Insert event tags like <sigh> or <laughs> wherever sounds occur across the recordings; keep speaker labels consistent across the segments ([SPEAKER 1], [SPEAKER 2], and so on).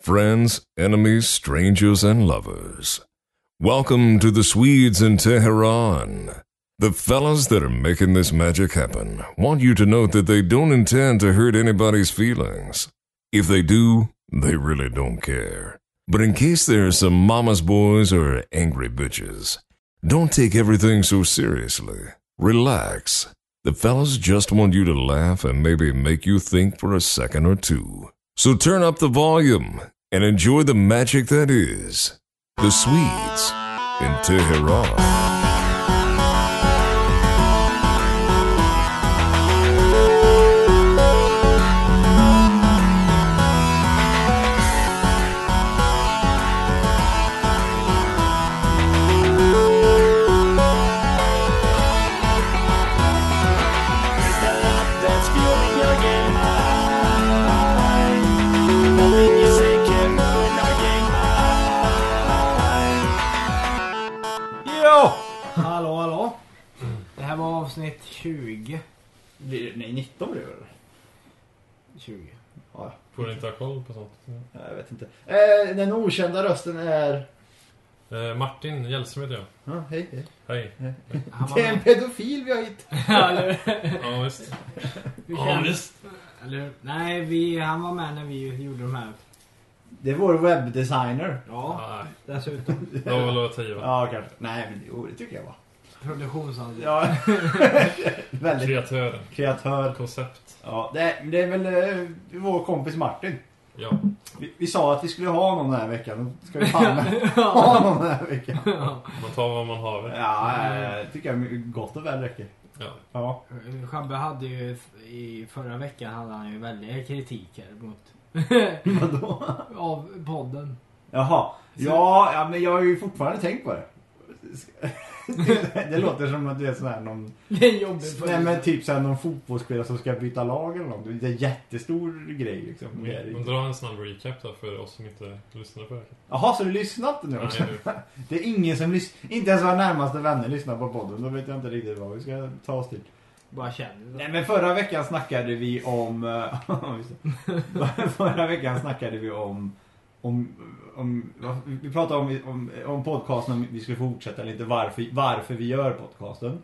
[SPEAKER 1] friends, enemies, strangers, and lovers. Welcome to the Swedes in Tehran. The fellas that are making this magic happen want you to note that they don't intend to hurt anybody's feelings. If they do, they really don't care. But in case there are some mama's boys or angry bitches, don't take everything so seriously. Relax. The fellas just want you to laugh and maybe make you think for a second or two. So turn up the volume and enjoy the magic that is the Swedes in Tehran.
[SPEAKER 2] That's fueling your game high. Nothing you say can ruin our game high.
[SPEAKER 3] Ja! Hallå, hallå. Det här var avsnitt 20.
[SPEAKER 4] Mm. Blir- Nej, 19 blir det väl?
[SPEAKER 3] 20.
[SPEAKER 4] Ja,
[SPEAKER 5] Borde inte ha koll på sånt.
[SPEAKER 4] jag vet inte. Eh, den okända rösten är...
[SPEAKER 5] Eh, Martin Hjälström heter jag.
[SPEAKER 4] Ja, hej, hej.
[SPEAKER 5] Hej.
[SPEAKER 4] <laughs>
[SPEAKER 3] Han var
[SPEAKER 4] Det är en
[SPEAKER 3] med.
[SPEAKER 4] pedofil vi har hit.
[SPEAKER 3] <laughs> Ja, eller
[SPEAKER 5] Ja, visst.
[SPEAKER 3] hur? känns- Eller hur? Nej, vi, han var med när vi gjorde de här.
[SPEAKER 4] Det är vår webbdesigner.
[SPEAKER 3] Ja,
[SPEAKER 4] <laughs>
[SPEAKER 5] Nej,
[SPEAKER 3] dessutom.
[SPEAKER 5] det var väl att ta i, va?
[SPEAKER 4] Ja, kanske. Nej, men jo, det tycker jag var.
[SPEAKER 3] Produktionsansvarig.
[SPEAKER 4] Ja. <laughs> Väldigt
[SPEAKER 5] Kreatören.
[SPEAKER 4] kreatör.
[SPEAKER 5] Koncept.
[SPEAKER 4] Ja, det är, det är väl eh, vår kompis Martin.
[SPEAKER 5] Ja.
[SPEAKER 4] Vi, vi sa att vi skulle ha någon den här veckan. Då ska vi <laughs> fan ha någon den här veckan.
[SPEAKER 3] <laughs>
[SPEAKER 5] Man tar vad man har. va?
[SPEAKER 4] Ja, eh, tycker jag gott och väl räcker.
[SPEAKER 5] Ja.
[SPEAKER 4] Ja.
[SPEAKER 3] Schabbe hade ju i förra veckan hade han ju väldiga kritiker mot
[SPEAKER 4] Vadå?
[SPEAKER 3] <laughs> av podden.
[SPEAKER 4] Jaha. Ja, ja, men jag har ju fortfarande tänkt på det. <laughs> Det låter som att det är sån här någon,
[SPEAKER 3] Det är jobbigt för
[SPEAKER 4] nej, men <laughs> typ såhär någon fotbollsspelare som ska byta lag eller något. Det är en jättestor grej liksom. Det är det
[SPEAKER 5] Men
[SPEAKER 4] inte.
[SPEAKER 5] dra en snabb recap då för oss som inte lyssnade på det.
[SPEAKER 4] Jaha, så du lyssnat nu
[SPEAKER 5] Nej,
[SPEAKER 4] också?
[SPEAKER 5] nu.
[SPEAKER 4] Det är ingen som lyssnar. Inte ens våra närmaste vänner lyssnar på podden. Då vet jag inte riktigt vad vi ska ta oss till.
[SPEAKER 3] Bara känner det.
[SPEAKER 4] Nej men förra veckan snackade vi om... eh, <laughs> just det. förra veckan snackade vi om... om, om vi pratade om, om, om podcasten, om vi skulle fortsätta eller inte. Varför, varför vi gör podcasten.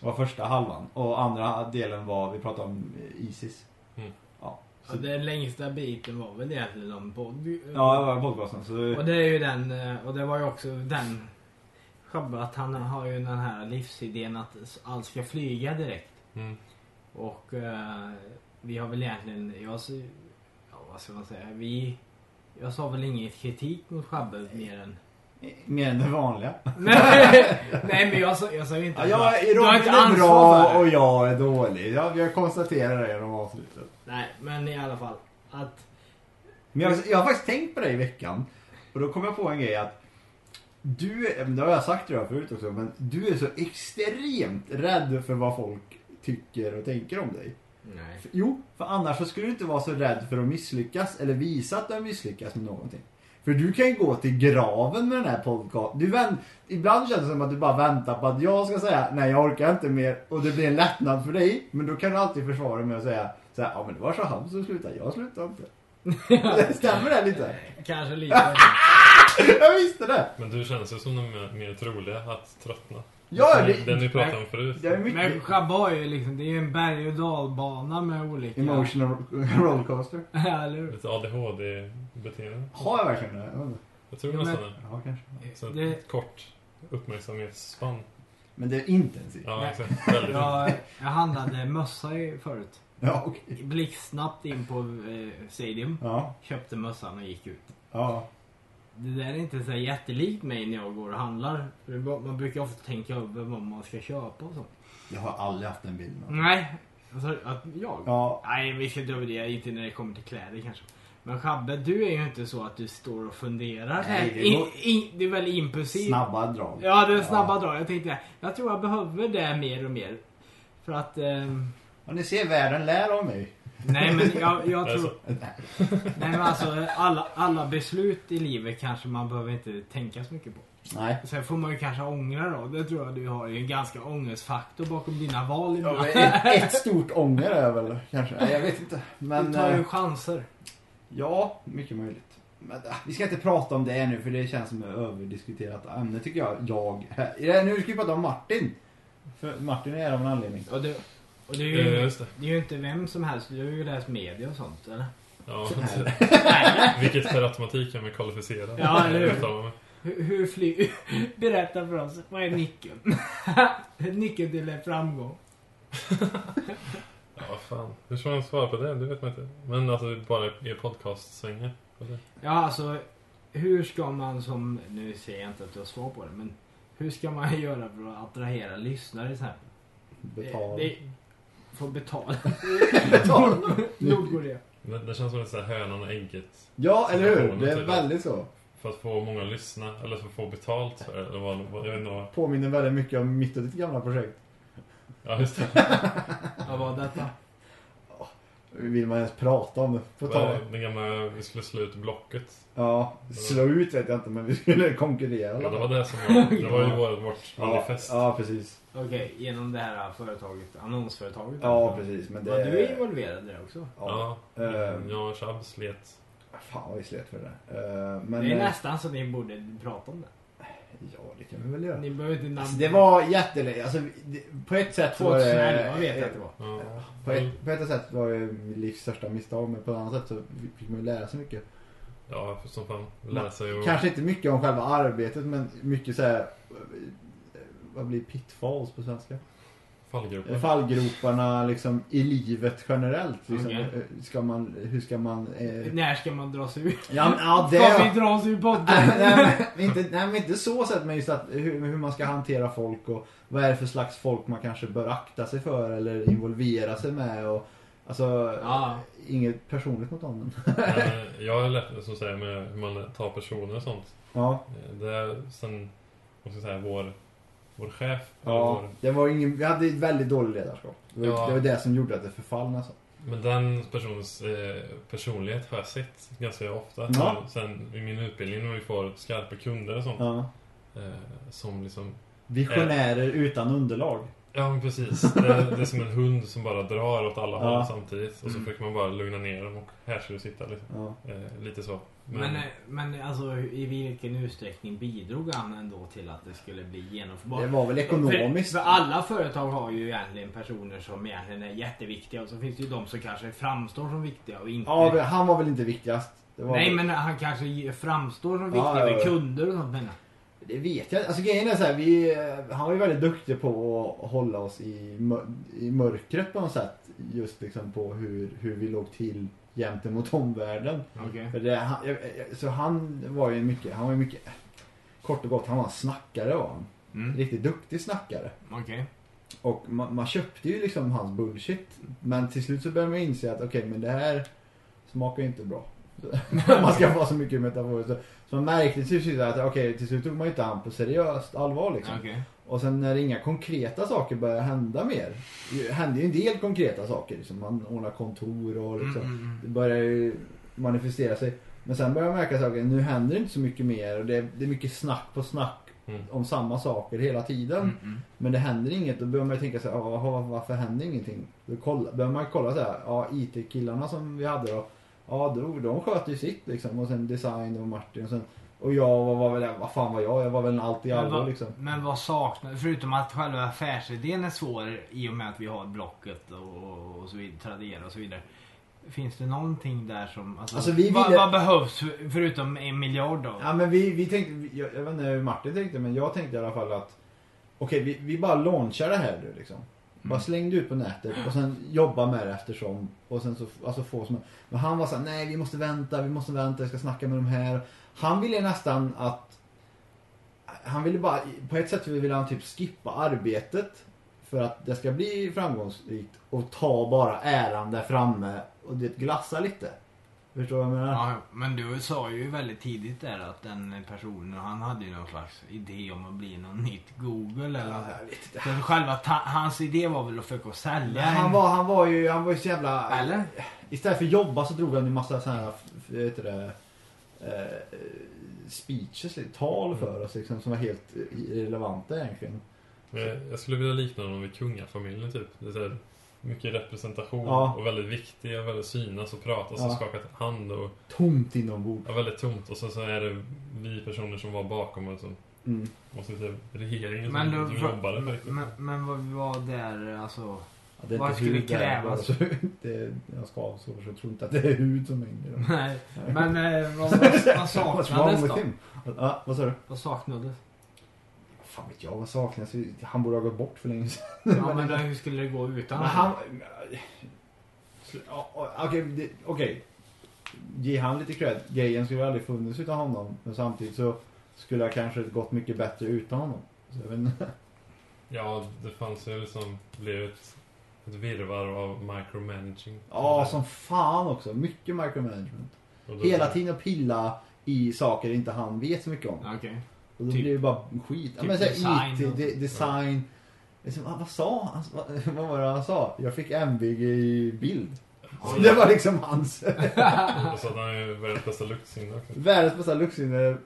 [SPEAKER 4] Det var första halvan. Och andra delen var, vi pratade om eh, Isis.
[SPEAKER 5] Mm.
[SPEAKER 4] Ja.
[SPEAKER 3] Så Den längsta biten var väl egentligen om podd. Eh,
[SPEAKER 4] Ja, det var podcasten. Så,
[SPEAKER 3] Och det är ju den, eh, och det var ju också den Schabbe att han har ju den här livsidén att allt ska flyga direkt.
[SPEAKER 5] Mm.
[SPEAKER 3] Och eh, vi har väl egentligen, jag, s- ja, vad ska man säga, vi, jag sa väl inget kritik mot Schabbe mer
[SPEAKER 4] <laughs>
[SPEAKER 3] än
[SPEAKER 4] mer än det vanliga.
[SPEAKER 3] Nej, nej men jag sa, jag sa ju inte
[SPEAKER 4] Ja,
[SPEAKER 3] att
[SPEAKER 4] jag
[SPEAKER 3] du har inte
[SPEAKER 4] är
[SPEAKER 3] ansvar
[SPEAKER 4] bra
[SPEAKER 3] för
[SPEAKER 4] och
[SPEAKER 3] det.
[SPEAKER 4] jag är dålig. Jag, jag konstaterar det genom avslutet.
[SPEAKER 3] Nej men i alla fall. Att,
[SPEAKER 4] Men jag, jag har faktiskt tänkt på det i veckan. Och då kom jag på en grej att du, men det har jag sagt till dig förut också, men du är så extremt rädd för vad folk tycker och tänker om dig.
[SPEAKER 3] nej.
[SPEAKER 4] För, jo, för annars så skulle du inte vara så rädd för att misslyckas eller visa att du har misslyckats med någonting. För du kan ju gå till graven med den här podcasten. Du vänt, ibland känns det som att du bara väntar på att jag ska säga nej jag orkar inte mer och det blir en lättnad för dig. Men då kan du alltid försvara dig med att säga så här, ja men det var så han som slutade, jag slutade inte. Stämmer det lite? <laughs>
[SPEAKER 3] Kanske lite.
[SPEAKER 4] Jag visste det!
[SPEAKER 5] Men du känns ju som den mer, mer troliga att tröttna.
[SPEAKER 4] Ja,
[SPEAKER 5] Den- Den
[SPEAKER 4] det,
[SPEAKER 5] vi pratade om förut.
[SPEAKER 4] det är
[SPEAKER 3] Men
[SPEAKER 4] mycket
[SPEAKER 3] Schabbe har ju liksom, det är ju en berg och dalbana med olika... <laughs>
[SPEAKER 4] emotional rollercoaster.
[SPEAKER 3] Eller hur?
[SPEAKER 5] Lite ADHD-beteende.
[SPEAKER 4] Har jag verkligen det? Jag vet inte.
[SPEAKER 5] Jag tror
[SPEAKER 3] Ja, men-
[SPEAKER 5] nästan det.
[SPEAKER 4] Ja, kanske.
[SPEAKER 5] Så
[SPEAKER 3] Det,
[SPEAKER 5] ett kort uppmärksamhetsspann.
[SPEAKER 4] Men det är intensivt.
[SPEAKER 5] Ja,
[SPEAKER 3] Nej.
[SPEAKER 5] exakt. Väldigt.
[SPEAKER 3] jag, jag handlade mössa i- förut.
[SPEAKER 4] Ja, okej.
[SPEAKER 3] Blixtsnabbt in på eh, Stadium.
[SPEAKER 4] Ja,
[SPEAKER 3] Köpte mössan och gick ut.
[SPEAKER 4] ja.
[SPEAKER 3] Det där är inte så här jättelikt mig när jag går och handlar. För det är bara- Man brukar ofta tänka över vad man ska köpa och så.
[SPEAKER 4] Jag har aldrig haft en bild med.
[SPEAKER 3] Nej. Alltså, att jag?
[SPEAKER 4] Ja.
[SPEAKER 3] Nej, vi ska inte överdriva. Inte när det kommer till kläder kanske. Men Schabbe, du är ju inte så att du står och funderar.
[SPEAKER 4] Nej, det
[SPEAKER 3] det, in,
[SPEAKER 4] går-
[SPEAKER 3] in, det är väldigt impulsivt.
[SPEAKER 4] Snabba drag.
[SPEAKER 3] Ja, det är snabba drag. Jag tänkte, jag tror jag behöver det mer och mer. För att... ehm,
[SPEAKER 4] Och ni ser, världen lär av mig.
[SPEAKER 3] nej, men jag,
[SPEAKER 5] <laughs>
[SPEAKER 3] jag
[SPEAKER 5] Det är
[SPEAKER 3] tror...
[SPEAKER 5] så.
[SPEAKER 3] Nej men alltså alla, alla beslut i livet kanske man behöver inte tänka så mycket på.
[SPEAKER 4] Nej.
[SPEAKER 3] Sen får man ju kanske ångra då. Det tror jag du har ju en ganska ångestfaktor bakom dina val
[SPEAKER 4] Ja,
[SPEAKER 3] ibland.
[SPEAKER 4] men ett, ett stort ånger är jag väl kanske. Nej, jag vet inte. Men...
[SPEAKER 3] Du tar ju
[SPEAKER 4] eh,
[SPEAKER 3] chanser.
[SPEAKER 4] Ja, mycket möjligt. Men, äh, vi ska inte prata om det nu för det känns som ett överdiskuterat ämne tycker jag. jag I det här- nu ska vi prata om Martin. För Martin är här av en anledning.
[SPEAKER 3] Och det, och det, är
[SPEAKER 5] Ja,
[SPEAKER 4] Eh.
[SPEAKER 3] ju,
[SPEAKER 5] Eh, just det.
[SPEAKER 3] det är ju inte vem som helst. Du har ju läst media och sånt eller? <laughs>
[SPEAKER 5] Ja,
[SPEAKER 4] Så här.
[SPEAKER 5] vilket per automatik kan man kvalificera.
[SPEAKER 3] Ja, eller hur?
[SPEAKER 5] Uttalar man.
[SPEAKER 3] Hur, hur fly... <laughs> Berätta för oss. Vad är nyckeln? <laughs> nyckeln till framgång.
[SPEAKER 5] Ja, fan. Hur ska man svara på det? Det vet man inte. Men alltså, bara i podcastsvängen. eller?
[SPEAKER 3] Ja, alltså. Hur ska man som... Nu ser jag inte att du har svar på det, men. Hur ska man <laughs> göra för att attrahera lyssnare så här?
[SPEAKER 4] Betal.
[SPEAKER 3] Det- Få betala.
[SPEAKER 4] Betal.
[SPEAKER 3] Nordkorea.
[SPEAKER 5] Det, det känns som lite så här hönan och ägget.
[SPEAKER 4] Ja, eller hur?
[SPEAKER 5] Situationen,
[SPEAKER 4] Det är
[SPEAKER 5] typ.
[SPEAKER 4] väldigt så.
[SPEAKER 5] För att få många att lyssna, eller för att få betalt. för- Eller vad, vad, jag vet inte vad.
[SPEAKER 4] Påminner väldigt mycket om mitt och ditt gamla projekt.
[SPEAKER 5] Ja, just det.
[SPEAKER 3] Vad var detta?
[SPEAKER 4] Vill man ens prata om det? På
[SPEAKER 5] Vad är
[SPEAKER 4] tal.
[SPEAKER 5] det? Den gamla, vi skulle slå ut blocket.
[SPEAKER 4] Ja, slå ut vet jag inte men vi skulle konkurrera. i
[SPEAKER 5] Ja,
[SPEAKER 4] alla
[SPEAKER 5] det
[SPEAKER 4] fall.
[SPEAKER 5] var det som var, det var ju vårt, vårt
[SPEAKER 4] Ja,
[SPEAKER 5] manifest.
[SPEAKER 4] ja, precis.
[SPEAKER 3] Okej, genom det här företaget. Annonsföretaget.
[SPEAKER 4] Ja, precis. Men det...
[SPEAKER 3] Var du involverad i det också?
[SPEAKER 4] Ja.
[SPEAKER 5] Ja,
[SPEAKER 4] Ehm.
[SPEAKER 5] jag och Shab slet.
[SPEAKER 4] Fan vad vi slet för det där. Ehm, Men...
[SPEAKER 3] det är
[SPEAKER 4] eh,
[SPEAKER 3] nästan så ni borde prata om det.
[SPEAKER 4] Ja, det kan vi väl göra.
[SPEAKER 3] Ni behöver inte namn...
[SPEAKER 4] Alltså, det var jättelöjligt. Alltså, det- på ett sätt så var det...
[SPEAKER 3] 2011 vet jag
[SPEAKER 4] Eh,
[SPEAKER 3] att det var.
[SPEAKER 5] Ja.
[SPEAKER 4] På ett, på ett sätt var det mitt livs största misstag men på ett annat sätt så fick man ju lära sig mycket.
[SPEAKER 5] Ja, för som fan. Lära sig och...
[SPEAKER 4] Kanske inte mycket om själva arbetet men mycket så här. eh, Vad blir pitfalls på svenska? <laughs>
[SPEAKER 5] Fallgropar.
[SPEAKER 4] Eh, Fallgroparna liksom i livet generellt. Liksom,
[SPEAKER 3] Okej.
[SPEAKER 4] eh, ska man, hur ska man... Eh,
[SPEAKER 3] När ska man dra sig ur?
[SPEAKER 4] ja, men, ja,
[SPEAKER 3] <laughs>
[SPEAKER 4] det...
[SPEAKER 3] Ska vi dra oss ur
[SPEAKER 4] <laughs>
[SPEAKER 3] podden?
[SPEAKER 4] nej, men, inte, nej men inte så sätt men just att hur, hur man ska hantera folk och vad är det för slags folk man kanske bör akta sig för eller involvera sig med och Alltså,
[SPEAKER 3] Ja.
[SPEAKER 4] inget personligt mot honom.
[SPEAKER 5] Men Jag har lärt mig, som säger, med hur man tar personer och sånt.
[SPEAKER 4] Ja,
[SPEAKER 5] Eh, Det är sen, vad ska jag säga, vår, vår chef.
[SPEAKER 4] ja.
[SPEAKER 5] Vår,
[SPEAKER 4] Det var ingen, vi hade ett väldigt dåligt ledarskap. Det var,
[SPEAKER 5] Ja.
[SPEAKER 4] det, var det som gjorde att det förfall nästan.
[SPEAKER 5] men den personens eh, personlighet har jag sett ganska ofta.
[SPEAKER 4] Ja.
[SPEAKER 5] Sen i min utbildning när vi får skarpa kunder och sånt.
[SPEAKER 4] Ja.
[SPEAKER 5] Eh, som liksom,
[SPEAKER 4] Visionärer utan underlag.
[SPEAKER 5] ja men precis. Det, det är som en hund som bara drar åt alla
[SPEAKER 4] Ja.
[SPEAKER 5] håll samtidigt. Och så
[SPEAKER 4] Mm.
[SPEAKER 5] försöker man bara lugna ner dem och här ska du sitta liksom.
[SPEAKER 4] Ja.
[SPEAKER 5] Eh, lite så.
[SPEAKER 3] Men, eh, men alltså i vilken utsträckning bidrog han ändå till att det skulle bli genomförbart?
[SPEAKER 4] Det var väl ekonomiskt.
[SPEAKER 3] För, för alla företag har ju egentligen personer som egentligen är jätteviktiga och så finns det ju de som kanske framstår som viktiga och inte...
[SPEAKER 4] Ja, men han var väl inte viktigast. Det var
[SPEAKER 3] Nej
[SPEAKER 4] väl-
[SPEAKER 3] men han kanske ge- framstår som
[SPEAKER 4] Ja, ja,
[SPEAKER 3] viktiga med
[SPEAKER 4] ja.
[SPEAKER 3] kunder och sånt men...
[SPEAKER 4] Det vet jag inte. Alltså grejen är så här, vi, eh, han var ju väldigt duktig på att hålla oss i, mör- i mörkret på något sätt. Just liksom på hur, hur vi låg till gentemot <laughs> omvärlden.
[SPEAKER 3] Okej.
[SPEAKER 4] För det, han, jag- jag- så han var ju mycket, han var ju mycket, kort och gott, han var en snackare var han.
[SPEAKER 3] Mm.
[SPEAKER 4] Riktigt duktig snackare.
[SPEAKER 3] Okej.
[SPEAKER 4] Och man, man köpte ju liksom hans bullshit. Men till slut så började man inse att okej, men det här smakar ju inte bra. <laughs> Om man ska vara så mycket metaforiskt. Så, så man märkte till slut att okej, till slut tog man ju inte han på seriöst allvar liksom.
[SPEAKER 3] Okej.
[SPEAKER 4] Och sen när inga konkreta saker började hända mer. Det hände ju en del konkreta saker. Liksom. Man ordnar kontor och liksom.
[SPEAKER 3] Mm, mm, mm.
[SPEAKER 4] Det börjar ju manifestera sig. Men sen börjar jag märka saker. Nu händer det inte så mycket mer. Och det, är, det är mycket snack på snack.
[SPEAKER 5] Mm.
[SPEAKER 4] Om samma saker hela tiden.
[SPEAKER 3] Mm, mm.
[SPEAKER 4] Men det händer inget. Då börjar man ju tänka så här, "Jaha, varför händer ingenting? Då kolla, börjar man kolla så här, ja IT-killarna som vi hade då. Ja, drog, de sköter ju sitt liksom. Och sen design och Martin och sen. Och jag vad var väl, vad fan var jag? Jag var väl en allt i
[SPEAKER 3] Men
[SPEAKER 4] allo
[SPEAKER 3] vad,
[SPEAKER 4] liksom.
[SPEAKER 3] men vad saknar Förutom att själva affärsidén är svår i och med att vi har Blocket och, och så vidare, Tradera och så vidare. Finns det någonting där som... Alltså,
[SPEAKER 4] Alltså, vi
[SPEAKER 3] vad,
[SPEAKER 4] ville-
[SPEAKER 3] vad behövs för- förutom en miljard då?
[SPEAKER 4] Ja men vi, vi tänkte, vi- jag, jag vet inte hur Martin tänkte men jag tänkte i alla fall att Okej vi, vi bara launchar det här nu liksom. Bara släng det ut på nätet och sen jobba med det eftersom. Och sen så, alltså få som, men han var såhär, nej vi måste vänta, vi måste vänta, jag ska snacka med de här. Han ville nästan att Han ville bara, på ett sätt ville han typ skippa arbetet. För att det ska bli framgångsrikt och ta bara äran där framme och det glassa lite. Förstår du vad jag menar?
[SPEAKER 3] Ja, men du sa ju väldigt tidigt där att den personen, han hade ju någon slags idé om att bli någon nytt Google eller något.
[SPEAKER 4] jag vet inte.
[SPEAKER 3] Så själva ta- hans idé var väl att försöka sälja
[SPEAKER 4] Han
[SPEAKER 3] en-
[SPEAKER 4] var, han var ju, han var ju så jävla...
[SPEAKER 3] Eller?
[SPEAKER 4] Istället för jobba så drog han ju massa sådana här, f- vad heter det, eh, speeches, lite tal
[SPEAKER 3] Mm.
[SPEAKER 4] för oss liksom, som var helt irrelevanta egentligen.
[SPEAKER 5] eh, Men jag- jag skulle vilja likna honom vid kungafamiljen typ. Det är så här, mycket representation
[SPEAKER 4] Ja.
[SPEAKER 5] och väldigt viktig och väldigt synas och pratas och
[SPEAKER 4] Ja.
[SPEAKER 5] skakat hand och
[SPEAKER 4] Tomt inombords.
[SPEAKER 5] ja, väldigt tomt. Och sen så är det vi personer som var bakom och som
[SPEAKER 4] Mm.
[SPEAKER 5] måste säga regeringen
[SPEAKER 3] Men,
[SPEAKER 5] som,
[SPEAKER 3] då,
[SPEAKER 5] som jobbade med det.
[SPEAKER 3] men, men vad vi var där alltså. <laughs>
[SPEAKER 4] Ja, det är
[SPEAKER 3] Vad
[SPEAKER 4] inte
[SPEAKER 3] skulle
[SPEAKER 4] hud där,
[SPEAKER 3] krävas?
[SPEAKER 4] bara så- <laughs> Det är, jag ska avsova så jag tror inte att det är hud som hänger. där.
[SPEAKER 3] Nej.
[SPEAKER 4] <laughs>
[SPEAKER 3] Men eh, vad, vad, vad
[SPEAKER 4] What's wrong
[SPEAKER 3] saknades
[SPEAKER 4] with
[SPEAKER 3] då?
[SPEAKER 4] him? Ja, vad sa du? <laughs>
[SPEAKER 3] Vad saknades?
[SPEAKER 4] Fan vet jag vad saknas? Han borde ha gått bort för länge sedan.
[SPEAKER 3] Ja, men då, hur skulle det gå utan
[SPEAKER 4] Men han... Ja, Okej, det- okej. Ge han lite cred. Grejen skulle aldrig funnits utan honom. Men samtidigt så skulle jag kanske gått mycket bättre utan honom. Så jag vet inte.
[SPEAKER 3] <laughs>
[SPEAKER 5] Ja, det fanns ju liksom, blev ett, ett virrvarr av micromanaging.
[SPEAKER 4] Ja, som fan också. Mycket micromanagement.
[SPEAKER 5] Och då-
[SPEAKER 4] Hela tiden att pilla i saker inte han vet så mycket om.
[SPEAKER 3] Okej.
[SPEAKER 4] Och då
[SPEAKER 3] Typ-
[SPEAKER 4] blir det bara skit. ja,
[SPEAKER 3] typ
[SPEAKER 4] men så här,
[SPEAKER 3] design
[SPEAKER 4] IT,
[SPEAKER 3] och-
[SPEAKER 4] de, design. Liksom, ah, vad sa han? Vad, <laughs> vad var det han sa? Jag fick MVG i bild. Så <laughs> det var liksom hans.
[SPEAKER 5] Och så hade han ju världens bästa luktsinne också.
[SPEAKER 4] Världens bästa luktsinne.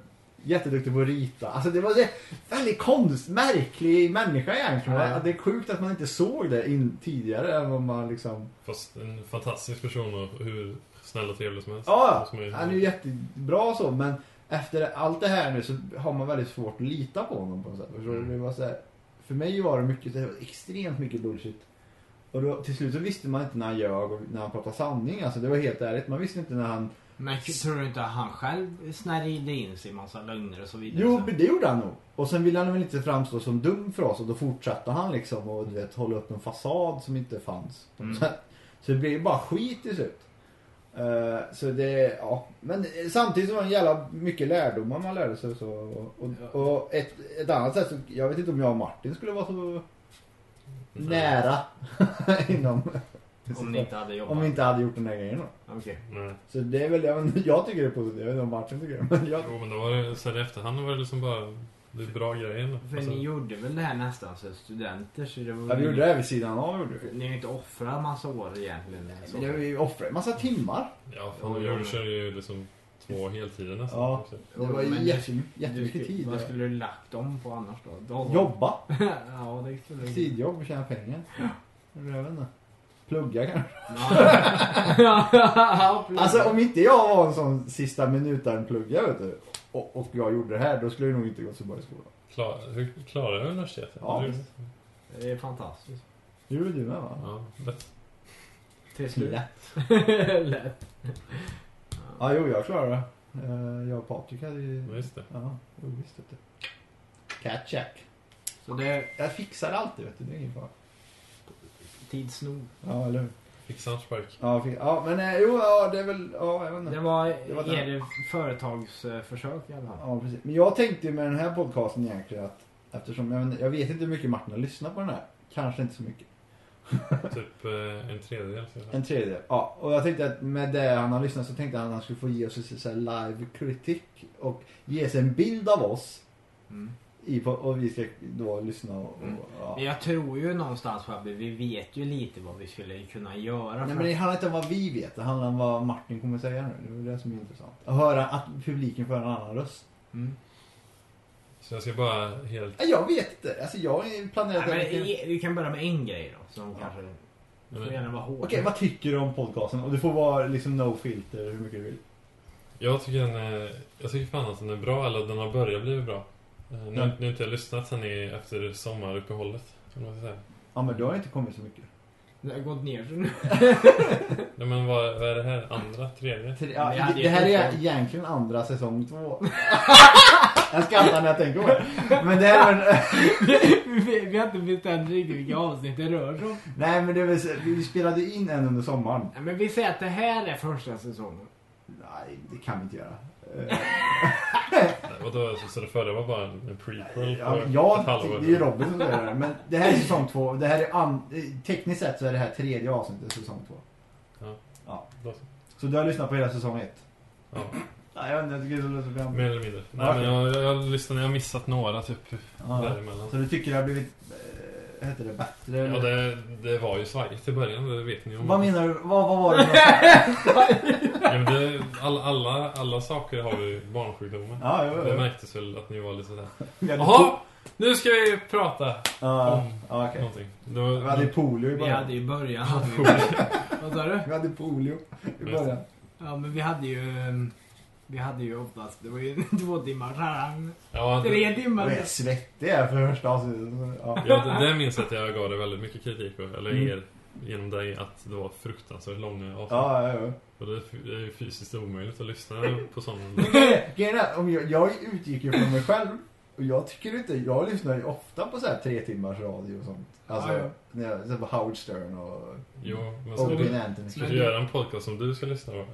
[SPEAKER 4] Jätteduktig på att rita. Alltså det var en väldigt konst, märklig människa egentligen.
[SPEAKER 3] Ja.
[SPEAKER 4] Det är sjukt att man inte såg det in, tidigare. Än vad man liksom...
[SPEAKER 5] Fast en fantastisk person och hur snäll och trevlig som helst.
[SPEAKER 4] Ja,
[SPEAKER 5] Som är-
[SPEAKER 4] han är ju jättebra så men efter allt det här nu så har man väldigt svårt att lita på honom på något sätt. Förstår du? Det var så här, för mig var det mycket, det var extremt mycket bullshit. Och då, till slut så visste man inte när han ljög och när han pratade sanning. Alltså det var helt ärligt. Man visste inte när han...
[SPEAKER 3] Men tror du inte att han själv snärjde in sig i massa lögner och så vidare?
[SPEAKER 4] Jo,
[SPEAKER 3] Så-
[SPEAKER 4] men det gjorde han nog. Och sen ville han väl inte framstå som dum för oss och då fortsatte han liksom och du vet hålla upp en fasad som inte fanns. på något
[SPEAKER 3] Mm.
[SPEAKER 4] sätt. Så det blev ju bara skit till slut. Eh, så det, ja. Men eh, samtidigt så var det en jävla mycket lärdomar man lärde sig. och Så, och och, och ett, ett annat sätt, så, jag vet inte om jag och Martin skulle vara så
[SPEAKER 3] Mm.
[SPEAKER 5] Nej.
[SPEAKER 4] nära <laughs> inom...
[SPEAKER 3] Om ni inte hade jobbat?
[SPEAKER 4] om vi inte hade gjort den här grejen då.
[SPEAKER 3] Okej.
[SPEAKER 5] Nej.
[SPEAKER 4] Så det är väl, jag, vet inte- jag tycker det är positivt, jag vet inte om Martin tycker det. Men jag,
[SPEAKER 5] Jo, men då var det, sen i efterhand var det liksom bara det är bra grejen.
[SPEAKER 3] För
[SPEAKER 5] Alltså,
[SPEAKER 3] ni gjorde väl det här nästan som studenter? Så det var
[SPEAKER 4] ja, vi gjorde det här vid sidan av gjorde vi.
[SPEAKER 3] Ni har ju inte offrat massa år egentligen. Så.
[SPEAKER 4] Det var ju offra en massa timmar.
[SPEAKER 5] ja, fan, jag körde ju liksom två heltider nästan.
[SPEAKER 4] Ja.
[SPEAKER 5] också.
[SPEAKER 4] Det var ju
[SPEAKER 3] Men
[SPEAKER 4] jätte,
[SPEAKER 3] du-
[SPEAKER 4] jättemycket
[SPEAKER 3] du-
[SPEAKER 4] tid.
[SPEAKER 3] Vad skulle du lagt dem på annars då? Dollar?
[SPEAKER 4] Jobba,
[SPEAKER 3] <laughs> ja, det skulle du.
[SPEAKER 4] tidjobb och tjäna pengar. Eller Jag vet inte. Plugga kanske.
[SPEAKER 3] Ja.
[SPEAKER 4] Alltså om inte jag var en sån sista minuten-pluggare vet du. Och, och jag gjorde det här, då skulle jag nog inte gått så bra i skolan.
[SPEAKER 5] Klar, hur klarar jag universitetet?
[SPEAKER 4] Ja,
[SPEAKER 5] Du-
[SPEAKER 4] visst.
[SPEAKER 3] Det är fantastiskt.
[SPEAKER 4] Det gjorde du med va?
[SPEAKER 5] ja, lätt.
[SPEAKER 3] Till slut. Lätt.
[SPEAKER 4] Ja, jo jag klarade det. Eh, Jag och Patrik hade
[SPEAKER 5] Ja,
[SPEAKER 4] ju...
[SPEAKER 5] just det.
[SPEAKER 4] Ja, jo, visst vet du. Cat check.
[SPEAKER 3] Så det är
[SPEAKER 4] Jag fixar alltid vet du, det är ingen fara.
[SPEAKER 3] tids nog.
[SPEAKER 4] Ja, eller hur?
[SPEAKER 5] Fixa en spark.
[SPEAKER 4] Ja, fi- ja men eh, jo, ja, det är väl... Ja, jag vet inte.
[SPEAKER 3] Det var,
[SPEAKER 4] Det var den.
[SPEAKER 3] är det företagsförsök i alla fall.
[SPEAKER 4] Ja, precis. Men jag tänkte ju med den här podcasten egentligen att eftersom jag, vet- jag vet inte hur mycket Martin har lyssnat på den här. Kanske inte så mycket.
[SPEAKER 5] Typ eh, en tredjedel. så jag säga.
[SPEAKER 4] En tredjedel. Ja, och jag tänkte att med det han har lyssnat så tänkte jag att han skulle få ge oss så här live kritik och ge sig en bild av oss.
[SPEAKER 3] Mm.
[SPEAKER 4] I, po- och vi ska då lyssna och...
[SPEAKER 3] Mm.
[SPEAKER 4] och ja.
[SPEAKER 3] Men jag tror ju någonstans Fabbe, vi vet ju lite vad vi skulle kunna göra.
[SPEAKER 4] Nej
[SPEAKER 3] för
[SPEAKER 4] men det
[SPEAKER 3] att-
[SPEAKER 4] handlar inte om vad vi vet, det handlar om vad Martin kommer säga nu. Det är det som är intressant. Att höra att publiken får en annan röst.
[SPEAKER 3] Mm.
[SPEAKER 5] Så jag ska bara helt...
[SPEAKER 4] Nej, Jag vet inte, alltså jag har ju planerat...
[SPEAKER 3] Nej, men,
[SPEAKER 4] Okej,
[SPEAKER 3] i- vi kan börja med en grej då. Som
[SPEAKER 4] Ja.
[SPEAKER 3] kanske... Du får gärna vara hård.
[SPEAKER 4] vad tycker du om podcasten? Och du får vara liksom no filter hur mycket du vill.
[SPEAKER 5] Jag tycker, den är, jag tycker fan att den är bra, eller den har börjat bli bra. Eh, Nu,
[SPEAKER 4] Ja.
[SPEAKER 5] nu har inte jag lyssnat sen i, efter sommaruppehållet. Kan man säga.
[SPEAKER 4] Ja men du har inte kommit så mycket.
[SPEAKER 3] Det har gått ner så nu.
[SPEAKER 5] Nej, men vad, vad är det här? Andra? Tredje?
[SPEAKER 4] Ja,
[SPEAKER 3] Vi hade
[SPEAKER 4] det,
[SPEAKER 3] ju
[SPEAKER 4] det här är
[SPEAKER 3] inte-
[SPEAKER 4] egentligen andra säsong två. <laughs> jag skrattar när jag tänker på det. <laughs> Men det här var <laughs> en,
[SPEAKER 3] <laughs> vi, vi har inte bestämt riktigt vilka avsnitt det rör sig om.
[SPEAKER 4] Nej men det var, så- vi spelade in en under sommaren.
[SPEAKER 3] Nej, Men vi säger att det här är första säsongen.
[SPEAKER 4] Nej, det kan vi inte göra. Eh,
[SPEAKER 5] Nej, Och då, så, så det förra var bara en prequel
[SPEAKER 4] Eh, Ja,
[SPEAKER 5] på ett
[SPEAKER 4] jag,
[SPEAKER 5] halvår.
[SPEAKER 4] det är ju Robin som säger det. här, Men det här är säsong två. Det här är an, eh, tekniskt sett så är det här tredje avsnittet i säsong två.
[SPEAKER 5] Då så.
[SPEAKER 4] Så du har lyssnat på hela säsong ett?
[SPEAKER 5] Ja,
[SPEAKER 4] Nej, jag vet inte. Jag tycker det låter så gammalt.
[SPEAKER 5] mer eller mindre. Nej,
[SPEAKER 4] Okej.
[SPEAKER 5] men jag, jag, jag, lyssnade, jag har missat några typ
[SPEAKER 4] Ja.
[SPEAKER 5] däremellan.
[SPEAKER 4] Så du tycker det har blivit, eh, heter det bättre?
[SPEAKER 5] Ja,
[SPEAKER 4] eller?
[SPEAKER 5] det, det var ju svajigt i början, det vet ni om.
[SPEAKER 4] Vad menar du? Vad, vad var det?
[SPEAKER 5] Ja, men det, all, alla, alla saker har ju barnsjukdomar.
[SPEAKER 4] Ja, jo, jo.
[SPEAKER 5] Det märktes väl att ni var lite sådär.
[SPEAKER 4] Vi hade
[SPEAKER 5] Jaha! Nu ska vi prata
[SPEAKER 4] Ja,
[SPEAKER 5] Mm.
[SPEAKER 4] ja, okej.
[SPEAKER 5] någonting. Då,
[SPEAKER 4] Vi hade polio i
[SPEAKER 3] Vi
[SPEAKER 4] början.
[SPEAKER 3] hade ju början. <laughs> Vad sa du?
[SPEAKER 4] Vi hade polio i
[SPEAKER 5] Just
[SPEAKER 4] början.
[SPEAKER 3] Ja, men vi hade ju... ehm, Vi hade ju oftast, det var ju <laughs> två timmar rang.
[SPEAKER 5] ja, det,
[SPEAKER 3] Tre timmar.
[SPEAKER 4] Jag är svettig här för första avsnittet. Ja.
[SPEAKER 5] ja, det, det minns jag att jag gav dig väldigt mycket kritik för, eller
[SPEAKER 4] Mm.
[SPEAKER 5] er, genom dig, att det var fruktansvärt långa avsnitt.
[SPEAKER 4] Ja, ja, ja.
[SPEAKER 5] Och det är f- det är ju fysiskt omöjligt att lyssna på sådana.
[SPEAKER 4] <laughs> Men grejen är- grejen är att om jag, jag utgick ju från mig själv. Och jag tycker inte, jag lyssnar ju ofta på så här tre timmars radio och sånt. Alltså,
[SPEAKER 3] Ja, ja.
[SPEAKER 4] när jag lyssnar på Howard Stern och
[SPEAKER 5] Jo, men ska
[SPEAKER 4] Owen
[SPEAKER 5] du,
[SPEAKER 4] Anthony.
[SPEAKER 5] ska du göra en podcast som du ska lyssna på?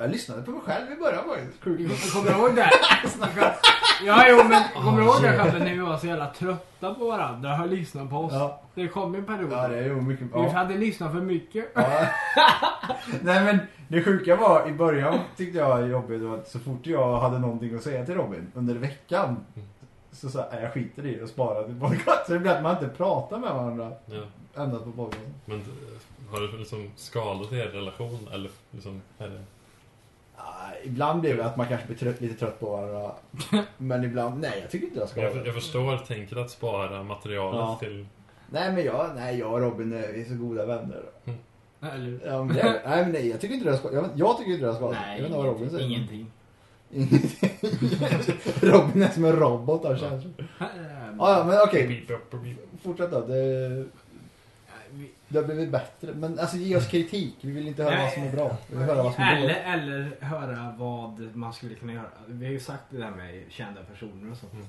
[SPEAKER 4] Jag lyssnade på mig själv i början faktiskt. Sjukt.
[SPEAKER 3] Kommer du ihåg det? <laughs> Ja, jo, men kommer du ihåg det Kalle, när vi var så jävla trötta på varandra och lyssnade på oss?
[SPEAKER 4] Ja,
[SPEAKER 3] Det kom ju en period.
[SPEAKER 4] ja, det är ju mycket.
[SPEAKER 3] Vi
[SPEAKER 4] Ja.
[SPEAKER 3] hade lyssnat för mycket.
[SPEAKER 4] Ja. <laughs> Nej men det sjuka var i början tyckte jag jobbigt var att så fort jag hade någonting att säga till Robin under veckan så sa jag "Nej, jag skiter i det och sparar till podcast. Så det blir att man inte pratar med varandra
[SPEAKER 5] Ja.
[SPEAKER 4] ämnat på podcasten.
[SPEAKER 5] Men eh, har det liksom skadat er relation? Eller liksom, är det...
[SPEAKER 4] Ja, ibland blir det att man kanske blir trött, lite trött på <laughs> varandra. Men ibland, nej jag tycker inte jag ska
[SPEAKER 5] jag, jag förstår tänket att spara materialet
[SPEAKER 4] Ja.
[SPEAKER 5] till...
[SPEAKER 4] Nej men jag, nej jag och Robin är, vi är så goda vänner.
[SPEAKER 3] Eller?
[SPEAKER 4] Ja, men det, nej men nej jag tycker inte det ska, jag, jag tycker inte det ska. jag vet inte vad Robin säger. <laughs>
[SPEAKER 3] ingenting.
[SPEAKER 4] Ingenting. <laughs> Robin är som en robot av känslor. Ja, ja, men okej. Fortsätt då. Det,
[SPEAKER 3] Vi-
[SPEAKER 4] det har blivit bättre. Men alltså ge oss kritik. Vi vill inte höra
[SPEAKER 3] Nej.
[SPEAKER 4] vad som är bra. Vi vill höra vad som är
[SPEAKER 3] eller,
[SPEAKER 4] dåligt.
[SPEAKER 3] eller höra vad man skulle kunna göra. Vi har ju sagt det där med kända personer och sånt.
[SPEAKER 5] Mm.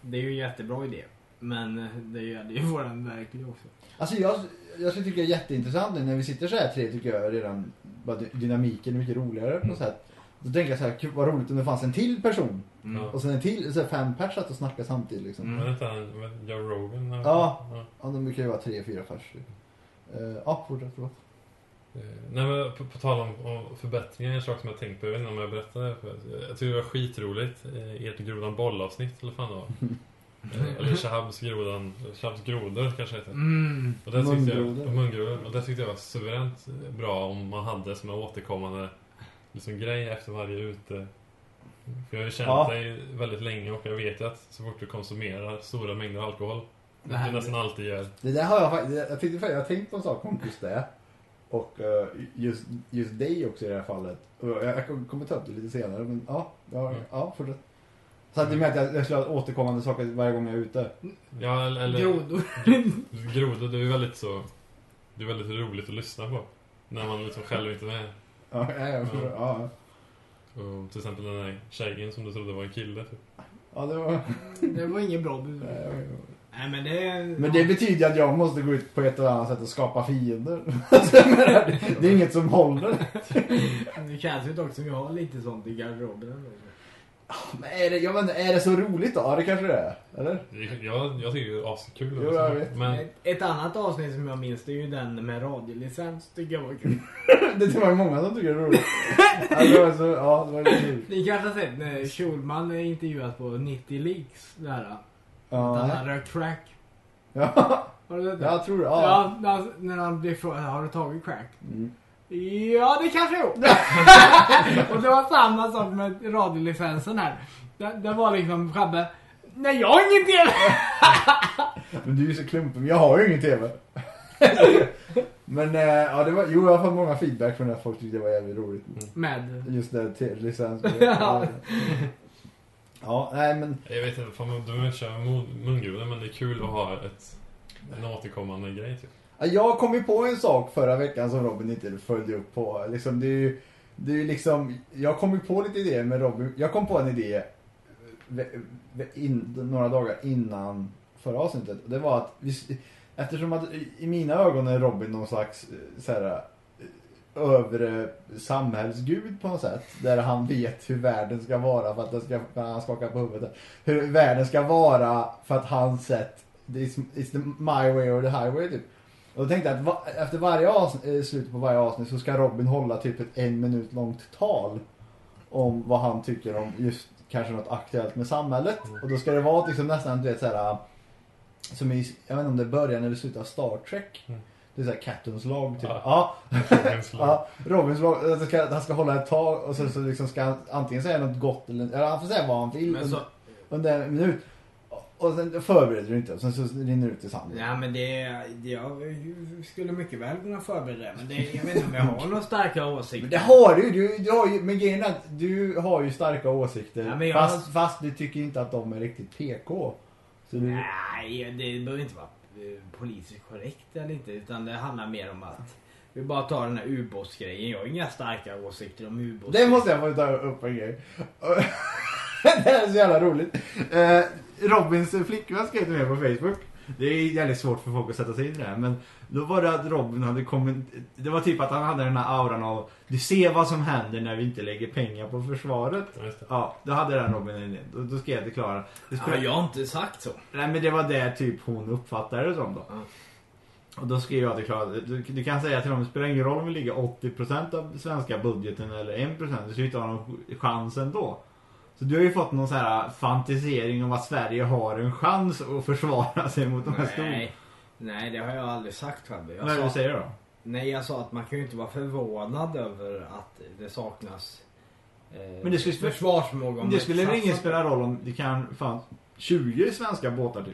[SPEAKER 3] Det är ju en jättebra idé. Men det gäller ju våran verklighet också.
[SPEAKER 4] Alltså jag, jag skulle tycka det är jätteintressant nu när vi sitter så här tre tycker jag redan bara dy- dynamiken är mycket roligare på något sätt. Då tänker jag så här, "Gud, vad roligt om det fanns en till person.
[SPEAKER 3] Mm.
[SPEAKER 5] Ja.
[SPEAKER 4] Och sen en till, så här fem pers satt och snackade samtidigt liksom.
[SPEAKER 3] Mm.
[SPEAKER 5] Men inte han, men Joe Rogan? eller-
[SPEAKER 4] Ja. Ja, de brukar ju vara tre, fyra pers. Eh, Ja, fortsätt. förlåt.
[SPEAKER 5] Eh, Nej men på, på tal om, om förbättringar, en sak som jag tänkt på, jag vet inte om jag berättade. För, eh, jag tycker det var skitroligt, eh, ert Grodan Boll-avsnitt eller
[SPEAKER 4] <laughs>
[SPEAKER 5] fan det var. Eh, eller Shahabs Grodan, Shahabs Grodor kanske heter.
[SPEAKER 3] Mm.
[SPEAKER 5] Och det tyckte jag,
[SPEAKER 4] Mungrodor.
[SPEAKER 5] och mungrodor. Och det tyckte jag var suveränt eh, bra om man hade som en återkommande liksom, grej efter varje ute. För jag har ju känt
[SPEAKER 4] Ja.
[SPEAKER 5] dig väldigt länge och jag vet ju att så fort du konsumerar stora mängder alkohol,
[SPEAKER 3] Det
[SPEAKER 5] vilket
[SPEAKER 3] här-
[SPEAKER 5] du nästan alltid gör.
[SPEAKER 4] Det där har jag faktiskt, jag tänkte faktiskt, jag har tänkt på en sak om just det. Och eh, just, just dig också i det här fallet. Och jag, jag kommer- kommer ta upp det lite senare men ja, ja,
[SPEAKER 5] Mm.
[SPEAKER 4] ja fortsätt. Så att du menar att jag, jag skulle ha återkommande saker varje gång jag är ute?
[SPEAKER 5] Ja, eller, eller
[SPEAKER 3] Grodor.
[SPEAKER 5] grodor, det är ju väldigt så... Det är väldigt roligt att lyssna på. När man liksom själv inte är med.
[SPEAKER 4] Ja, ja, jag förstår.
[SPEAKER 5] Mm.
[SPEAKER 4] ja.
[SPEAKER 5] Och till exempel den där tjejen som du trodde var en kille. Typ.
[SPEAKER 4] ja det var...
[SPEAKER 3] <laughs> Det var ingen bra bud.
[SPEAKER 4] nej, jag vet inte.
[SPEAKER 3] Nej men det...
[SPEAKER 4] Men det betyder ju att jag måste gå ut på ett eller annat sätt och skapa fiender. <laughs> Alltså, jag menar, det- det är inget som håller.
[SPEAKER 3] Det känns ju dock som jag har lite sånt i garderoben. ändå.
[SPEAKER 4] Men är det, jag menar, är det så roligt då? Ja det kanske det är. Eller?
[SPEAKER 5] Jag, jag tycker det är askul. alltså.
[SPEAKER 4] Jo, jag vet.
[SPEAKER 5] Men
[SPEAKER 3] Ett, ett annat avsnitt som jag minns det är ju den med radiolicens. Tycker jag var kul. <laughs>
[SPEAKER 4] Det var ju många som tycker det är
[SPEAKER 5] <laughs>
[SPEAKER 4] roligt. Alltså, det var så, ja, det var lite kul.
[SPEAKER 3] Ni kanske har sett när Schulman är intervjuad på 90 leaks där. Att han
[SPEAKER 4] Ja.
[SPEAKER 3] har rökt crack.
[SPEAKER 4] Ja.
[SPEAKER 3] Har du sett det?
[SPEAKER 4] Jag tror det. Ja.
[SPEAKER 3] Ja, när han- när han blir frågad har du tagit crack?
[SPEAKER 4] Mm.
[SPEAKER 3] Ja, det
[SPEAKER 4] <laughs>
[SPEAKER 3] kanske jag gjort. Och det var samma sak med radiolicensen här. Det, det var liksom Schabbe. Nej, jag har ingen del.
[SPEAKER 4] Men du är ju så klumpig. men Jag har ju ingen TV. Men eh, ja, det var, jo, jag har fått många feedback från det här. folk tyckte det var jävligt roligt.
[SPEAKER 3] Med.
[SPEAKER 4] Just det, tv-licens.
[SPEAKER 3] Ja.
[SPEAKER 4] Ja, nej men.
[SPEAKER 5] jag vet inte, fan, man behöver inte köra mun- mungrodor men det är kul att ha ett, en återkommande grej.
[SPEAKER 4] <laughs>
[SPEAKER 5] Typ.
[SPEAKER 4] Jag kom ju på en sak förra veckan som Robin inte följde upp på. Liksom, det är ju, det är ju liksom, jag kom ju på lite idéer med Robin. Jag kom på en idé eh, ve- ve- in, några dagar innan förra avsnittet. Det var att, vi, s- eftersom att i- i mina ögon är Robin någon slags eh, så här, eh, övre samhällsgud på något sätt. Där han vet hur världen ska vara för att den ska, när han skakar på huvudet. Hur världen ska vara för att hans sätt, it's, it's the my way or the highway typ. Och då tänkte jag att va- efter varje avsnitt, eh, slutet på varje avsnitt så ska Robin hålla typ ett en minut långt tal om vad han tycker om just kanske något aktuellt med samhället. Och då ska det vara liksom nästan du vet såhär som i, jag vet inte om det är början eller slutet av Star Trek.
[SPEAKER 5] Mm.
[SPEAKER 4] Det är såhär Captain's Log typ.
[SPEAKER 5] Ja.
[SPEAKER 4] Ja.
[SPEAKER 5] Ja.
[SPEAKER 4] Ja, Robins lag, han ska, han ska hålla ett tag och sen så liksom ska han antingen säga något gott eller, eller han får säga vad han vill
[SPEAKER 3] Men så,
[SPEAKER 4] under, under en minut. Och sen förbereder du inte. Och sen så rinner det ut i sanden.
[SPEAKER 3] Nej men det, det- jag skulle mycket väl kunna förbereda det. Men det, jag vet inte om jag har några starka åsikter.
[SPEAKER 4] Men det har du ju. Du, du har ju men grejen är att du har ju starka åsikter.
[SPEAKER 3] Ja, men jag-
[SPEAKER 4] fast, fast du tycker inte att de är riktigt PK. Så du,
[SPEAKER 3] Nej, det behöver inte vara eh, politiskt korrekt eller inte. Utan det handlar mer om att vi bara tar den här ubåtsgrejen. Jag har inga starka åsikter om ubåts.
[SPEAKER 4] det måste jag få ta upp en grej. <laughs> det här är så jävla roligt. Eh, Robins flickvän skrev till mig på Facebook. Det är jävligt svårt för folk att sätta sig in i det här. Men då var det att Robin hade kommit... Det var typ att han hade den här auran av Du ser vad som händer när vi inte lägger pengar på försvaret.
[SPEAKER 5] Ja, just det.
[SPEAKER 4] Ja, då hade den Robin en idé. Då, då skrev jag till Klara. Det
[SPEAKER 3] Ja,
[SPEAKER 4] spelar-
[SPEAKER 3] jag har inte sagt så.
[SPEAKER 4] Nej men det var det typ hon uppfattade det som då.
[SPEAKER 3] Mm.
[SPEAKER 4] Och då skrev jag till Klara, du, du kan säga till dem, det spelar ingen roll om vi ligger 80% av svenska budgeten eller 1%, du ska ju inte ha någon ch- chans ändå. Så du har ju fått någon så här fantisering om att Sverige har en chans att försvara sig mot de här stora.
[SPEAKER 3] Nej, nej, det har jag aldrig sagt själv. Jag
[SPEAKER 4] Vad är det
[SPEAKER 3] sa-
[SPEAKER 4] du säger då?
[SPEAKER 3] Nej, jag sa att man kan ju inte vara förvånad över att det saknas eh,
[SPEAKER 4] Men det skulle-
[SPEAKER 3] försvarsförmåga. om
[SPEAKER 4] Det skulle väl
[SPEAKER 3] satsas-
[SPEAKER 4] ingen spela roll om det kan fan 20 svenska båtar till?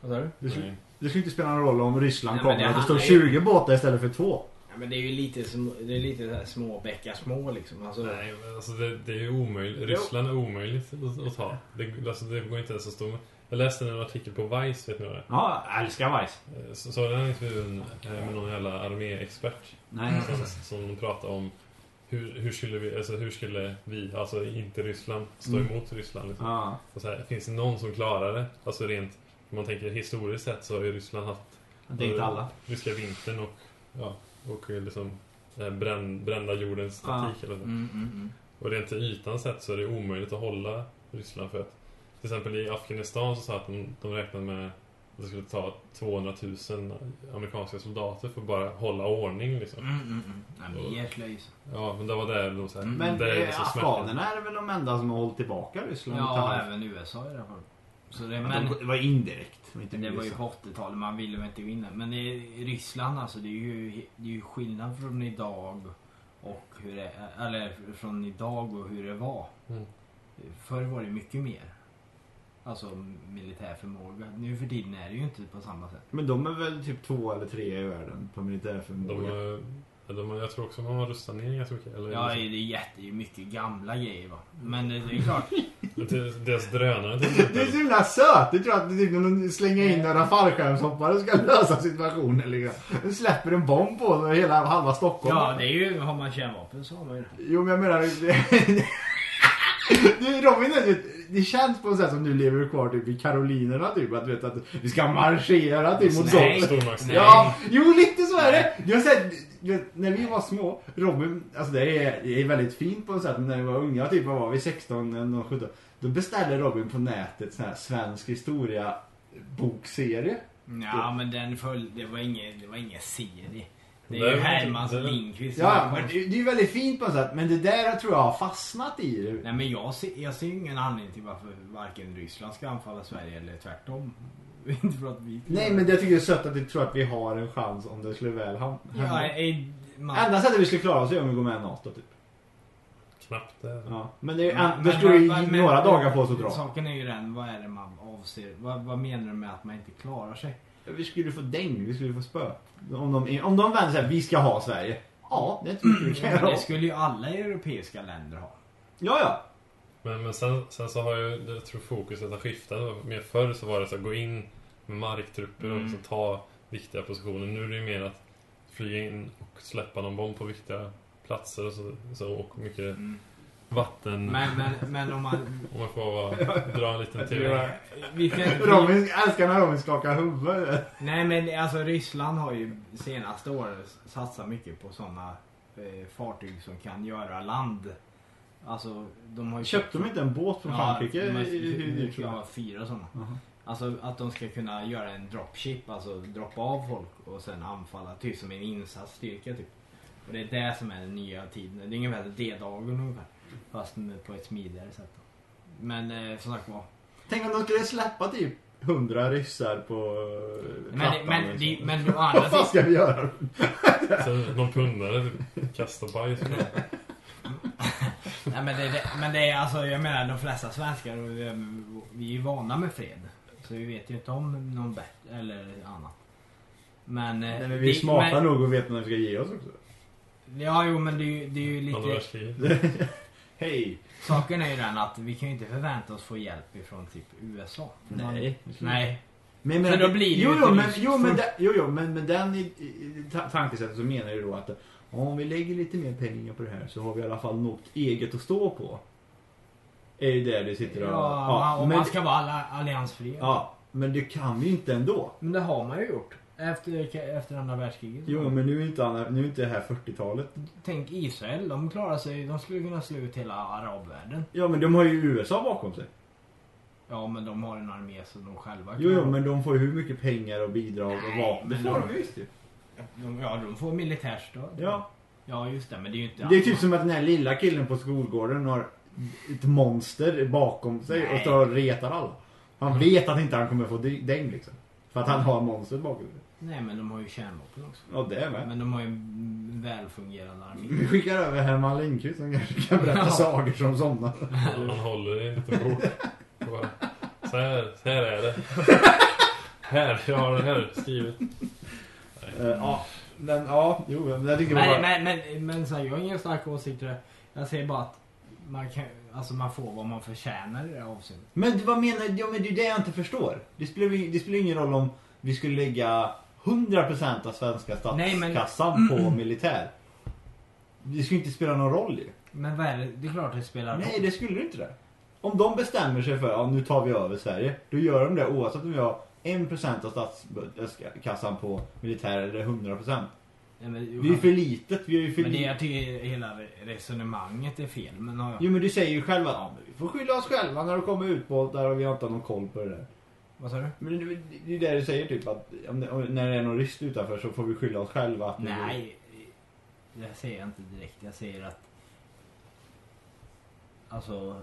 [SPEAKER 3] Vad sa du?
[SPEAKER 4] Det skulle,
[SPEAKER 5] Nej.
[SPEAKER 4] det skulle inte spela någon roll om Ryssland
[SPEAKER 3] Nej, men
[SPEAKER 4] kommer
[SPEAKER 3] det
[SPEAKER 4] att det står
[SPEAKER 3] handlar ju-
[SPEAKER 4] 20 båtar istället för två.
[SPEAKER 3] Ja, men det är ju lite, som- det är lite så här små bäckar små liksom. Alltså,
[SPEAKER 5] Nej, men alltså det, det är ju omöjligt. Ryssland är omöjligt att, att ta. Det, alltså det går inte ens att stå med. Jag läste en artikel på Vice, vet ni vad det
[SPEAKER 4] Ja, jag älskar Vice.
[SPEAKER 5] är? Så, så den intervjun eh, med någon jävla arméexpert
[SPEAKER 3] Mm.
[SPEAKER 4] Nej.
[SPEAKER 5] som, som pratade om hur, hur, skulle vi, alltså hur skulle vi, alltså inte Ryssland, stå
[SPEAKER 4] Mm.
[SPEAKER 5] emot Ryssland. Liksom.
[SPEAKER 4] Ja.
[SPEAKER 5] Och så här, finns det någon som klarar det? Alltså rent, om man tänker historiskt sett så har ju Ryssland haft
[SPEAKER 4] Det är inte alla.
[SPEAKER 5] ryska vintern och, ja, och liksom den här brän, brända jordens
[SPEAKER 4] Ja.
[SPEAKER 5] taktik. Eller så.
[SPEAKER 3] Mm.
[SPEAKER 5] Och rent till ytan sett så är det omöjligt att hålla Ryssland för att till exempel i Afghanistan så sa att de, de räknade med att det skulle ta 200 000 amerikanska soldater för att bara hålla ordning liksom.
[SPEAKER 3] Mm, Nej, men jäkla is.
[SPEAKER 5] Ja, men det var det de sa.
[SPEAKER 4] Men
[SPEAKER 5] det
[SPEAKER 4] eh,
[SPEAKER 5] liksom smärtsamt.
[SPEAKER 4] afghanerna är väl de enda som har hållit tillbaka Ryssland?
[SPEAKER 3] Ja,
[SPEAKER 4] Utan-
[SPEAKER 3] även USA i det här fallet. Så det,
[SPEAKER 4] men...
[SPEAKER 3] men,
[SPEAKER 4] de, det var indirekt. Inte
[SPEAKER 3] det var ju
[SPEAKER 4] USA.
[SPEAKER 3] på 80-talet, man ville väl inte vinna. Men i Ryssland alltså, det är ju, det är ju skillnad från idag och hur det, eller från idag och hur det var.
[SPEAKER 5] Mm.
[SPEAKER 3] Förr var det mycket mer. Alltså militär förmåga. Nu för tiden är det ju inte på samma sätt.
[SPEAKER 4] Men de är väl typ två eller tre i världen på militärförmåga.
[SPEAKER 5] De, har- ja, de, har- jag tror också man har rustat ner ganska mycket. Eller,
[SPEAKER 3] Ja, det är jätte, det är mycket gamla grejer va. Men det är
[SPEAKER 4] <laughs>
[SPEAKER 3] ju klart.
[SPEAKER 5] Till- Deras drönare till
[SPEAKER 4] Det är så
[SPEAKER 5] exempel.
[SPEAKER 4] himla söt! Du tror att det är typ när de slänger in några fallskärmshoppare och ska lösa situationen liksom. De släpper en bomb på dem och hela halva Stockholm.
[SPEAKER 3] Ja, det är ju, har man kärnvapen så har man ju det.
[SPEAKER 4] Jo men jag menar... Du, Robin, det, det känns på något sätt som du lever kvar typ i Karolinerna typ. Att du vet att vi ska marschera typ mot
[SPEAKER 3] Nej.
[SPEAKER 4] Gotland.
[SPEAKER 5] Stormakts-
[SPEAKER 3] Nej.
[SPEAKER 4] Ja, jo lite så är det. Jag har sett, du vet, när vi var små, Robin, alltså det är, det är väldigt fint på något sätt, men när vi var unga, typ vad var vi, 16 eller någon 17, då beställde Robin på nätet sån här svensk historia bokserie.
[SPEAKER 3] Ja, men den föll, det var ingen, det var ingen serie. Det
[SPEAKER 5] Nej,
[SPEAKER 3] är ju
[SPEAKER 5] men-
[SPEAKER 3] Hermans
[SPEAKER 5] det-
[SPEAKER 3] Lindqvist. som
[SPEAKER 4] Ja,
[SPEAKER 3] har-
[SPEAKER 4] men det, det är väldigt fint på något sätt, men det där tror jag har fastnat i det.
[SPEAKER 3] Nej, men jag ser, jag ser ju ingen anledning till varför varken Ryssland ska anfalla Sverige eller tvärtom. <laughs> Inte för att vi...
[SPEAKER 4] Nej, men det tycker jag är sött att du tror att vi har en chans om det skulle väl hamna.
[SPEAKER 5] Mm.
[SPEAKER 3] Ja, ej, man,
[SPEAKER 4] Enda sättet vi skulle klara oss är om vi går med i NATO typ.
[SPEAKER 5] Knappt det.
[SPEAKER 4] Ja. Men det är ju, då skulle vi
[SPEAKER 3] men- men-
[SPEAKER 4] några dagar på oss att dra.
[SPEAKER 3] Saken är ju den, vad är det man avser? Vad, vad menar du med att man inte klarar sig?
[SPEAKER 4] Vi skulle få däng, vi skulle få spö. Om de, om de vänder sig vi ska ha Sverige. <clears throat> Ja, det tycker vi kan
[SPEAKER 3] Ja, men
[SPEAKER 4] göra.
[SPEAKER 3] det skulle ju alla europeiska länder ha.
[SPEAKER 4] Ja, ja.
[SPEAKER 5] Men, men sen, sen så har ju, jag tror fokuset har skiftat. Mer förr så var det så att gå in med marktrupper
[SPEAKER 4] Mm.
[SPEAKER 5] och liksom ta viktiga positioner. Nu är det ju mer att flyga in och släppa någon bomb på viktiga platser och, så, så, och mycket vatten.
[SPEAKER 3] Men, men, men om man...
[SPEAKER 5] Om man får
[SPEAKER 4] <laughs>
[SPEAKER 5] vara, dra en liten teori.
[SPEAKER 3] Vi kan, vi,
[SPEAKER 4] Robin, älskar när Robin skakar huvudet.
[SPEAKER 3] nej men alltså Ryssland har ju senaste åren satsat mycket på sådana eh, fartyg som kan göra land. Alltså de har ju...
[SPEAKER 4] Köpte de inte en båt från Frankrike?
[SPEAKER 3] de har-
[SPEAKER 4] Hur dyrt tror
[SPEAKER 3] Jag har
[SPEAKER 4] du?
[SPEAKER 3] fyra sådana. Alltså att de ska kunna göra en dropship, alltså droppa av folk och sen anfalla, typ som en insatsstyrka typ. Och det är det som är den nya tiden. Det är ungefär D-dagen ungefär. Fast med- på ett smidigare sätt. då. Men eh, som sagt var.
[SPEAKER 4] Tänk om de skulle släppa typ hundra ryssar på eh,
[SPEAKER 3] Men,
[SPEAKER 4] plattan.
[SPEAKER 3] men,
[SPEAKER 4] liksom.
[SPEAKER 3] det, men å andra
[SPEAKER 4] Vad fan
[SPEAKER 3] sidan.
[SPEAKER 4] ska vi göra?
[SPEAKER 5] Sen någon pundare typ, kastar bajs.
[SPEAKER 4] <laughs>
[SPEAKER 3] Nej, men, det, det, men det är alltså, jag menar de flesta svenskar, och, eh, vi är ju vana med fred. så vi vet ju inte om någon bättre eller annat. Men... eh,
[SPEAKER 4] Nej, men vi är
[SPEAKER 3] det-
[SPEAKER 4] smarta
[SPEAKER 3] men-
[SPEAKER 4] nog och vet när vi ska ge oss också.
[SPEAKER 3] Ja, jo men det är ju, det är ju
[SPEAKER 5] Andra
[SPEAKER 3] lite...
[SPEAKER 5] världskriget.
[SPEAKER 4] Hej!
[SPEAKER 3] Saken är ju den att vi kan ju inte förvänta oss få hjälp ifrån typ USA.
[SPEAKER 4] Nej.
[SPEAKER 3] Nej.
[SPEAKER 4] Men,
[SPEAKER 3] Men då blir det
[SPEAKER 4] jo,
[SPEAKER 3] ju
[SPEAKER 4] jo,
[SPEAKER 3] ett
[SPEAKER 4] men,
[SPEAKER 3] ryskt
[SPEAKER 4] jo, men,
[SPEAKER 3] folk.
[SPEAKER 4] den- jo, jo, men med den i, i, i ta- tankesättet så menar du då att om vi lägger lite mer pengar på det här så har vi i alla fall något eget att stå på. Är det där du sitter
[SPEAKER 3] Ja,
[SPEAKER 4] och...
[SPEAKER 3] om
[SPEAKER 4] men,
[SPEAKER 3] man ska vara alla alliansfria.
[SPEAKER 4] ja, men det kan vi ju inte ändå.
[SPEAKER 3] Men det har man ju gjort. Efter, efter andra världskriget.
[SPEAKER 4] Jo, men nu är inte, andra- nu är inte det här 40-talet.
[SPEAKER 3] Tänk Israel, de klarar sig. De skulle kunna slå ut hela arabvärlden.
[SPEAKER 4] Ja, men de har ju USA bakom sig.
[SPEAKER 3] Ja, men de har en armé som de själva
[SPEAKER 4] Jo, jo, men de får ju hur mycket pengar och bidrag och vapen. Det
[SPEAKER 3] men
[SPEAKER 4] får
[SPEAKER 3] de-
[SPEAKER 4] de visst ju.
[SPEAKER 3] De, ja, de får militärstöd.
[SPEAKER 4] Ja.
[SPEAKER 3] ja, just det. Men det är ju inte...
[SPEAKER 4] Det är typ som att den här lilla killen på skolgården har ett monster bakom sig och står och retar alla. Han
[SPEAKER 3] Mm.
[SPEAKER 4] vet att inte han kommer få dy- däng liksom. För att han har monstret bakom sig.
[SPEAKER 3] Nej, men de har ju kärnvapen också.
[SPEAKER 4] Ja, Mm. det är med.
[SPEAKER 3] Men de har ju en välfungerande armé.
[SPEAKER 4] Vi skickar över Herman Lindqvist som kanske kan berätta
[SPEAKER 3] Ja.
[SPEAKER 4] sagor som somnar.
[SPEAKER 5] Han han håller i en liten bok. Och bara, Så här, så här är det. <laughs> Här, jag har det här skrivet.
[SPEAKER 4] Eh, Ja, men ja, jo, men jag tycker
[SPEAKER 3] Men,
[SPEAKER 4] bara...
[SPEAKER 3] men, men, men så här, jag har ingen stark åsikt till det. Jag säger bara att man, kan, alltså man får vad man förtjänar i det här avseendet.
[SPEAKER 4] Men du, vad menar Ja, men det är det jag inte förstår. Det spelar, ju- det spelar ingen roll om vi skulle lägga 100% av svenska
[SPEAKER 3] Nej, men- Mm.
[SPEAKER 4] statskassan på militär. Det skulle inte spela någon roll ju.
[SPEAKER 3] Men vad är det? Det är klart det spelar roll.
[SPEAKER 4] Nej, det skulle inte det. Om de bestämmer sig för att ja, nu tar vi över Sverige, då gör de det oavsett om vi har 1% av statskassan på militär eller 100%.
[SPEAKER 3] Nej, men,
[SPEAKER 4] Vi är för litet, vi är för
[SPEAKER 3] men det jag
[SPEAKER 4] litet.
[SPEAKER 3] tycker hela resonemanget är fel. Men har jag,
[SPEAKER 4] Jo men du säger ju själv att ja, men vi får skylla oss själva när det kommer utbåtar och vi har inte någon koll på det där.
[SPEAKER 3] vad sa du?
[SPEAKER 4] Men det- det är det du säger typ att om det, om, när det är någon rysk utanför så får vi skylla oss själva. Att vi-
[SPEAKER 3] Nej, det säger jag inte direkt. Jag säger att... Alltså...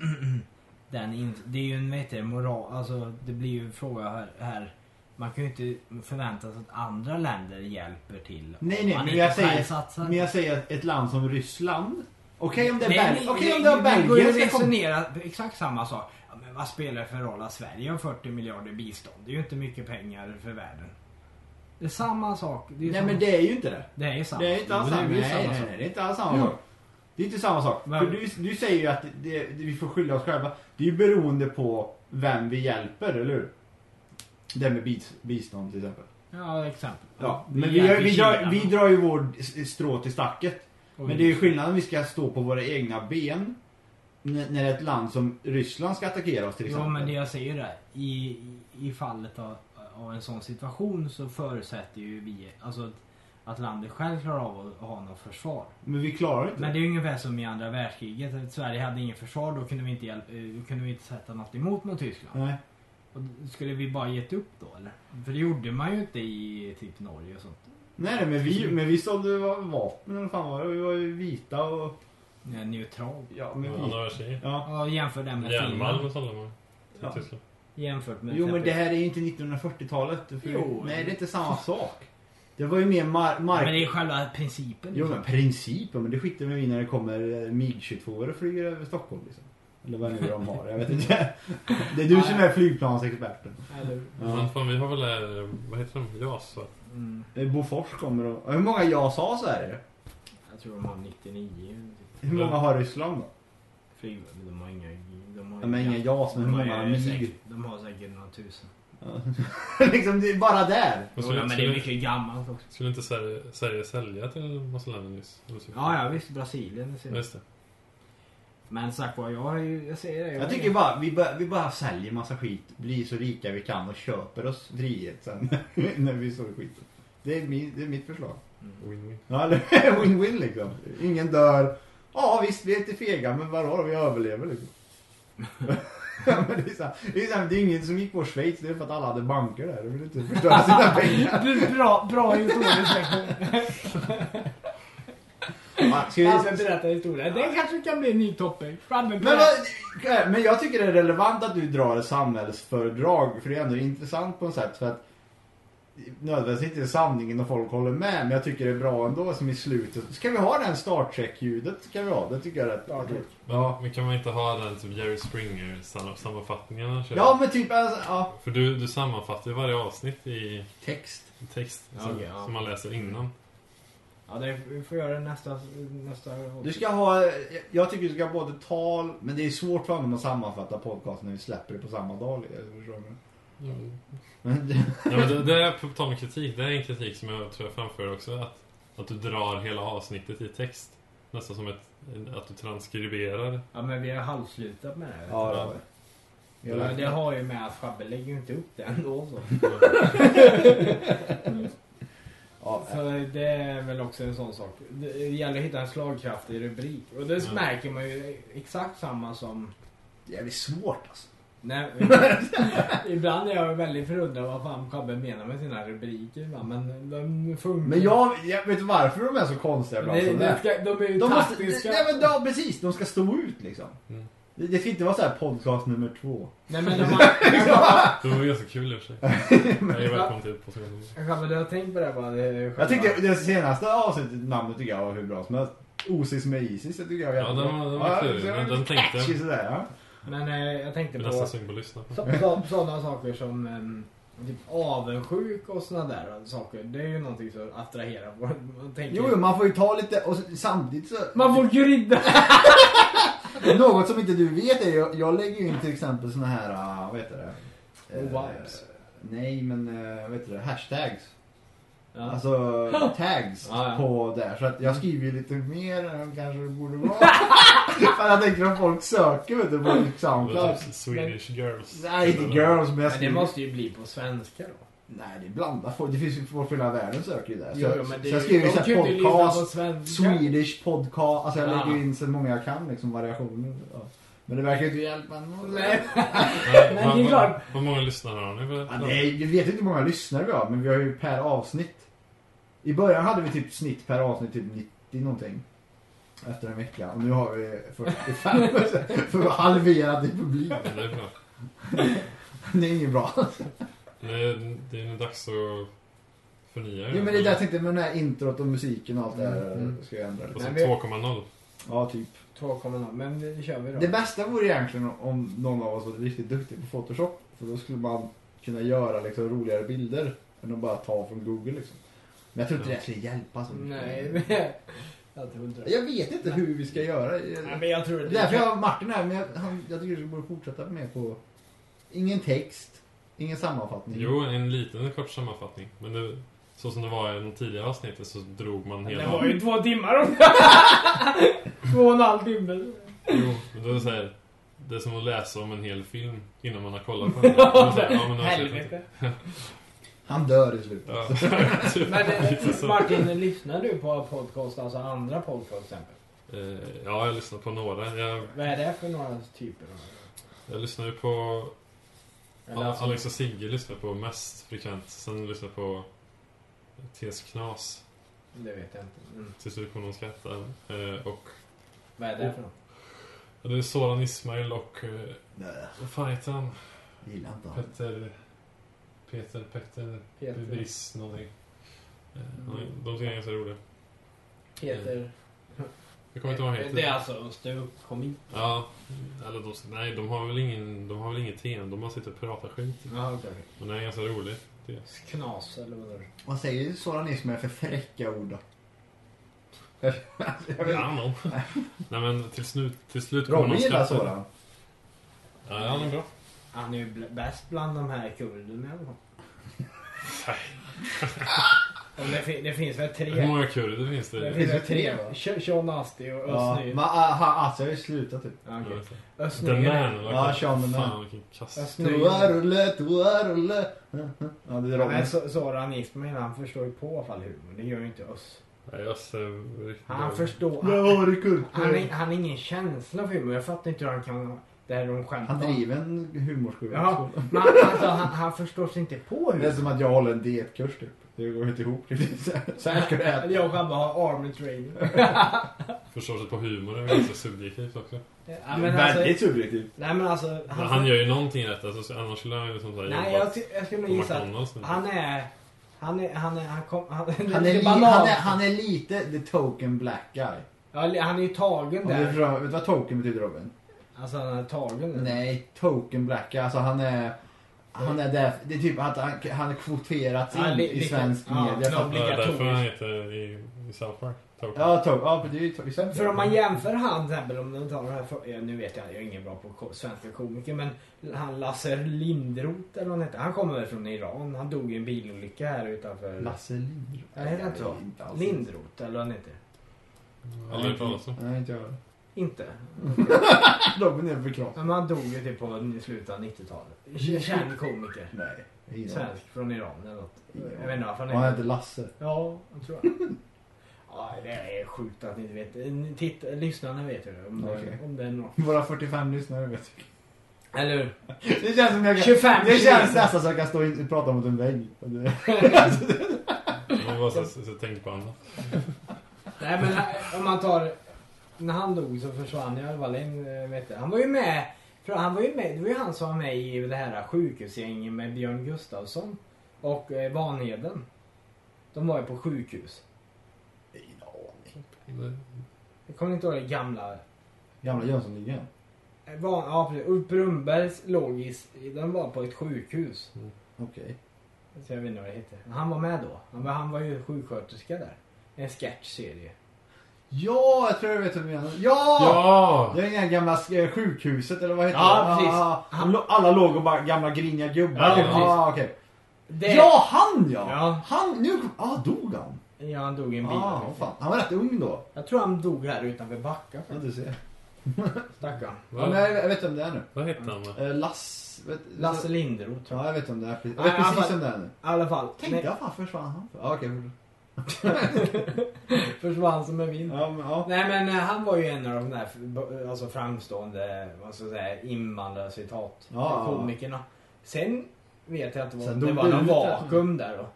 [SPEAKER 3] <clears throat> den in, det är ju en vad heter det, moral... Alltså det blir ju en fråga här, här. Man kan ju inte förvänta sig att andra länder hjälper till. om
[SPEAKER 4] Nej, nej,
[SPEAKER 3] man
[SPEAKER 4] men
[SPEAKER 3] inte
[SPEAKER 4] jag,
[SPEAKER 3] själv
[SPEAKER 4] säger,
[SPEAKER 3] satsar.
[SPEAKER 4] men jag säger att ett land som Ryssland. Okej om det
[SPEAKER 3] Nej,
[SPEAKER 4] är
[SPEAKER 3] ni-
[SPEAKER 4] Bel- okej om
[SPEAKER 3] ni-
[SPEAKER 4] det är
[SPEAKER 3] ni går ju
[SPEAKER 4] Belgien.
[SPEAKER 3] att
[SPEAKER 4] ska komma-
[SPEAKER 3] resonera på exakt samma sak. Ja, men vad spelar det för roll att Sverige har 40 miljarder bistånd? Det är ju inte mycket pengar för världen. Det är samma sak. Det är, ju
[SPEAKER 4] Nej
[SPEAKER 3] samma,
[SPEAKER 4] men det är ju inte det.
[SPEAKER 3] det är ju samma.
[SPEAKER 4] Det är inte alls
[SPEAKER 3] Jo, det
[SPEAKER 4] samma,
[SPEAKER 3] är ju
[SPEAKER 4] nej,
[SPEAKER 3] samma
[SPEAKER 4] nej,
[SPEAKER 3] sak.
[SPEAKER 4] nej, det är inte alls samma
[SPEAKER 3] Jo.
[SPEAKER 4] sak. Det är inte samma sak.
[SPEAKER 3] Men-
[SPEAKER 4] För du, du säger ju att det, det, vi får skylla oss själva. Det är ju beroende på vem vi hjälper, eller hur? Det här med bis, bistånd till exempel.
[SPEAKER 3] Ja, exempel.
[SPEAKER 4] Ja, men vi, gör, vi, drar, vi drar ju vår s- strå till stacket. Men det är ju skillnad om vi ska stå på våra egna ben n- när det är ett land som Ryssland ska attackera oss till
[SPEAKER 3] Ja,
[SPEAKER 4] exempel.
[SPEAKER 3] men det jag säger är i, i- i fallet av, av en sån situation så förutsätter ju vi alltså, att- att landet själv klarar av att ha något försvar.
[SPEAKER 4] Men vi klarar inte
[SPEAKER 3] Men det är ungefär som i andra världskriget. att Sverige hade ingen försvar, då kunde vi inte, hjälp, eh, då kunde vi inte sätta något emot mot Tyskland.
[SPEAKER 4] Nej.
[SPEAKER 3] Och skulle vi bara gett upp då eller? För det gjorde man ju inte i typ Norge och sånt.
[SPEAKER 4] Nej, nej, men vi, men vi sålde va- vapen eller vad fan var det? Vi var ju vita och...
[SPEAKER 3] Ja, Neutral.
[SPEAKER 4] Ja, men vi...
[SPEAKER 5] Andra världskriget.
[SPEAKER 4] Ja.
[SPEAKER 3] Ja, jämför den med
[SPEAKER 5] Järnmalm
[SPEAKER 3] Finland.
[SPEAKER 5] och Typ sålde man.
[SPEAKER 4] Ja.
[SPEAKER 5] Till Tyskland.
[SPEAKER 3] Jämfört med
[SPEAKER 4] Jo men
[SPEAKER 3] exempel-
[SPEAKER 4] det här är ju inte 1940-talet. För...
[SPEAKER 3] Jo.
[SPEAKER 4] Nej det är inte samma sak. Det var ju mer mar- mark...
[SPEAKER 3] Men det är själva principen.
[SPEAKER 4] Jo
[SPEAKER 3] liksom.
[SPEAKER 4] men principen, men det skiter vi i när det kommer eh, MIG-22 och flyger över Stockholm liksom. Eller vad nu de har, jag vet inte. Det är du som är flygplansexperten.
[SPEAKER 3] Eller,
[SPEAKER 5] Men
[SPEAKER 4] Ja.
[SPEAKER 5] fan, vi har väl, eh, vad heter de? JAS va?
[SPEAKER 3] mm,
[SPEAKER 4] Eh, Bofors kommer och... Hur många JAS har Sverige?
[SPEAKER 3] jag tror de har 99.
[SPEAKER 4] Hur många har Ryssland då?
[SPEAKER 3] Flyg, de har inga... De har
[SPEAKER 4] Ja, men inga JAS, men hur
[SPEAKER 3] de har
[SPEAKER 4] många har
[SPEAKER 3] ju
[SPEAKER 4] MIG?
[SPEAKER 3] säkert- De har säkert några tusen.
[SPEAKER 4] Ja. <laughs> liksom, det är bara där.
[SPEAKER 5] Men
[SPEAKER 3] Jo, ja,
[SPEAKER 5] skulle,
[SPEAKER 3] men det är
[SPEAKER 5] skulle,
[SPEAKER 3] mycket gammalt också.
[SPEAKER 5] skulle inte Sverige, Sverige sälja till massa länder nyss? Eller så?
[SPEAKER 3] Ja, ja visst. Brasilien. det ser
[SPEAKER 5] Ja,
[SPEAKER 3] jag.
[SPEAKER 5] Just det.
[SPEAKER 3] Men sagt var, jag, har ju- jag säger det.
[SPEAKER 4] Jag tycker bara, vi bara, vi bara säljer massa skit, blir så rika vi kan och köper oss frihet sen. <laughs> när vi såg skiten. Det är, min, det är mitt förslag.
[SPEAKER 5] Win-win.
[SPEAKER 4] Ja, eller <laughs> win-win liksom. Ingen dör. Ja visst, vi är lite fega, men vadå då? Vi överlever liksom. Ja, men det, är så här, det, är så här, det är ingen som gick på Schweiz, det är för att alla hade banker där. De ville inte förstöra sina pengar.
[SPEAKER 3] <laughs> Bra, bra
[SPEAKER 4] <laughs>
[SPEAKER 3] historia.
[SPEAKER 4] Ja, ska vi-
[SPEAKER 3] Fabbe berättar historia. Den kanske kan bli en ny topic. Fabbe
[SPEAKER 4] Men,
[SPEAKER 3] berättar.
[SPEAKER 4] vad- eh, men jag tycker det är relevant att du drar ett samhällsföredrag, för det är ändå intressant på något sätt. För att nödvändigtvis inte sanningen och folk håller med. Men jag tycker det är bra ändå som i slutet. Ska vi ha den Star Trek-ljudet? Kan vi ha? Det tycker jag är rätt.
[SPEAKER 3] Star Trek.
[SPEAKER 5] Men,
[SPEAKER 4] Ja.
[SPEAKER 5] men kan man inte ha den typ Jerry Springer sam- sammanfattningen? han kör?
[SPEAKER 4] Ja men typ, alltså, ja.
[SPEAKER 5] För du, du sammanfattar ju varje avsnitt i
[SPEAKER 4] Text.
[SPEAKER 5] text
[SPEAKER 3] Ja,
[SPEAKER 5] som,
[SPEAKER 3] okej, ja.
[SPEAKER 5] som man läser innan.
[SPEAKER 3] Ja, det, vi får göra det nästa... nästa
[SPEAKER 4] Du ska ha, jag tycker du ska ha både tal, men det är svårt för honom att sammanfatta podcasten när vi släpper det på samma dag. jag förstår mig.
[SPEAKER 5] Ja,
[SPEAKER 4] Men-
[SPEAKER 5] men det, det är på tal om kritik. Det är en kritik som jag tror jag framförde också. Att, att du drar hela avsnittet i text. Nästan som ett, en- att du transkriberar.
[SPEAKER 3] Ja, men vi har halvslutat med det. här,
[SPEAKER 4] Ja,
[SPEAKER 3] vet du.
[SPEAKER 4] det har vi.
[SPEAKER 3] Ja, men det har ju med att Schabbe lägger ju inte upp det ändå.
[SPEAKER 4] <laughs>
[SPEAKER 3] Så.
[SPEAKER 4] Ja,
[SPEAKER 3] så det är väl också en sån sak. Det gäller att hitta en slagkraftig rubrik. Och det
[SPEAKER 5] Ja.
[SPEAKER 3] märker man ju exakt samma som...
[SPEAKER 4] det är jävligt svårt alltså. <laughs>
[SPEAKER 3] Nej, ibland är jag väldigt förundrad vad fan Schabbe menar med sina rubriker. va, Men de funkar.
[SPEAKER 4] Men jag, jag vet varför de är så konstiga ibland.
[SPEAKER 3] Nej,
[SPEAKER 4] som det
[SPEAKER 3] de,
[SPEAKER 4] är.
[SPEAKER 3] ska, de är ju
[SPEAKER 4] De måste,
[SPEAKER 3] taktiska.
[SPEAKER 4] nej men ja, precis, de ska stå ut liksom.
[SPEAKER 5] Mm.
[SPEAKER 4] Det, det ska inte vara så här podcast nummer två.
[SPEAKER 3] Nej, men de
[SPEAKER 4] <laughs>
[SPEAKER 3] har,
[SPEAKER 5] Det var ganska kul i och för sig.
[SPEAKER 3] <laughs>
[SPEAKER 5] Jag är välkommen till Postgården.
[SPEAKER 3] Schabbe, du har tänkt på det här bara? det är
[SPEAKER 4] Jag
[SPEAKER 3] själva-
[SPEAKER 4] tyckte det senaste avsnittet, namnet tycker jag var hur bra som helst. Osis med Isis, det tycker jag var
[SPEAKER 5] Ja,
[SPEAKER 4] jättebra.
[SPEAKER 5] den var- den var klurig,
[SPEAKER 4] så
[SPEAKER 5] men
[SPEAKER 4] lite
[SPEAKER 5] den tänkte-
[SPEAKER 4] catchy sådär, ja.
[SPEAKER 3] Men eh, jag
[SPEAKER 5] Det
[SPEAKER 3] tänkte
[SPEAKER 5] är
[SPEAKER 3] på...
[SPEAKER 4] alltså,
[SPEAKER 5] nästan sugen på att lyssna.
[SPEAKER 3] Så, så, sådana saker som em, typ avundsjuk och sådana där saker. Det är ju någonting som attraherar vår... Man, tänker,
[SPEAKER 4] Jo, jo, man får ju ta lite och s- samtidigt så...
[SPEAKER 3] man får grydda!
[SPEAKER 4] <laughs> Något som inte du vet är jag, jag lägger ju in till exempel såna här, ah, vad heter det? Eh,
[SPEAKER 3] Vibes.
[SPEAKER 4] nej, men eh, vad heter det? Hashtags.
[SPEAKER 3] Ja.
[SPEAKER 4] Alltså tags
[SPEAKER 3] Ja, ja.
[SPEAKER 4] på där. Så att jag skriver ju lite mer än de kanske det borde
[SPEAKER 3] <laughs>
[SPEAKER 4] vara. För jag tänker om folk söker vet du, på
[SPEAKER 5] Det var
[SPEAKER 4] Soundcloud.
[SPEAKER 5] typ Swedish Girls.
[SPEAKER 4] Nej, inte girls, men jag
[SPEAKER 3] Men det
[SPEAKER 4] skriver...
[SPEAKER 3] måste ju bli på svenska då.
[SPEAKER 4] Nej, det är blandat folk. Det finns ju folk från hela världen söker ju där. Så,
[SPEAKER 3] Jo, jo,
[SPEAKER 4] jag-
[SPEAKER 3] men
[SPEAKER 4] så
[SPEAKER 3] det,
[SPEAKER 4] jag skriver ju
[SPEAKER 3] de kan
[SPEAKER 4] såhär
[SPEAKER 3] ju inte lyssna
[SPEAKER 4] podcast.
[SPEAKER 3] på svenska.
[SPEAKER 4] Swedish podcast, alltså jag
[SPEAKER 3] Ja.
[SPEAKER 4] lägger in så många jag kan liksom variationer. Ja. Men det verkar ju inte hjälpa någon.
[SPEAKER 3] Nej.
[SPEAKER 5] Nej,
[SPEAKER 3] Men
[SPEAKER 5] vad-
[SPEAKER 3] det är
[SPEAKER 5] vad-
[SPEAKER 3] klart.
[SPEAKER 5] Vad många lyssnare har ni?
[SPEAKER 4] Ja, nej, vi vet inte hur många lyssnare vi har, men vi har ju per avsnitt. I början hade vi typ snitt per avsnitt, typ 90 någonting. Efter en vecka. Och nu har vi 45. <laughs> för halverat i publik.
[SPEAKER 5] Ja, Det är bra.
[SPEAKER 4] Det är inget bra.
[SPEAKER 5] Det är, det är nu dags att förnya er.
[SPEAKER 4] Jo men det där tänkte jag med den här introt och musiken och allt det här.
[SPEAKER 3] Mm.
[SPEAKER 4] Ska jag ändra
[SPEAKER 5] Och
[SPEAKER 4] lite.
[SPEAKER 5] så
[SPEAKER 3] Nej, vi-
[SPEAKER 5] 2,0.
[SPEAKER 4] Ja, typ.
[SPEAKER 3] 2,0. Men det kör vi då.
[SPEAKER 4] Det bästa vore egentligen om någon av oss var riktigt duktig på Photoshop. För då skulle man kunna göra liksom roligare bilder. Än att bara ta från Google liksom. Men jag tror inte det här skulle hjälpa så mycket.
[SPEAKER 3] Alltså, Nej, <laughs> det- jag tror inte det.
[SPEAKER 4] Jag vet inte hur vi ska göra.
[SPEAKER 3] Nej, men jag tror det.
[SPEAKER 4] Därför jag har Martin här, men jag, han, jag tycker du borde fortsätta med på... Ingen text, ingen sammanfattning.
[SPEAKER 5] Jo, en liten kort sammanfattning. Men det, så som det var i de tidigare avsnitten så drog man
[SPEAKER 3] Det
[SPEAKER 5] hela...
[SPEAKER 3] var ju två timmar
[SPEAKER 4] <laughs>
[SPEAKER 3] om Två och en halv timme.
[SPEAKER 5] Jo, men då är det så här, Det är som att läsa om en hel film innan man har kollat
[SPEAKER 3] <laughs>
[SPEAKER 5] på den. Då är det så här, ja, men då har jag sett den.
[SPEAKER 3] Helvete.
[SPEAKER 4] Han dör i slutet.
[SPEAKER 5] Ja, <laughs> typ.
[SPEAKER 3] Men eh, Martin, lyssnar du på podcast, alltså andra podcast till exempel?
[SPEAKER 5] Eh, ja, jag lyssnar på några. Jag,
[SPEAKER 3] Vad är det för några typer? av-
[SPEAKER 5] jag lyssnar ju på...
[SPEAKER 3] Eller alltså-
[SPEAKER 5] Alex och Sigge lyssnar jag på mest frekvent. Sen lyssnar jag på TS Knas.
[SPEAKER 3] Det vet jag inte. Mm.
[SPEAKER 5] Tills du kommer någon skratta. Eh, och
[SPEAKER 3] Vad är det för något?
[SPEAKER 5] ja, det är Soran Ismail och... Eh,
[SPEAKER 4] Nej,
[SPEAKER 5] vad fan heter han?
[SPEAKER 4] jag gillar inte honom.
[SPEAKER 5] Peter... Peter, Peter,
[SPEAKER 3] Peter. Mm.
[SPEAKER 5] Briss någonting. Eh, de- De tycker jag är ganska roliga.
[SPEAKER 3] Peter...
[SPEAKER 5] Jag kommer inte ihåg vad han
[SPEAKER 3] Det är
[SPEAKER 5] heter.
[SPEAKER 3] alltså ståuppkomik.
[SPEAKER 5] Ja, eller de, nej, de har väl ingen, de har väl inget tema. De har sitter och pratar skit.
[SPEAKER 3] Ja, okej.
[SPEAKER 5] Men den är ganska rolig.
[SPEAKER 3] Knas eller vad det
[SPEAKER 4] Vad säger Soran Ismail för fräcka ord då?
[SPEAKER 5] Jag vet
[SPEAKER 3] <laughs>
[SPEAKER 5] Nej men till slut, till slut kommer
[SPEAKER 4] Robin
[SPEAKER 5] någon
[SPEAKER 4] gillar
[SPEAKER 5] skratta.
[SPEAKER 4] Soran.
[SPEAKER 5] Ja, han är bra.
[SPEAKER 3] Han är ju bl- bäst bland de här kurderna i alla fall. Och det, fin- det finns väl
[SPEAKER 5] Hur
[SPEAKER 3] tre?
[SPEAKER 5] många kurder finns det?
[SPEAKER 3] Det
[SPEAKER 5] i-
[SPEAKER 3] finns väl
[SPEAKER 4] tre,
[SPEAKER 3] tre?
[SPEAKER 4] va?
[SPEAKER 3] Sh- Sean Asti och
[SPEAKER 4] Ja,
[SPEAKER 3] Özz
[SPEAKER 4] men ah, han- alltså jag har ju slutat typ.
[SPEAKER 3] okay.
[SPEAKER 5] The Man. verkligen.
[SPEAKER 4] Ja, Sean the Man.
[SPEAKER 5] Fan vilken kass.
[SPEAKER 3] Snygg.
[SPEAKER 4] Toarulle, toarulle. Ja, det är Robin.
[SPEAKER 3] Men så- Soran Ismail han förstår ju på i alla fall humor. Det gör ju inte Özz.
[SPEAKER 5] Nej, jag ser riktigt
[SPEAKER 3] Han
[SPEAKER 5] dålig.
[SPEAKER 3] förstår...
[SPEAKER 4] Jag har det kul.
[SPEAKER 3] Han, är- han har ingen känsla för humor. Jag fattar inte hur han kan... Det här är de skämtar
[SPEAKER 4] Han
[SPEAKER 3] om.
[SPEAKER 4] driver en humorskola.
[SPEAKER 3] Ja, men alltså, han, han förstår sig inte på
[SPEAKER 4] Det är
[SPEAKER 3] hur...
[SPEAKER 4] som att jag håller en dietkurs typ. Det går inte ihop riktigt. Så här ska du äta.
[SPEAKER 3] Jag och Shabbe har army training.
[SPEAKER 5] förstår sig på humor. Det är ganska subjektivt också.
[SPEAKER 3] Ja, men alltså,
[SPEAKER 4] Väldigt subjektivt.
[SPEAKER 3] nej men alltså...
[SPEAKER 5] Men han gör ju någonting rätt. Alltså, annars skulle han ju liksom såhär
[SPEAKER 3] Nej,
[SPEAKER 5] jobba
[SPEAKER 3] jag, ty- jag skulle
[SPEAKER 5] på
[SPEAKER 3] nog gissa att
[SPEAKER 5] McDonalds. nu.
[SPEAKER 3] han är... Han är, han är, han kom, han,
[SPEAKER 4] Han är, li, han, är, han är lite the token black guy.
[SPEAKER 3] Ja, han är ju tagen
[SPEAKER 4] Om du
[SPEAKER 3] där.
[SPEAKER 4] förstår, vet du vad token betyder Robin?
[SPEAKER 3] Alltså han är tagen där.
[SPEAKER 4] Nej, token black guy. Alltså han är... Han är där, det är typ att han, han är kvoterats in
[SPEAKER 3] Ja, li-
[SPEAKER 4] i
[SPEAKER 3] lite-
[SPEAKER 4] svensk
[SPEAKER 3] ja,
[SPEAKER 4] media.
[SPEAKER 3] no,
[SPEAKER 4] för att-
[SPEAKER 5] Ja, därför
[SPEAKER 3] Obligatoriskt.
[SPEAKER 5] han heter i, i South Park. Token.
[SPEAKER 4] Ja, to, ja för det är ju to, i svensk
[SPEAKER 3] För om man
[SPEAKER 4] media.
[SPEAKER 3] jämför han till exempel, om man tar den här, för- ja, nu vet jag, jag är ingen bra på ko- svenska komiker, men han Lasse Lindroth eller vad han heter, han kommer väl från Iran. Han dog i en bilolycka här utanför.
[SPEAKER 4] Lasse alltså. Lindroth?
[SPEAKER 3] Nej, det är inte så.
[SPEAKER 4] inte alls.
[SPEAKER 3] Lindroth eller vad han heter.
[SPEAKER 5] Aldrig hört talas om.
[SPEAKER 4] Nej, inte jag.
[SPEAKER 3] Inte.
[SPEAKER 4] Robin är förkrossad.
[SPEAKER 3] Men han dog ju typ på slutet av 90-talet. Känd komiker.
[SPEAKER 4] Nej, ingen aning.
[SPEAKER 3] Svensk från Iran eller något.
[SPEAKER 4] Ingen
[SPEAKER 3] Jag vet inte varför
[SPEAKER 4] aning. Han
[SPEAKER 3] han
[SPEAKER 4] heter Lasse.
[SPEAKER 3] Ja, jag tror jag. <laughs> Ja, det är sjukt att ni inte vet. Titta, lyssnarna vet ju det, om, det-
[SPEAKER 4] Okej.
[SPEAKER 3] om det är något.
[SPEAKER 4] Våra 45 lyssnare vet vi.
[SPEAKER 3] Eller hur?
[SPEAKER 4] Det känns som jag kan,
[SPEAKER 3] 25
[SPEAKER 4] Det känns
[SPEAKER 3] kilo.
[SPEAKER 4] nästan som jag kan stå in, och prata mot en vägg. Det-
[SPEAKER 5] Man bara så, så, så tänkte på annat.
[SPEAKER 3] Nej men eh, om man tar... När han dog så försvann ju Wallin, eh, vet du. Han var ju med. För han var ju med. Det var ju han som var med i det här sjukhusgänget med Björn Gustafsson. Och eh, Vanheden. De var ju på sjukhus.
[SPEAKER 4] Ingen aning.
[SPEAKER 5] Det-
[SPEAKER 3] Jag kommer inte ihåg det gamla.
[SPEAKER 4] Gamla Jönssonligan.
[SPEAKER 3] eh, Van, ja precis. Ulf Brunnbergs logis. Den var på ett sjukhus.
[SPEAKER 4] Okej.
[SPEAKER 3] Så jag vet inte vad det heter. Men Han var med då. Han var, han var ju sjuksköterska där. En sketchserie.
[SPEAKER 4] Ja, jag tror jag vet vad du menar. Ja!
[SPEAKER 5] Ja!
[SPEAKER 4] Det är det här gamla eh, sjukhuset eller vad heter
[SPEAKER 3] Ja,
[SPEAKER 4] det?
[SPEAKER 3] precis.
[SPEAKER 4] Ah, han lo- alla låg och bara gamla griniga gubbar.
[SPEAKER 3] Ja, precis.
[SPEAKER 4] ah, okej.
[SPEAKER 3] Det,
[SPEAKER 4] ja han ja!
[SPEAKER 3] Ja.
[SPEAKER 4] Han, nu kom- ah, dog han?
[SPEAKER 3] ja! Han dog i en bil.
[SPEAKER 4] Ah, vad fan. Han var rätt ung då.
[SPEAKER 3] Jag tror han dog här utanför Backa.
[SPEAKER 4] Ja, du ser.
[SPEAKER 3] Stackarn.
[SPEAKER 4] Ja, men
[SPEAKER 5] Vad,
[SPEAKER 4] jag, jag vet om det är nu.
[SPEAKER 5] vad hette han? va?
[SPEAKER 4] Eh, Lass... Vet,
[SPEAKER 3] Lasse Linderoth.
[SPEAKER 4] Ja, jag vet om det är. Jag
[SPEAKER 3] Nej,
[SPEAKER 4] vet
[SPEAKER 3] han
[SPEAKER 4] precis
[SPEAKER 3] var-
[SPEAKER 4] om det är nu.
[SPEAKER 3] I alla fall.
[SPEAKER 4] Tänkte jag fan försvann han för? Ja, okej. fortsätt.
[SPEAKER 3] Nej, försvann som en vind.
[SPEAKER 4] Ja, men ja.
[SPEAKER 3] Nej men eh, han var ju en av de där eh, alltså, framstående vad ska jag säga, invandrare citat
[SPEAKER 4] Ja.
[SPEAKER 3] komikerna. Sen vet jag att det var,
[SPEAKER 4] Sen
[SPEAKER 3] det
[SPEAKER 4] dog
[SPEAKER 3] var
[SPEAKER 4] det
[SPEAKER 3] någon
[SPEAKER 4] ut där.
[SPEAKER 3] vakuum där då.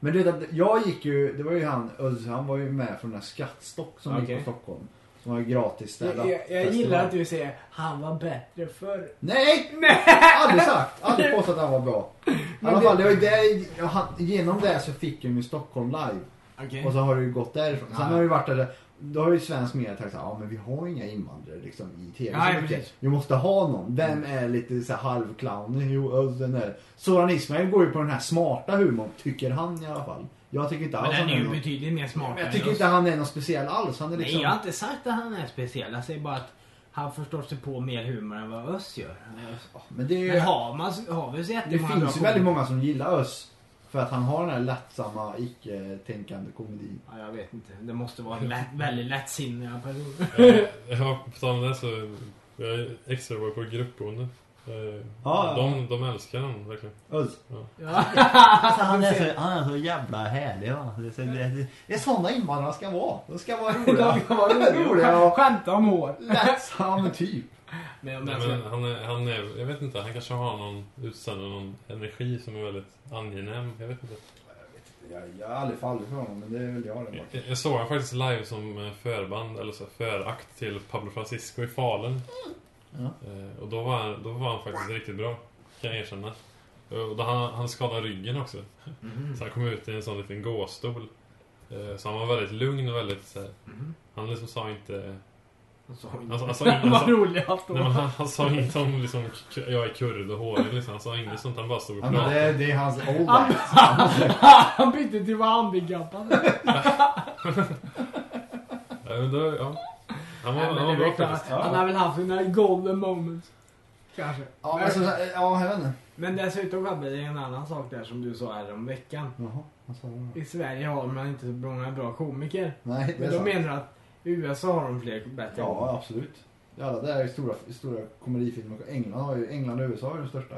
[SPEAKER 4] Men du vet att jag gick ju, det var ju han, Ulf, han var ju med från den här Skattstock som
[SPEAKER 3] Okej.
[SPEAKER 4] gick på Stockholm. Som var gratis
[SPEAKER 3] Jag, jag, jag gillar att du säger han var bättre förr.
[SPEAKER 4] Nej! Aldrig sagt! Aldrig påstått att han var bra. I alla
[SPEAKER 3] det-
[SPEAKER 4] fall, det var ju det, ja, han, genom det så fick jag ju Stockholm live.
[SPEAKER 3] Okej.
[SPEAKER 4] Och så har det ju gått därifrån. Sen
[SPEAKER 3] Ja.
[SPEAKER 4] har det ju varit där, då har ju svensk media tänkt såhär, ja men vi har inga invandrare liksom i TV
[SPEAKER 3] Nej,
[SPEAKER 4] så mycket.
[SPEAKER 3] precis. Mm.
[SPEAKER 4] Vi måste ha någon. Vem är lite såhär halvclown? Jo, Ulf, den är... Soran Ismail går ju på den här smarta humorn, tycker han i alla fall. Jag tycker inte
[SPEAKER 3] Men
[SPEAKER 4] alls
[SPEAKER 3] den
[SPEAKER 4] han
[SPEAKER 3] är
[SPEAKER 4] är
[SPEAKER 3] ju
[SPEAKER 4] någon...
[SPEAKER 3] betydligt mer smart
[SPEAKER 4] Jag tycker inte han är någon speciell alls. Han är liksom...
[SPEAKER 3] Nej jag har inte sagt att han är speciell. Jag säger bara att han förstår sig på mer humor än vad Öss gör.
[SPEAKER 4] Ja, Men det, är ju...
[SPEAKER 3] Men har, man, har vi så
[SPEAKER 4] det
[SPEAKER 3] jättemånga bra
[SPEAKER 4] finns ju
[SPEAKER 3] komiker-
[SPEAKER 4] väldigt många som gillar Ös. För att han har den här lättsamma, icke-tänkande komedin.
[SPEAKER 3] Ja, jag vet inte. Det måste vara en lätt, väldigt lättsinniga
[SPEAKER 4] <laughs>
[SPEAKER 3] personer.
[SPEAKER 5] Eh, Ja, på tal om det så. Jag är extra var på gruppboende. Eh,
[SPEAKER 4] Ah, ja.
[SPEAKER 5] De, de älskar honom verkligen.
[SPEAKER 4] Ös.
[SPEAKER 3] Ja.
[SPEAKER 4] Alltså, han, är så, han är så jävla härlig va. Det är, så, det, det är såna invandrare ska vara. De ska <laughs> vara roliga. <laughs> roliga och
[SPEAKER 3] Skämta om hår.
[SPEAKER 4] <laughs> lättsamma typ.
[SPEAKER 3] Men om
[SPEAKER 5] Nej,
[SPEAKER 3] jag
[SPEAKER 5] men
[SPEAKER 3] ska...
[SPEAKER 5] han, är, han är, jag vet inte, han kanske har någon utsändare, någon energi som är väldigt angenäm. Jag vet inte.
[SPEAKER 4] Jag, jag har aldrig fallit för honom men det är väl jag det bara.
[SPEAKER 5] Jag, jag såg honom faktiskt live som eh, förband, eller så här, förakt till Pablo Francisco i Falun.
[SPEAKER 4] Mm. Ja.
[SPEAKER 5] Eh, Och då var, han- då var han faktiskt riktigt bra, kan jag erkänna. Och då han, han skadade ryggen också.
[SPEAKER 3] Mm.
[SPEAKER 4] Mm.
[SPEAKER 5] Så han kom ut i en sån liten gåstol. Eh, Så han var väldigt lugn och väldigt så här,
[SPEAKER 4] Mm-hmm.
[SPEAKER 5] Han liksom sa inte... Alltså,
[SPEAKER 3] <laughs>
[SPEAKER 5] alltså,
[SPEAKER 3] Vad
[SPEAKER 5] alltså,
[SPEAKER 3] rolig han
[SPEAKER 5] nej, men
[SPEAKER 3] står.
[SPEAKER 5] han, han sa inte om liksom, k- jag är kurd och hårig liksom. Han sa inget sånt, han bara stod och
[SPEAKER 4] Ja, men
[SPEAKER 5] pratade.
[SPEAKER 4] det, det är hans old
[SPEAKER 3] Han-
[SPEAKER 4] ass.
[SPEAKER 3] Han bytte till att vara handikappad.
[SPEAKER 5] Ja, men då, ja. Han var,
[SPEAKER 3] Nej,
[SPEAKER 5] han
[SPEAKER 3] men
[SPEAKER 5] var
[SPEAKER 3] det
[SPEAKER 5] bra
[SPEAKER 3] vet jag.
[SPEAKER 5] faktiskt.
[SPEAKER 3] Han har väl haft sina golden moments. Kanske.
[SPEAKER 4] Ja, men så, ja, jag vet inte.
[SPEAKER 3] Men dessutom Fabbe, det är en annan sak där som du sa här om veckan.
[SPEAKER 4] Jaha, vad sa du?
[SPEAKER 3] I Sverige har man inte så många bra komiker.
[SPEAKER 4] Nej, det
[SPEAKER 3] Men
[SPEAKER 4] är
[SPEAKER 3] då
[SPEAKER 4] sant.
[SPEAKER 3] menar du att i USA har de fler bättre
[SPEAKER 4] Ja, absolut. Alla där är stora, stora komedifilmer. England, har ju, England och USA är de största.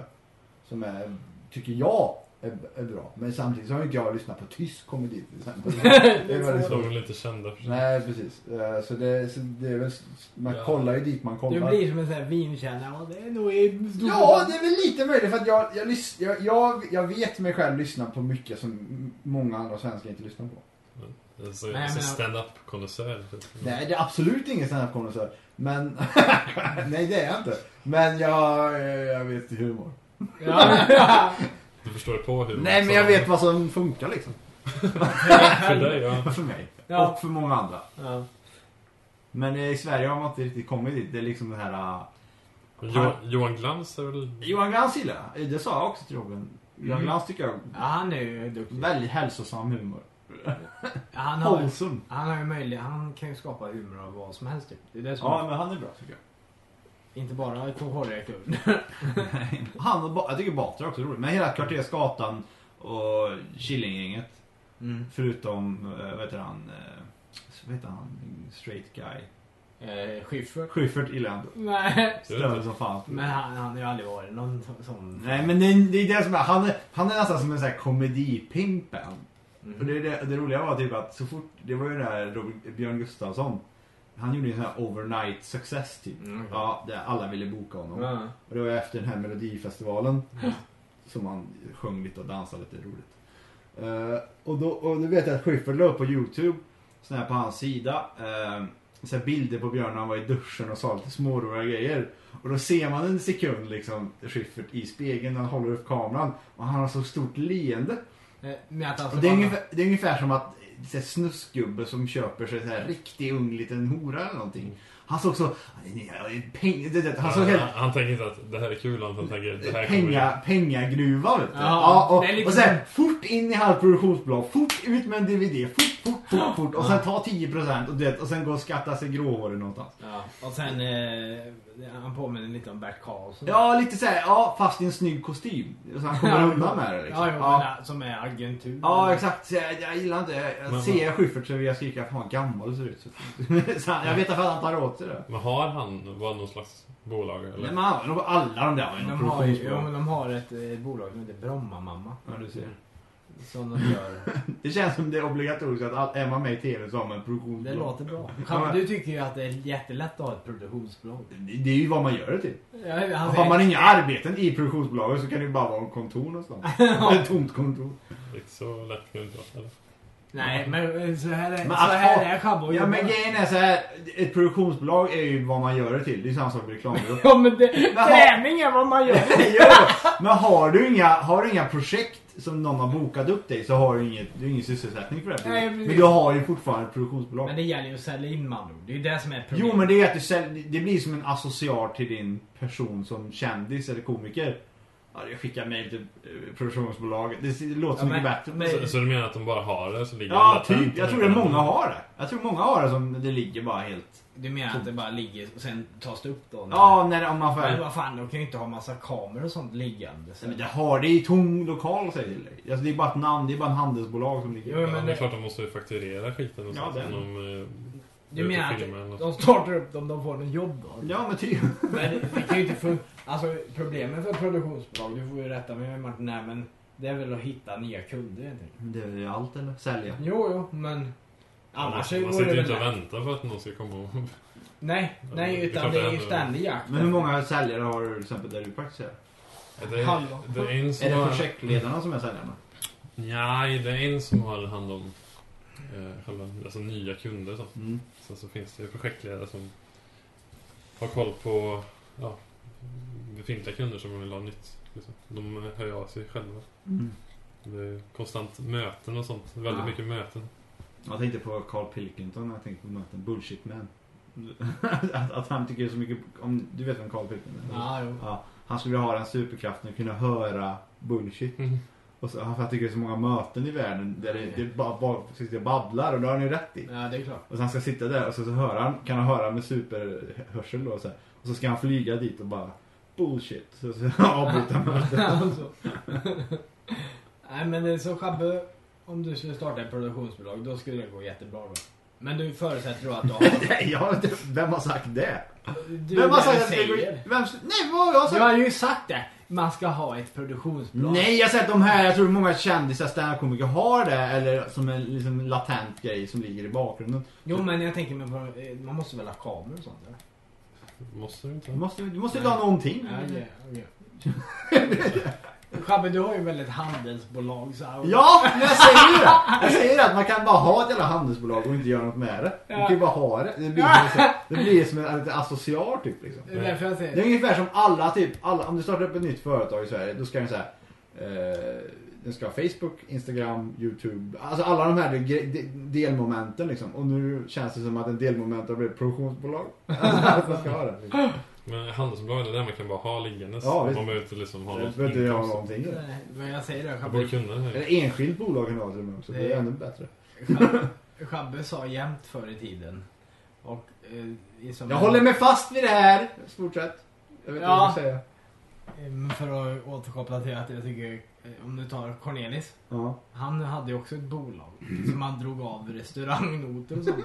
[SPEAKER 4] Som är, tycker jag, är, är bra. Men samtidigt så har ju inte jag lyssnat på tysk komedi till exempel. <laughs> Det är väldigt
[SPEAKER 5] De
[SPEAKER 4] svårt.
[SPEAKER 5] är lite kända för sig.
[SPEAKER 4] Nej, precis. Eh, Så det, så det är väl, man
[SPEAKER 5] Ja.
[SPEAKER 4] kollar ju dit man
[SPEAKER 3] Du
[SPEAKER 4] kollar.
[SPEAKER 3] blir som en sån här vinkännare. Ja, Det är nog i stor-
[SPEAKER 4] Ja, det är väl lite möjligt för att jag, jag, lys- jag, jag, jag vet mig själv lyssna på mycket som m- många andra svenskar inte lyssnar på.
[SPEAKER 5] Alltså,
[SPEAKER 3] Nej,
[SPEAKER 5] alltså
[SPEAKER 3] men-
[SPEAKER 5] stand-up-konnässör. typ.
[SPEAKER 4] Nej, det är absolut ingen standup konnässör. Men, <laughs> eh, nej det är jag inte. Men jag, jag vet humor.
[SPEAKER 3] Ja. <laughs>
[SPEAKER 5] Du förstår dig på hur...
[SPEAKER 4] Nej, men jag vet vad som funkar liksom.
[SPEAKER 5] För dig,
[SPEAKER 4] <laughs>
[SPEAKER 5] ja.
[SPEAKER 4] För mig.
[SPEAKER 3] Ja.
[SPEAKER 4] Och för många andra.
[SPEAKER 3] Ja.
[SPEAKER 4] Men eh, i Sverige har man inte riktigt kommit dit. Det är liksom den här... eh,
[SPEAKER 5] Jo, Johan Glans är väl...
[SPEAKER 4] Johan Glans gillar jag. Eh, Det sa jag också till Robin. Johan
[SPEAKER 3] Mm.
[SPEAKER 4] Glans tycker jag
[SPEAKER 3] Ja, han är ju
[SPEAKER 4] har
[SPEAKER 3] duktig.
[SPEAKER 4] väldigt hälsosam humor.
[SPEAKER 3] Han har,
[SPEAKER 4] Wholesome.
[SPEAKER 3] han har ju möjlighet, han kan ju skapa humor av vad som helst typ. Det är det som,
[SPEAKER 4] Ja, men han är bra tycker jag. <laughs>
[SPEAKER 3] inte bara på hårreka.
[SPEAKER 4] Han och ba- jag tycker Batra också är rolig. Men hela Kvarteret Skatan och Killinggänget.
[SPEAKER 3] Mm.
[SPEAKER 4] Förutom, eh, vad heter han? eh, Vad heter han? Straight guy.
[SPEAKER 3] Eh, Schyffert?
[SPEAKER 4] Schyffert gillar jag ändå.
[SPEAKER 3] Nej.
[SPEAKER 4] Stör som fan.
[SPEAKER 3] Men han, han har ju aldrig varit någon så- sån...
[SPEAKER 4] Nej men det är, det är det som är, han är, han är nästan som en sån här komedipimpen.
[SPEAKER 3] Mhm.
[SPEAKER 4] Och det, är det, det roliga var typ att så fort, det var ju den här Robert, Björn Gustafsson. Han gjorde ju en sån här overnight success typ.
[SPEAKER 3] Mm.
[SPEAKER 4] Ja, där alla ville boka honom.
[SPEAKER 3] Ja.
[SPEAKER 4] Och det var efter den här melodifestivalen som han sjöng lite och dansade lite roligt. Eh, och, då, och då vet jag att Schyffert la upp på Youtube, sån här på hans sida, uh, så här bilder på Björn när han var i duschen och sa lite småroliga grejer. Och då ser man en sekund liksom Schyffert i spegeln när han håller upp kameran och han har så stort leende.
[SPEAKER 3] Eh, Men att alltså,
[SPEAKER 4] Och det, är ungefär, det är ungefär som att så här, snuskgubbe som köper sig så här riktig ung liten hora eller någonting. Han såg så... Peng, det, det, han såg helt
[SPEAKER 5] han tänker inte att det här är kul, han tänker det här kommer...
[SPEAKER 4] Penga, pengagruva vet du.
[SPEAKER 3] Ja,
[SPEAKER 4] Ja, och,
[SPEAKER 3] det är liksom
[SPEAKER 4] och
[SPEAKER 3] lite-
[SPEAKER 4] sen fort in i halvt produktionsbolag, fort ut med en DVD, fort, fort, fort, fort. Och sen ta 10% och, det, och sen gå och skatta sig gråhårig någonstans.
[SPEAKER 3] Ja. Och sen, eh, han påminner lite om Bert Karlsson.
[SPEAKER 4] Ja, lite såhär, ja, fast i en snygg kostym. Så han kommer undan med det liksom.
[SPEAKER 3] Ja, jo,
[SPEAKER 4] Ja,
[SPEAKER 3] Men, som är agentur.
[SPEAKER 4] ja exakt. Så jag, jag gillar inte, jag
[SPEAKER 5] Men-
[SPEAKER 4] ser jag Schyffert så vill jag skrika fan vad gammal du ser ut. <laughs> Så- Så han- jag vet inte att han tar åt sig det.
[SPEAKER 5] Men har han var någon slags bolag
[SPEAKER 4] Nej,
[SPEAKER 5] eller?
[SPEAKER 4] men han- alla de där har ju något
[SPEAKER 3] De har, ju, jo,
[SPEAKER 4] produktionsbolag.
[SPEAKER 3] men de har ett eh, bolag som heter Bromma mamma.
[SPEAKER 4] Ja, du ser.
[SPEAKER 3] Som de gör.
[SPEAKER 4] Det känns som det är obligatoriskt att all- är man med i TV så har man produktionsbolag.
[SPEAKER 3] Det låter bra. Kan, du tycker ju att det är jättelätt att ha ett produktionsbolag.
[SPEAKER 4] Det det är ju vad man gör det till.
[SPEAKER 3] Ja, han
[SPEAKER 4] Har
[SPEAKER 3] säger,
[SPEAKER 4] man inga arbeten i produktionsbolaget så kan det ju bara vara en kontor
[SPEAKER 3] <laughs>
[SPEAKER 4] någonstans. Ett tomt kontor.
[SPEAKER 5] Inte så lätt kan det inte vara. eller?
[SPEAKER 3] Nej, men eh, så här är,
[SPEAKER 4] Men
[SPEAKER 3] så
[SPEAKER 4] att ha-
[SPEAKER 3] här är Chabbo och
[SPEAKER 4] Ja men
[SPEAKER 3] jobbar.
[SPEAKER 4] grejen är så här. ett produktionsbolag är ju vad man gör det till. Det är samma sak med reklambyrå.
[SPEAKER 3] <laughs> Ja men det,
[SPEAKER 4] Men ha-
[SPEAKER 3] träning är vad man gör.
[SPEAKER 4] Det gör det. men har du, inga, har du inga projekt som någon har bokat upp dig så har du, inget, du har ingen sysselsättning för det.
[SPEAKER 3] Nej, precis.
[SPEAKER 4] men du har ju fortfarande ett produktionsbolag.
[SPEAKER 3] <laughs> Men det gäller ju att sälja in man ord. Det är ju det som är problemet.
[SPEAKER 4] Jo men det är att du sälj, det blir som en associar till din person som kändis eller komiker. Ja, jag skickar mejl till eh, produktionsbolaget. Det låter så
[SPEAKER 3] Ja,
[SPEAKER 4] mycket
[SPEAKER 3] men-
[SPEAKER 4] bättre.
[SPEAKER 3] men-
[SPEAKER 5] Så, så du menar att de bara har det? Så ligger det
[SPEAKER 4] Ja,
[SPEAKER 5] latent
[SPEAKER 4] typ. Jag tror det är
[SPEAKER 5] utan-
[SPEAKER 4] många har det. Jag tror många har det som det ligger bara helt...
[SPEAKER 3] Du menar att det bara ligger och sen tas det upp då?
[SPEAKER 4] Ja, när det, om man får...
[SPEAKER 3] Men
[SPEAKER 4] Nej,
[SPEAKER 3] vad fan, de kan ju inte ha massa kameror och sånt liggande. Så.
[SPEAKER 4] men det har det i tom lokal säger till dig. Alltså, det är bara ett namn, det är bara en handelsbolag som ligger...
[SPEAKER 3] Jo,
[SPEAKER 5] Ja, men det är
[SPEAKER 3] det-
[SPEAKER 5] klart de måste ju fakturera skiten och
[SPEAKER 4] Ja,
[SPEAKER 5] sånt
[SPEAKER 4] det-
[SPEAKER 5] som de, eh,
[SPEAKER 3] Du
[SPEAKER 5] ut och
[SPEAKER 3] menar
[SPEAKER 5] filmar eller något.
[SPEAKER 3] att de startar upp dem, de får något jobb då?
[SPEAKER 4] Ja, men typ.
[SPEAKER 3] Men det kan ju inte fun- Alltså problemet för produktionsbolag, du får ju rätta mig Martin, nej, men det är väl att hitta nya kunder helt enkelt.
[SPEAKER 4] Det är väl allt eller? Sälja.
[SPEAKER 3] Jo, jo, men annars
[SPEAKER 5] man, man
[SPEAKER 3] vore
[SPEAKER 5] sitter
[SPEAKER 3] det
[SPEAKER 5] ju inte
[SPEAKER 3] väl...
[SPEAKER 5] och väntar för att någon ska komma och...
[SPEAKER 3] <laughs> Nej, nej,
[SPEAKER 5] Det är
[SPEAKER 3] utan
[SPEAKER 5] klart
[SPEAKER 3] det
[SPEAKER 5] det
[SPEAKER 3] är ju
[SPEAKER 5] händer.
[SPEAKER 3] ständig jakt.
[SPEAKER 4] Men hur många säljare har du till exempel där du praktiserar?
[SPEAKER 5] Det är,
[SPEAKER 3] Hallå.
[SPEAKER 5] det är en
[SPEAKER 4] Är
[SPEAKER 5] som
[SPEAKER 4] det
[SPEAKER 5] har...
[SPEAKER 4] projektledarna som är säljarna?
[SPEAKER 5] Nej, det är en som har hand om eh, själva, alltså nya kunder. Så.
[SPEAKER 4] Mm.
[SPEAKER 5] Sen så finns det ju projektledare som har koll på ja, befintliga kunder som de vill ha nytt. Liksom. De hör av sig själva.
[SPEAKER 4] Mm.
[SPEAKER 5] Det är konstant möten och sånt. Väldigt
[SPEAKER 3] Ja.
[SPEAKER 5] mycket möten.
[SPEAKER 4] Jag tänkte på Carl Pilkington när jag tänkte på möten. Bullshit man. <laughs> att, att han tycker så mycket... Om, du vet vem Carl Pilkington är?
[SPEAKER 3] Ja, jo.
[SPEAKER 4] Ja, han skulle ha den superkraften att kunna höra bullshit.
[SPEAKER 5] Mm.
[SPEAKER 4] Och så, för jag tycker det är så många möten i världen där det, det bara, bara sitter och babblar och det har han ju rätt i.
[SPEAKER 3] Ja, det är klart.
[SPEAKER 4] Och så han ska sitta där och så, så hör han, kan han höra med superhörsel då så här. Och så ska han flyga dit och bara bullshit. Så, <laughs> så avbryta mötet.
[SPEAKER 3] <laughs> alltså. Nej, men det är så Schabbe, om du skulle starta ett produktionsbolag, då skulle det gå jättebra då. Men du förutsätter då att du har...
[SPEAKER 4] <laughs> <laughs> Nej, jag har inte, vem har sagt det?
[SPEAKER 3] Du
[SPEAKER 4] vem har
[SPEAKER 3] där
[SPEAKER 4] sagt att det
[SPEAKER 3] säger.
[SPEAKER 4] går vem, Nej, vad har jag
[SPEAKER 3] Jag
[SPEAKER 4] sagt?
[SPEAKER 3] har ju sagt det. Man ska ha ett produktionsbolag.
[SPEAKER 4] Nej, jag har sett de här, jag tror många kändisar, standup-komiker har det. Eller som en liksom, latent grej som ligger i bakgrunden.
[SPEAKER 3] Jo men jag tänker mig på, eh, man måste väl ha kameror och sånt eller?
[SPEAKER 5] Måste du inte?
[SPEAKER 4] Du
[SPEAKER 5] ha?
[SPEAKER 4] måste, du måste ju ha någonting.
[SPEAKER 3] Ja, okej, <laughs> okej. Schabbe du har ju väl ett handelsbolag så här.
[SPEAKER 4] Ja, men jag säger ju det! Jag säger det, att man kan bara ha ett jävla handelsbolag och inte göra något med det. Du kan ju bara ha det. Det blir som, det blir som en lite associar typ liksom.
[SPEAKER 3] Det är därför jag säger
[SPEAKER 4] Det är ungefär som alla typ, alla, om du startar upp ett nytt företag i Sverige, då ska du säga Eh, den ska ha Facebook, Instagram, YouTube. Alltså alla de här gre- de- delmomenten liksom. Och nu känns det som att en delmoment har blivit ett produktionsbolag. Att man ska ha det. Liksom.
[SPEAKER 5] Men handelsbolag är där man kan bara ha liggandes.
[SPEAKER 4] Ja,
[SPEAKER 5] man
[SPEAKER 4] visst.
[SPEAKER 5] behöver inte liksom ha
[SPEAKER 4] Jag
[SPEAKER 5] något
[SPEAKER 4] behöver inte göra
[SPEAKER 5] inkomst.
[SPEAKER 4] någonting.
[SPEAKER 3] Nej, Men jag säger det,
[SPEAKER 5] Jag borde
[SPEAKER 3] Schabbe-
[SPEAKER 5] kunna det här.
[SPEAKER 4] Eller enskilt bolag kan ha till och med också. Det är
[SPEAKER 3] Nej.
[SPEAKER 4] ännu bättre.
[SPEAKER 3] Schabbe- Schabbe sa jämt förr i tiden. Och, eh, i som
[SPEAKER 4] Jag håller mig fast vid det här. Fortsätt. Jag vet inte vad
[SPEAKER 3] Ja.
[SPEAKER 4] jag ska säga.
[SPEAKER 3] Ehm, För att återkoppla till att jag tycker, eh, om du tar Cornelis.
[SPEAKER 4] Ja.
[SPEAKER 3] Han hade ju också ett bolag som han drog av restaurangnoter och sånt.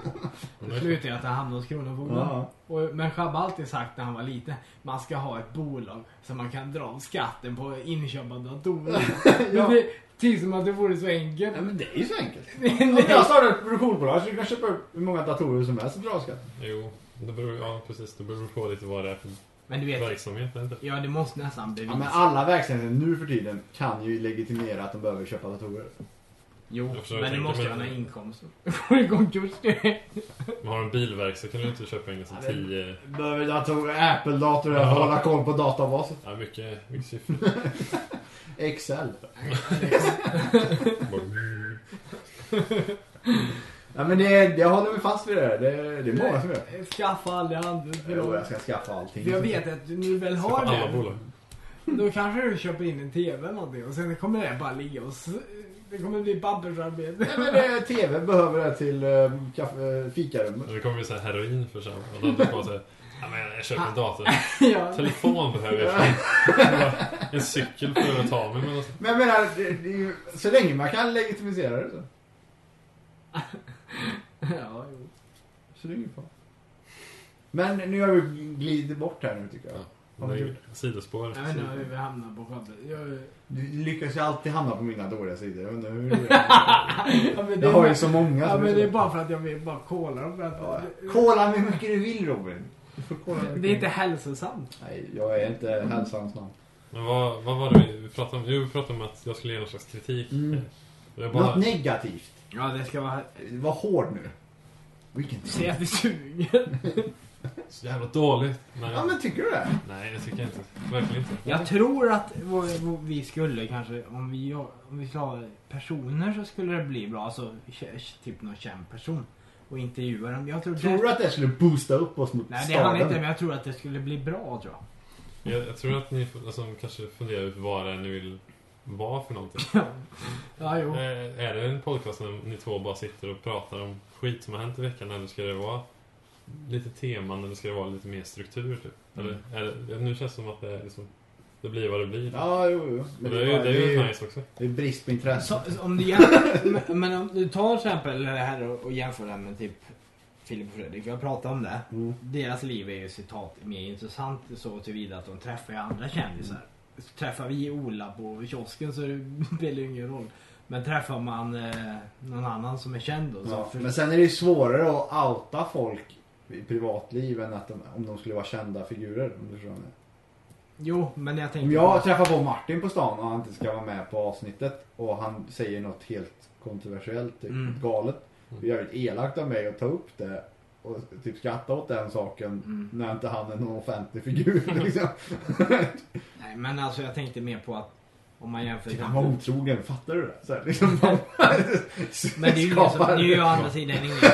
[SPEAKER 3] Det slutade ju att han hamnade hos Kronofogden.
[SPEAKER 4] Ja.
[SPEAKER 3] Och, men Schabbe har alltid sagt när han var liten, man ska ha ett bolag så man kan dra av skatten på inköp av datorer.
[SPEAKER 4] <coughs> Ja.
[SPEAKER 3] Men det tycks som att det vore så enkelt.
[SPEAKER 4] Nej, men <laughs> det är ju så enkelt. Om
[SPEAKER 3] Nej.
[SPEAKER 4] jag startar ett produktionsbolag så kan jag köpa upp hur många datorer som helst och dra skatt.
[SPEAKER 5] Jo, det beror, ja, precis. Det beror på lite vad det är för
[SPEAKER 3] Men du vet,
[SPEAKER 5] verksamhet. Inte.
[SPEAKER 3] ja det måste nästan
[SPEAKER 4] Ja, men
[SPEAKER 3] bevisas.
[SPEAKER 4] alla verksamheter nu för tiden kan ju legitimera att de behöver köpa datorer.
[SPEAKER 3] Jo,
[SPEAKER 5] Jag försöker
[SPEAKER 3] men det
[SPEAKER 5] tänka
[SPEAKER 3] måste
[SPEAKER 5] mig
[SPEAKER 3] ju ha
[SPEAKER 5] det.
[SPEAKER 3] några inkomster. <laughs> Går det i konkurs det?
[SPEAKER 5] Man har en bilverkstad kan du inte köpa in som
[SPEAKER 4] Ja, det-
[SPEAKER 5] tio...
[SPEAKER 4] Behöver datorer, Apple-datorer, ja.
[SPEAKER 5] Ja.
[SPEAKER 4] hålla koll på databaser.
[SPEAKER 5] Ja, mycket, mycket
[SPEAKER 3] <laughs>
[SPEAKER 5] siffror.
[SPEAKER 4] Excel.
[SPEAKER 5] Bara-
[SPEAKER 4] Ja, men det, jag håller mig fast vid det. här. Det, det är många som gör.
[SPEAKER 3] Skaffa aldrig
[SPEAKER 4] Jo, jag
[SPEAKER 3] andra.
[SPEAKER 4] ska skaffa allting.
[SPEAKER 3] För jag vet att du väl
[SPEAKER 5] På
[SPEAKER 3] har
[SPEAKER 5] alla
[SPEAKER 3] det.
[SPEAKER 5] bolag.
[SPEAKER 3] Då kanske du köper in en TV eller någonting och sen kommer det bara ligga och... s- Det kommer bli pappersarbete. <laughs>
[SPEAKER 4] Nej, men eh, TV behöver det till eh, kaffe, eh, fikarummet.
[SPEAKER 5] Men Det kommer ju så här heroin för sig. Och då bara så här, ja, men jag köper en
[SPEAKER 3] <laughs>
[SPEAKER 5] dator.
[SPEAKER 3] Ja.
[SPEAKER 5] Telefon behöver
[SPEAKER 3] <laughs>
[SPEAKER 5] jag. <laughs> för- En cykel för att ta mig med. något.
[SPEAKER 4] Men jag menar, det, det är ju, så länge man kan legitimisera det så.
[SPEAKER 3] Ja, jo.
[SPEAKER 4] Så det är ingen fara. Men nu har vi glidit bort här nu tycker jag.
[SPEAKER 5] Ja. Det är ju Sidospår.
[SPEAKER 3] Jag vet inte hur vi hamnar på Skövde. Jag- <laughs>
[SPEAKER 4] Du lyckas ju alltid hamna på mina dåliga sidor. Jag undrar
[SPEAKER 5] <laughs>
[SPEAKER 4] hur du gör.
[SPEAKER 3] Ja, men det
[SPEAKER 4] Jag
[SPEAKER 3] är
[SPEAKER 4] har ju
[SPEAKER 3] bara-
[SPEAKER 4] så många
[SPEAKER 3] Ja
[SPEAKER 4] som
[SPEAKER 3] men
[SPEAKER 4] så.
[SPEAKER 3] det är bara för att jag vill bara kolla dem. För att
[SPEAKER 4] Ja, Kolla hur mycket du vill Robin. Du får kolla hur mycket
[SPEAKER 3] Det är
[SPEAKER 4] du
[SPEAKER 3] inte Mm. hälsosamt.
[SPEAKER 4] vill. Nej, jag är inte hälsans man.
[SPEAKER 5] Men vad, vad var det vi- vi pratade om? Jo, vi pratade om att jag skulle ge någon slags kritik.
[SPEAKER 4] Mm.
[SPEAKER 5] Och Jag
[SPEAKER 4] Något
[SPEAKER 5] bara,
[SPEAKER 4] negativt.
[SPEAKER 3] Ja det ska vara...
[SPEAKER 4] Var hård nu. Vilken
[SPEAKER 3] Se att vi suger.
[SPEAKER 5] så jävla dåligt. Nej,
[SPEAKER 4] Ja men tycker du det?
[SPEAKER 5] nej, det tycker jag inte. Verkligen inte.
[SPEAKER 3] Jag tror att vår- vår- vi skulle kanske, om vi, om vi skulle ha personer så skulle det bli bra. Alltså kä- typ någon känd person. Och intervjua dem. Jag tror,
[SPEAKER 4] Tror
[SPEAKER 3] det...
[SPEAKER 4] du att det skulle boosta upp oss mot
[SPEAKER 3] Nej det hann
[SPEAKER 4] staden?
[SPEAKER 3] inte men jag tror att det skulle bli bra tror jag.
[SPEAKER 5] Jag, jag tror att ni får- alltså, kanske funderar ut vad det är ni vill vara för någonting.
[SPEAKER 3] Ja jo.
[SPEAKER 5] Eh, Är det en podcast när ni två bara sitter och pratar om skit som har hänt i veckan eller ska det vara lite teman eller ska det vara lite mer struktur? Typ? Eller, är det, ja, nu känns det som att det, är liksom, det blir vad det blir.
[SPEAKER 4] Mm. Ja, jo, jo.
[SPEAKER 5] Men
[SPEAKER 4] Men
[SPEAKER 5] det, är ju- det är ju
[SPEAKER 4] det,
[SPEAKER 5] nice också.
[SPEAKER 4] det är brist på intresse.
[SPEAKER 3] Så, så om du jämför, men, men om du tar till exempel det här och, och jämför det med typ Filip och Fredrik, vi har pratat om det.
[SPEAKER 4] Mm.
[SPEAKER 3] Deras liv är ju citat mer intressant så tillvida att de träffar ju andra kändisar. Träffar vi Ola på kiosken så det <laughs> spelar ju ingen roll. Men träffar man eh, någon annan som är känd då så
[SPEAKER 4] Ja,
[SPEAKER 3] för,
[SPEAKER 4] men sen är det ju svårare att outa folk i privatliv än att de, om de skulle vara kända figurer. Om du förstår vad jag menar.
[SPEAKER 3] Jo, men jag tänker...
[SPEAKER 4] Om jag träffar på Martin på stan och han inte ska vara med på avsnittet och han säger något helt kontroversiellt, typ
[SPEAKER 3] Mm.
[SPEAKER 4] galet. Det är jävligt elakt av mig att ta upp det och typ skratta åt den saken
[SPEAKER 3] Mm.
[SPEAKER 4] när inte han är någon offentlig
[SPEAKER 3] <laughs>
[SPEAKER 4] figur. Liksom.
[SPEAKER 3] Nej, men alltså jag tänkte mer på att om man jämför...
[SPEAKER 4] Typ, han var otrogen, fattar du det? Så här,
[SPEAKER 3] <laughs>
[SPEAKER 4] liksom, <laughs>
[SPEAKER 3] Men det är ju ingen som, det
[SPEAKER 4] skapar-
[SPEAKER 3] är ju å andra sidan ingen...
[SPEAKER 4] <laughs>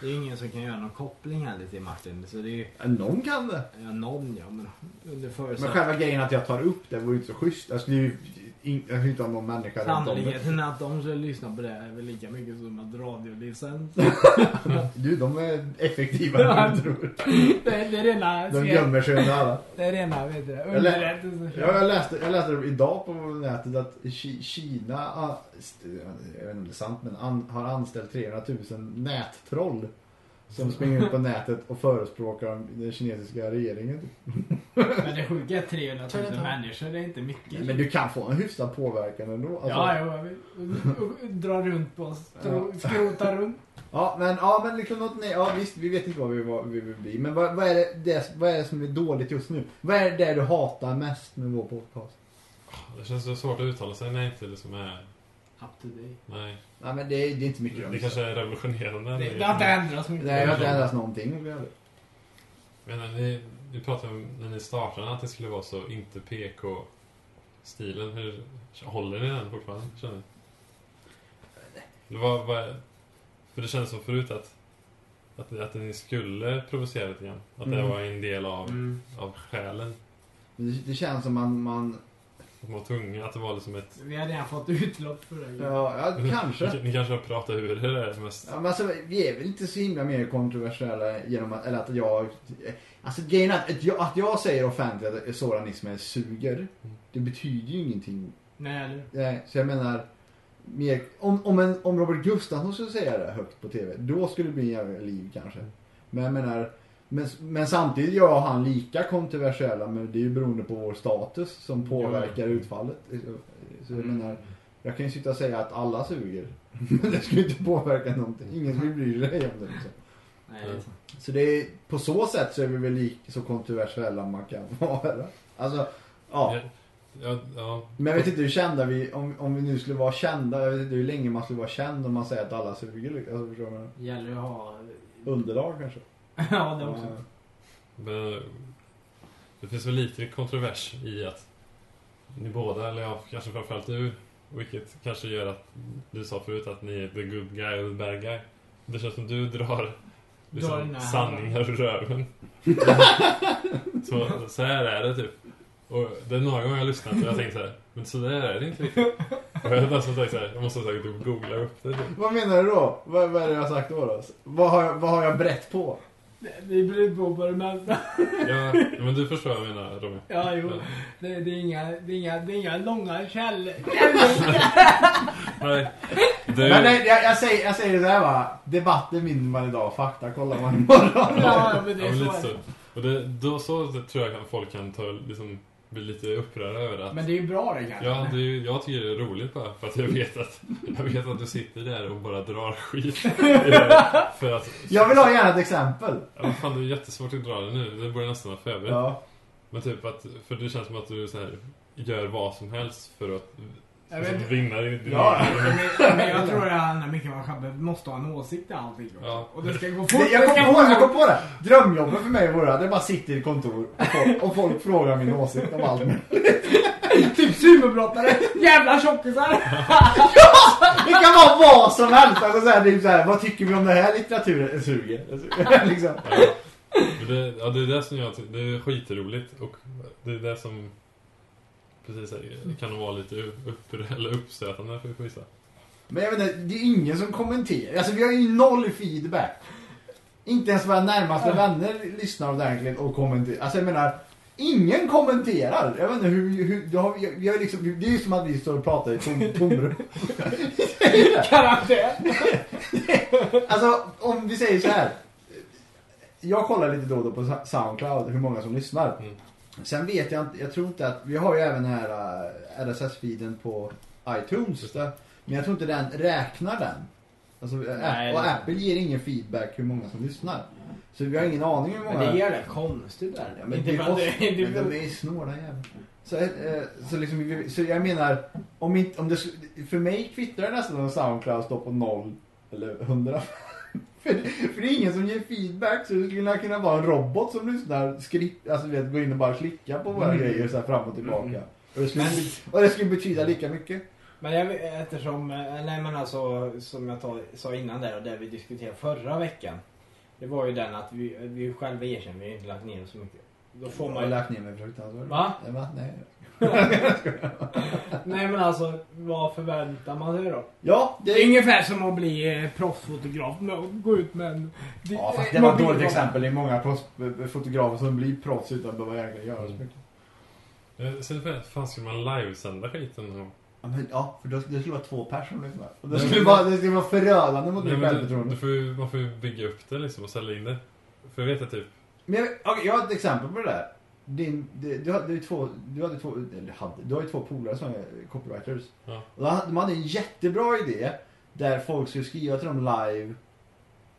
[SPEAKER 3] Det är ju ingen som kan göra någon koppling heller till Martin. Så det är ju...
[SPEAKER 4] Ja, Någon kan det.
[SPEAKER 3] Ja, någon ja, men under
[SPEAKER 4] Men
[SPEAKER 3] förutsättning.
[SPEAKER 4] själva grejen att jag tar upp det vore ju inte så schysst. Alltså, det är ju in, jag skulle inte ha någon människa runt om det.
[SPEAKER 3] Sannolikheten att de skulle lyssna på det är väl lika mycket som att radiolicens.
[SPEAKER 4] Du, de är effektivare än du tror.
[SPEAKER 3] det, är- det är rena...
[SPEAKER 4] De
[SPEAKER 3] se-
[SPEAKER 4] gömmer sig under alla.
[SPEAKER 3] Det är rena, vet du det,
[SPEAKER 4] Eller-
[SPEAKER 3] underrättelse.
[SPEAKER 4] Ja, jag, läste, jag läste det idag på nätet att Ki- Kina, ah, st- jag vet inte om det är sant, men an, har anställt 300 000 nättroll. Som springer ut på nätet och förespråkar den kinesiska regeringen.
[SPEAKER 3] Men det sjuka är 300 000 människor, det är inte mycket.
[SPEAKER 4] Men du kan få en hyfsad påverkan ändå. Alltså,
[SPEAKER 3] Ja, jo, jag vill- dra runt på oss. tro- Skrota runt.
[SPEAKER 4] Ja, men, ja, men liksom något, nej, ja, visst, vi vet inte vad vi, vad vi vill bli. Men vad, vad, är det, det, vad är det som är dåligt just nu? Vad är det du hatar mest med vår podcast?
[SPEAKER 5] Det känns så svårt att uttala sig när jag inte liksom är...
[SPEAKER 3] Up to date.
[SPEAKER 5] Nej.
[SPEAKER 4] Nej, men det, är- det är inte mycket.
[SPEAKER 5] Det kanske är revolutionerande.
[SPEAKER 3] Det, det har inte ändrats mycket.
[SPEAKER 4] Nej, jag har inte ändrat någonting. om jag hade-
[SPEAKER 5] Men när ni, ni pratade om när ni startade att det skulle vara så inte PK stilen. Hur, håller ni den fortfarande? Känner ni? Det var, var, för det kändes som förut att, att, att ni skulle provocera lite grann. Att det
[SPEAKER 4] Mm.
[SPEAKER 5] var en del av,
[SPEAKER 3] Mm.
[SPEAKER 5] av själen.
[SPEAKER 4] Men Det, det känns som man, man
[SPEAKER 5] Att man var tvungen, att det var liksom ett...
[SPEAKER 3] Vi har redan fått utlopp för det.
[SPEAKER 4] ja, ja kanske.
[SPEAKER 5] <laughs> Ni, kanske har pratat ur det där mest.
[SPEAKER 4] Ja, men alltså, vi är väl inte så himla mer kontroversiella genom att, eller att jag... Alltså grejen är att, att, jag, att jag säger offentligt att Soran Ismail suger, det betyder ju ingenting.
[SPEAKER 3] Nej, eller?
[SPEAKER 4] Nej, Så jag menar, mer, om, om, en, om Robert Gustafsson skulle säga det högt på TV, då skulle det bli en jävla liv kanske. Men jag menar, men, men samtidigt gör jag och han lika kontroversiella, men det är ju beroende på vår status som påverkar utfallet. Så jag menar, jag kan ju sitta och säga att alla suger. <laughs> Men det skulle inte påverka någonting. Ingen skulle bry sig om det. Liksom.
[SPEAKER 3] Nej, det är sant.
[SPEAKER 4] Så det är, på så sätt så är vi väl lik, så kontroversiella man kan <laughs> vara. Alltså, ja.
[SPEAKER 5] Ja, ja.
[SPEAKER 4] Men jag vet inte hur kända vi, om, om vi nu skulle vara kända, jag vet inte hur länge man skulle vara känd om man säger att alla suger. liksom. Alltså, förstår man?
[SPEAKER 3] Gäller att ha...
[SPEAKER 4] Underlag kanske.
[SPEAKER 3] <laughs> ja, det också.
[SPEAKER 5] Men det finns väl lite kontrovers i att ni båda, eller ja, kanske framförallt du, vilket kanske gör att du sa förut att ni är the good guy och the bad guy. Det känns som du drar
[SPEAKER 3] Drar
[SPEAKER 5] liksom,
[SPEAKER 3] den här.
[SPEAKER 5] sanningar ur röven.
[SPEAKER 3] <laughs>
[SPEAKER 5] så, så här är det typ. Och det är några gånger jag har lyssnat och jag har tänkt så här, men så där är det inte riktigt. Och jag har nästan tänkt så här, jag måste säkert googla upp det. Typ.
[SPEAKER 4] Vad menar du då? Vad, vad är det jag har sagt då? då? Vad, har, jag- vad har jag brett på?
[SPEAKER 3] Det- Det blir på vad du menar.
[SPEAKER 5] Ja, men du förstår vad jag menar Robin.
[SPEAKER 3] Ja, jo.
[SPEAKER 5] Ja.
[SPEAKER 3] Det, det, är inga, det, är inga, det är inga långa källor. källor.
[SPEAKER 5] Nej, du,
[SPEAKER 4] Men nej, jag, jag, säger, jag säger det här va. Debatten vinner man idag, fakta kollar man <laughs> imorgon.
[SPEAKER 3] Ja, men det
[SPEAKER 5] Ja,
[SPEAKER 3] är
[SPEAKER 5] men
[SPEAKER 3] så.
[SPEAKER 5] lite
[SPEAKER 3] är
[SPEAKER 5] så.
[SPEAKER 3] det.
[SPEAKER 5] Och det, då så tror jag att folk kan ta, liksom, bli lite upprörda över att...
[SPEAKER 3] Men det är ju bra det kanske.
[SPEAKER 5] Ja, det är, ju- jag tycker det är roligt bara, för att jag vet att, jag vet att du sitter där och bara drar
[SPEAKER 3] <laughs>
[SPEAKER 5] skit. för att...
[SPEAKER 4] Jag vill ha gärna ett exempel.
[SPEAKER 5] Ja, men fan, det är jättesvårt att dra det nu. Det borde nästan vara förberett.
[SPEAKER 4] Ja.
[SPEAKER 5] Men typ att, för det känns som att du så här, gör vad som helst för att,
[SPEAKER 3] Jag
[SPEAKER 5] för
[SPEAKER 3] vet
[SPEAKER 5] att vinna din... din-
[SPEAKER 4] Ja.
[SPEAKER 3] Men, men <laughs> jag tror det handlar mycket om att Shabbe måste ha en åsikt i allting. också.
[SPEAKER 5] Ja.
[SPEAKER 3] Och det ska gå fort.
[SPEAKER 4] Det, jag,
[SPEAKER 3] det ska
[SPEAKER 4] kom på,
[SPEAKER 3] gå
[SPEAKER 4] jag
[SPEAKER 3] fort.
[SPEAKER 4] kom på det! Drömjobbet för mig vore att jag bara sitter i ett kontor och folk, och folk frågar min åsikt om allt möjligt.
[SPEAKER 3] Typ superbrottare.
[SPEAKER 4] <laughs>
[SPEAKER 3] Jävla tjockisar.
[SPEAKER 4] Det kan vara vad som helst! Alltså så här, typ så här, vad tycker vi om den här litteraturen? Det Suger. <laughs> Alltså, liksom.
[SPEAKER 5] Ja. Men Det, ja, det är det som jag ty- det är skitroligt och det är det som precis här, kan vara lite upp, eller uppstötande för vissa.
[SPEAKER 4] Men jag vet inte, det är ingen som kommenterar. Alltså vi har ju noll feedback. Inte ens våra närmaste vänner lyssnar ordentligt och kommenterar. Alltså jag menar, ingen kommenterar. Jag vet inte hur, hur då har vi, vi har liksom, det är ju som att vi står och pratar i tom, tomrum.
[SPEAKER 3] Karantän.
[SPEAKER 4] Alltså om vi säger så här. Jag kollar lite då och då på Soundcloud hur många som lyssnar.
[SPEAKER 5] Mm.
[SPEAKER 4] Sen vet jag inte, jag tror inte att, vi har ju även den här eh, RSS-feeden på iTunes. Där, men jag tror inte den räknar den. Alltså, eh,
[SPEAKER 3] Nej,
[SPEAKER 4] och
[SPEAKER 3] det-
[SPEAKER 4] Apple ger ingen feedback hur många som lyssnar. Så vi har ingen aning hur många.
[SPEAKER 3] Men det är rätt konstigt där.
[SPEAKER 4] Ja, men
[SPEAKER 3] <laughs> Inte
[SPEAKER 4] det
[SPEAKER 3] för att
[SPEAKER 4] är oss.
[SPEAKER 3] det- inte för
[SPEAKER 4] Men
[SPEAKER 3] att-
[SPEAKER 4] de är snåla jävlar. Så, eh, så, liksom, vi- så jag menar, om inte, om det, sk- för mig kvittar det nästan om Soundcloud står på noll eller 100. <laughs> För, för det är ingen som ger feedback så det skulle kunna vara en robot som lyssnar, skripp, alltså du vet, går in och bara klickar på
[SPEAKER 3] Mm.
[SPEAKER 4] våra grejer så här fram och tillbaka. Och, det skulle, och det skulle betyda lika mycket.
[SPEAKER 3] Men jag, vet- eftersom, eh, nej men alltså som jag ta- sa innan där och det vi diskuterade förra veckan. Det var ju den att vi, vi själva erkänner, vi har inte lagt ner så mycket. Då får
[SPEAKER 4] Jag
[SPEAKER 3] man
[SPEAKER 4] har
[SPEAKER 3] ju...
[SPEAKER 4] lagt ner mig fruktansvärt.
[SPEAKER 3] Va?
[SPEAKER 4] Eh, Va? Nej.
[SPEAKER 3] Nej men alltså, vad förväntar man sig då?
[SPEAKER 4] Ja,
[SPEAKER 3] Det är ungefär som att bli eh, proffsfotograf och gå ut med en...
[SPEAKER 4] Ja,
[SPEAKER 3] eh,
[SPEAKER 4] fast det var ett dåligt
[SPEAKER 3] mobilkamera.
[SPEAKER 4] exempel. Det är många proffs- fotografer som blir proffs utan att behöva egentligen göra så mycket.
[SPEAKER 5] Jag ser för fan skulle man livesända skiten? någon gång?
[SPEAKER 4] Ja, men, ja för då, det skulle vara två personer som Och det skulle, vara, det skulle vara förödande mot
[SPEAKER 5] Nej,
[SPEAKER 4] ditt
[SPEAKER 5] men du,
[SPEAKER 4] självförtroende.
[SPEAKER 5] du får ju, man får ju bygga upp det liksom och sälja in det. För jag vet att typ,
[SPEAKER 4] Men jag, okej, jag har ett exempel på det där. Din, du, du, hade ju två, du hade två, eller hade, du har ju två polare som är copywriters.
[SPEAKER 5] Ja.
[SPEAKER 4] Och de hade- de hade en jättebra idé där folk skulle skriva till dem live.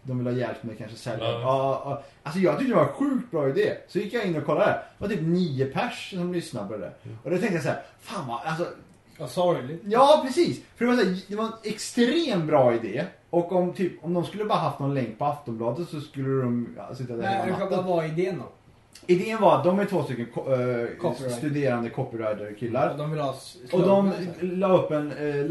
[SPEAKER 4] De vill ha hjälp med kanske sälja.
[SPEAKER 5] Ja.
[SPEAKER 4] Ja. ja. Alltså jag tyckte det var en sjukt bra idé. Så gick jag in och kollade. Det var typ nio pers som lyssnade på det där. Och då tänkte jag så här, fan vad, alltså
[SPEAKER 3] Vad sorgligt.
[SPEAKER 4] Ja, precis. För det var, så här, det var en extremt bra idé. Och om, typ, om de skulle bara haft någon länk på Aftonbladet så skulle de ja, sitta där
[SPEAKER 3] Nej,
[SPEAKER 4] hela
[SPEAKER 3] det kan
[SPEAKER 4] natten.
[SPEAKER 3] bara vara idén då.
[SPEAKER 4] Idén var att de är två stycken ko- eh,
[SPEAKER 3] Copyright.
[SPEAKER 4] studerande copywriter-killar.
[SPEAKER 3] De vill ha s-
[SPEAKER 4] Och de
[SPEAKER 3] slogan, så här.
[SPEAKER 4] la upp en eh,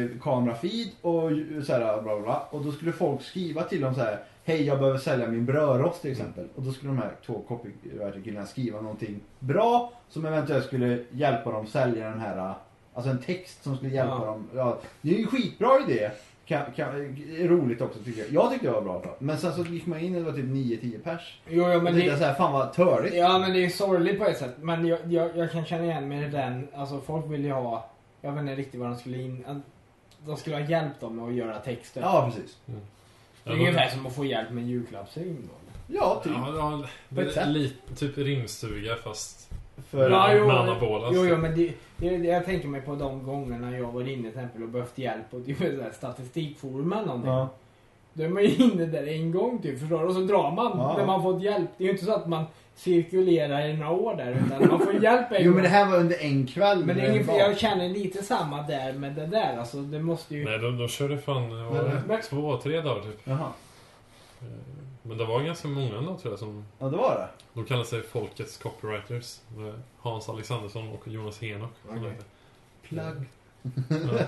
[SPEAKER 4] live-kamera-feed och ju- så här, bla bla bla. Och då skulle folk skriva till dem så här. Hej jag behöver sälja min brödrost till exempel. Och då skulle de här två copywriter-killarna skriva någonting bra. Som eventuellt skulle hjälpa dem sälja den här. eh, Alltså en text som skulle hjälpa
[SPEAKER 3] Ja.
[SPEAKER 4] dem. Ja, det är ju en skitbra idé. Kan, kan, är roligt också tycker jag. Jag tyckte det var bra. då. Men sen så gick man in och det var typ 9-10 pers.
[SPEAKER 3] Jo, jo,
[SPEAKER 4] Men
[SPEAKER 3] men
[SPEAKER 4] och
[SPEAKER 3] det,
[SPEAKER 4] tänkte så här, fan vad törligt.
[SPEAKER 3] Ja men det är sorgligt på ett sätt. Men jag, jag, jag kan känna igen mig i den, alltså folk vill ju ha, jag vet inte riktigt vad de skulle in... att De skulle ha hjälpt dem med att göra texter.
[SPEAKER 4] Ja precis.
[SPEAKER 3] Det är ungefär som att få hjälp med en julklappsrim då.
[SPEAKER 4] Ja typ.
[SPEAKER 5] Ja, ja,
[SPEAKER 4] På ett
[SPEAKER 5] det är
[SPEAKER 4] sätt.
[SPEAKER 5] lite, typ rimstuga fast
[SPEAKER 4] För,
[SPEAKER 5] Ja, jo.
[SPEAKER 3] men-
[SPEAKER 5] med anabola,
[SPEAKER 3] jo,
[SPEAKER 5] så.
[SPEAKER 3] jo, men det, det, det, jag tänker mig på de gångerna jag var inne till exempel och behövt hjälp på typ, ett så här statistikforum eller någonting.
[SPEAKER 4] ja.
[SPEAKER 3] Då är man ju inne där en gång typ, förstår du? Och så drar man
[SPEAKER 4] Ja.
[SPEAKER 3] när man fått hjälp. Det är ju inte så att man cirkulerar i några år där utan man får hjälp en
[SPEAKER 4] Jo
[SPEAKER 3] gång.
[SPEAKER 4] men det här var under en kväll.
[SPEAKER 3] Men det är
[SPEAKER 4] en
[SPEAKER 3] ingen,
[SPEAKER 4] dag.
[SPEAKER 3] jag känner lite samma där med det där. Alltså det måste ju...
[SPEAKER 5] Nej, de, de körde fan vad var det,
[SPEAKER 3] Men-
[SPEAKER 5] två, tre dagar typ.
[SPEAKER 4] Jaha,
[SPEAKER 5] Eh, Men det var ganska många ändå tror jag som
[SPEAKER 4] ja det var det.
[SPEAKER 5] de kallar sig Folkets Copywriters. Det var Hans Alexandersson och Jonas Henok. som
[SPEAKER 3] Okej.
[SPEAKER 5] heter.
[SPEAKER 4] Plugg.
[SPEAKER 5] Ja.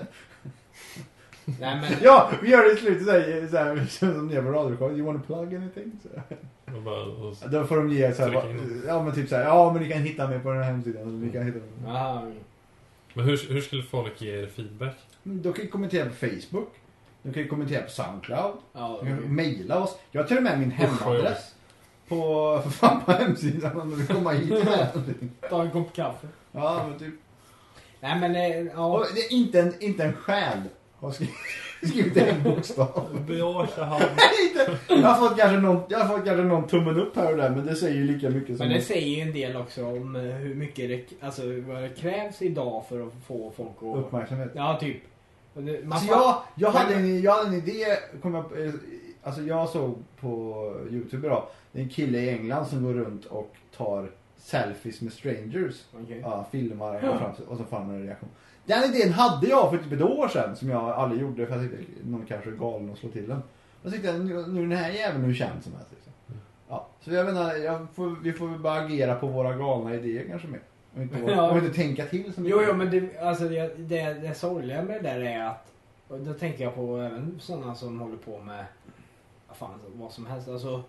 [SPEAKER 3] Nej men...
[SPEAKER 4] Ja, vi gör det i slutet såhär, såhär som ni gör på radioshowen. You wanna plug anything? Så.
[SPEAKER 5] Och bara, och,
[SPEAKER 4] Då får de ge såhär,
[SPEAKER 5] Tryck
[SPEAKER 4] bara,
[SPEAKER 5] in.
[SPEAKER 4] ja men typ såhär, ja men ni kan hitta mig på den här hemsidan. Eller, ni kan hitta mig.
[SPEAKER 3] Aha,
[SPEAKER 5] men hur, hur skulle folk ge er feedback?
[SPEAKER 4] Mm, Då kan ni kommentera på Facebook. Du kan ju kommentera på Soundcloud.
[SPEAKER 3] ja,
[SPEAKER 4] Du kan mejla oss. Jag har till och med min
[SPEAKER 5] Usch, vad
[SPEAKER 4] hemadress. På, för fan på hemsidan om du vill komma hit med någonting.
[SPEAKER 3] ta en kopp kaffe.
[SPEAKER 4] Ja men typ.
[SPEAKER 3] Nej men eh,
[SPEAKER 4] Och
[SPEAKER 3] ja.
[SPEAKER 4] det är inte en, inte en själ har skrivit, <laughs> skrivit en bokstav.
[SPEAKER 5] Beata Hamn.
[SPEAKER 4] Inte. Jag har fått kanske någon, jag har fått kanske någon tummen upp här och där men det säger ju lika mycket som...
[SPEAKER 3] Men det säger ju en del också om eh, hur mycket det, alltså, vad det krävs idag för att få folk att...
[SPEAKER 4] Uppmärksamhet.
[SPEAKER 3] Ja, typ. Och det- Man
[SPEAKER 4] Alltså
[SPEAKER 3] fa-
[SPEAKER 4] jag, jag, hade en, jag hade en idé, kom jag, på, eh, alltså jag såg på Youtube idag, det är en kille i England som går runt och tar selfies med strangers.
[SPEAKER 3] Okej.
[SPEAKER 4] Ja, filmar och, går fram, och så får han en reaktion. Den idén hade jag för typ ett år sedan som jag aldrig gjorde för jag tyckte någon kanske är galen och slår till den. Jag tyckte jag, nu nu är den här jäveln hur känd som helst. Liksom.
[SPEAKER 3] Mm.
[SPEAKER 4] Ja, så jag menar, jag får, vi får väl bara agera på våra galna idéer kanske mer. Och inte,
[SPEAKER 3] Ja.
[SPEAKER 4] och inte tänka till så mycket.
[SPEAKER 3] Jo, jo, men det, alltså, det, det, det sorgliga med det där är att... Och då tänker jag på även sådana som håller på med vad fan, alltså, vad som helst. Alltså,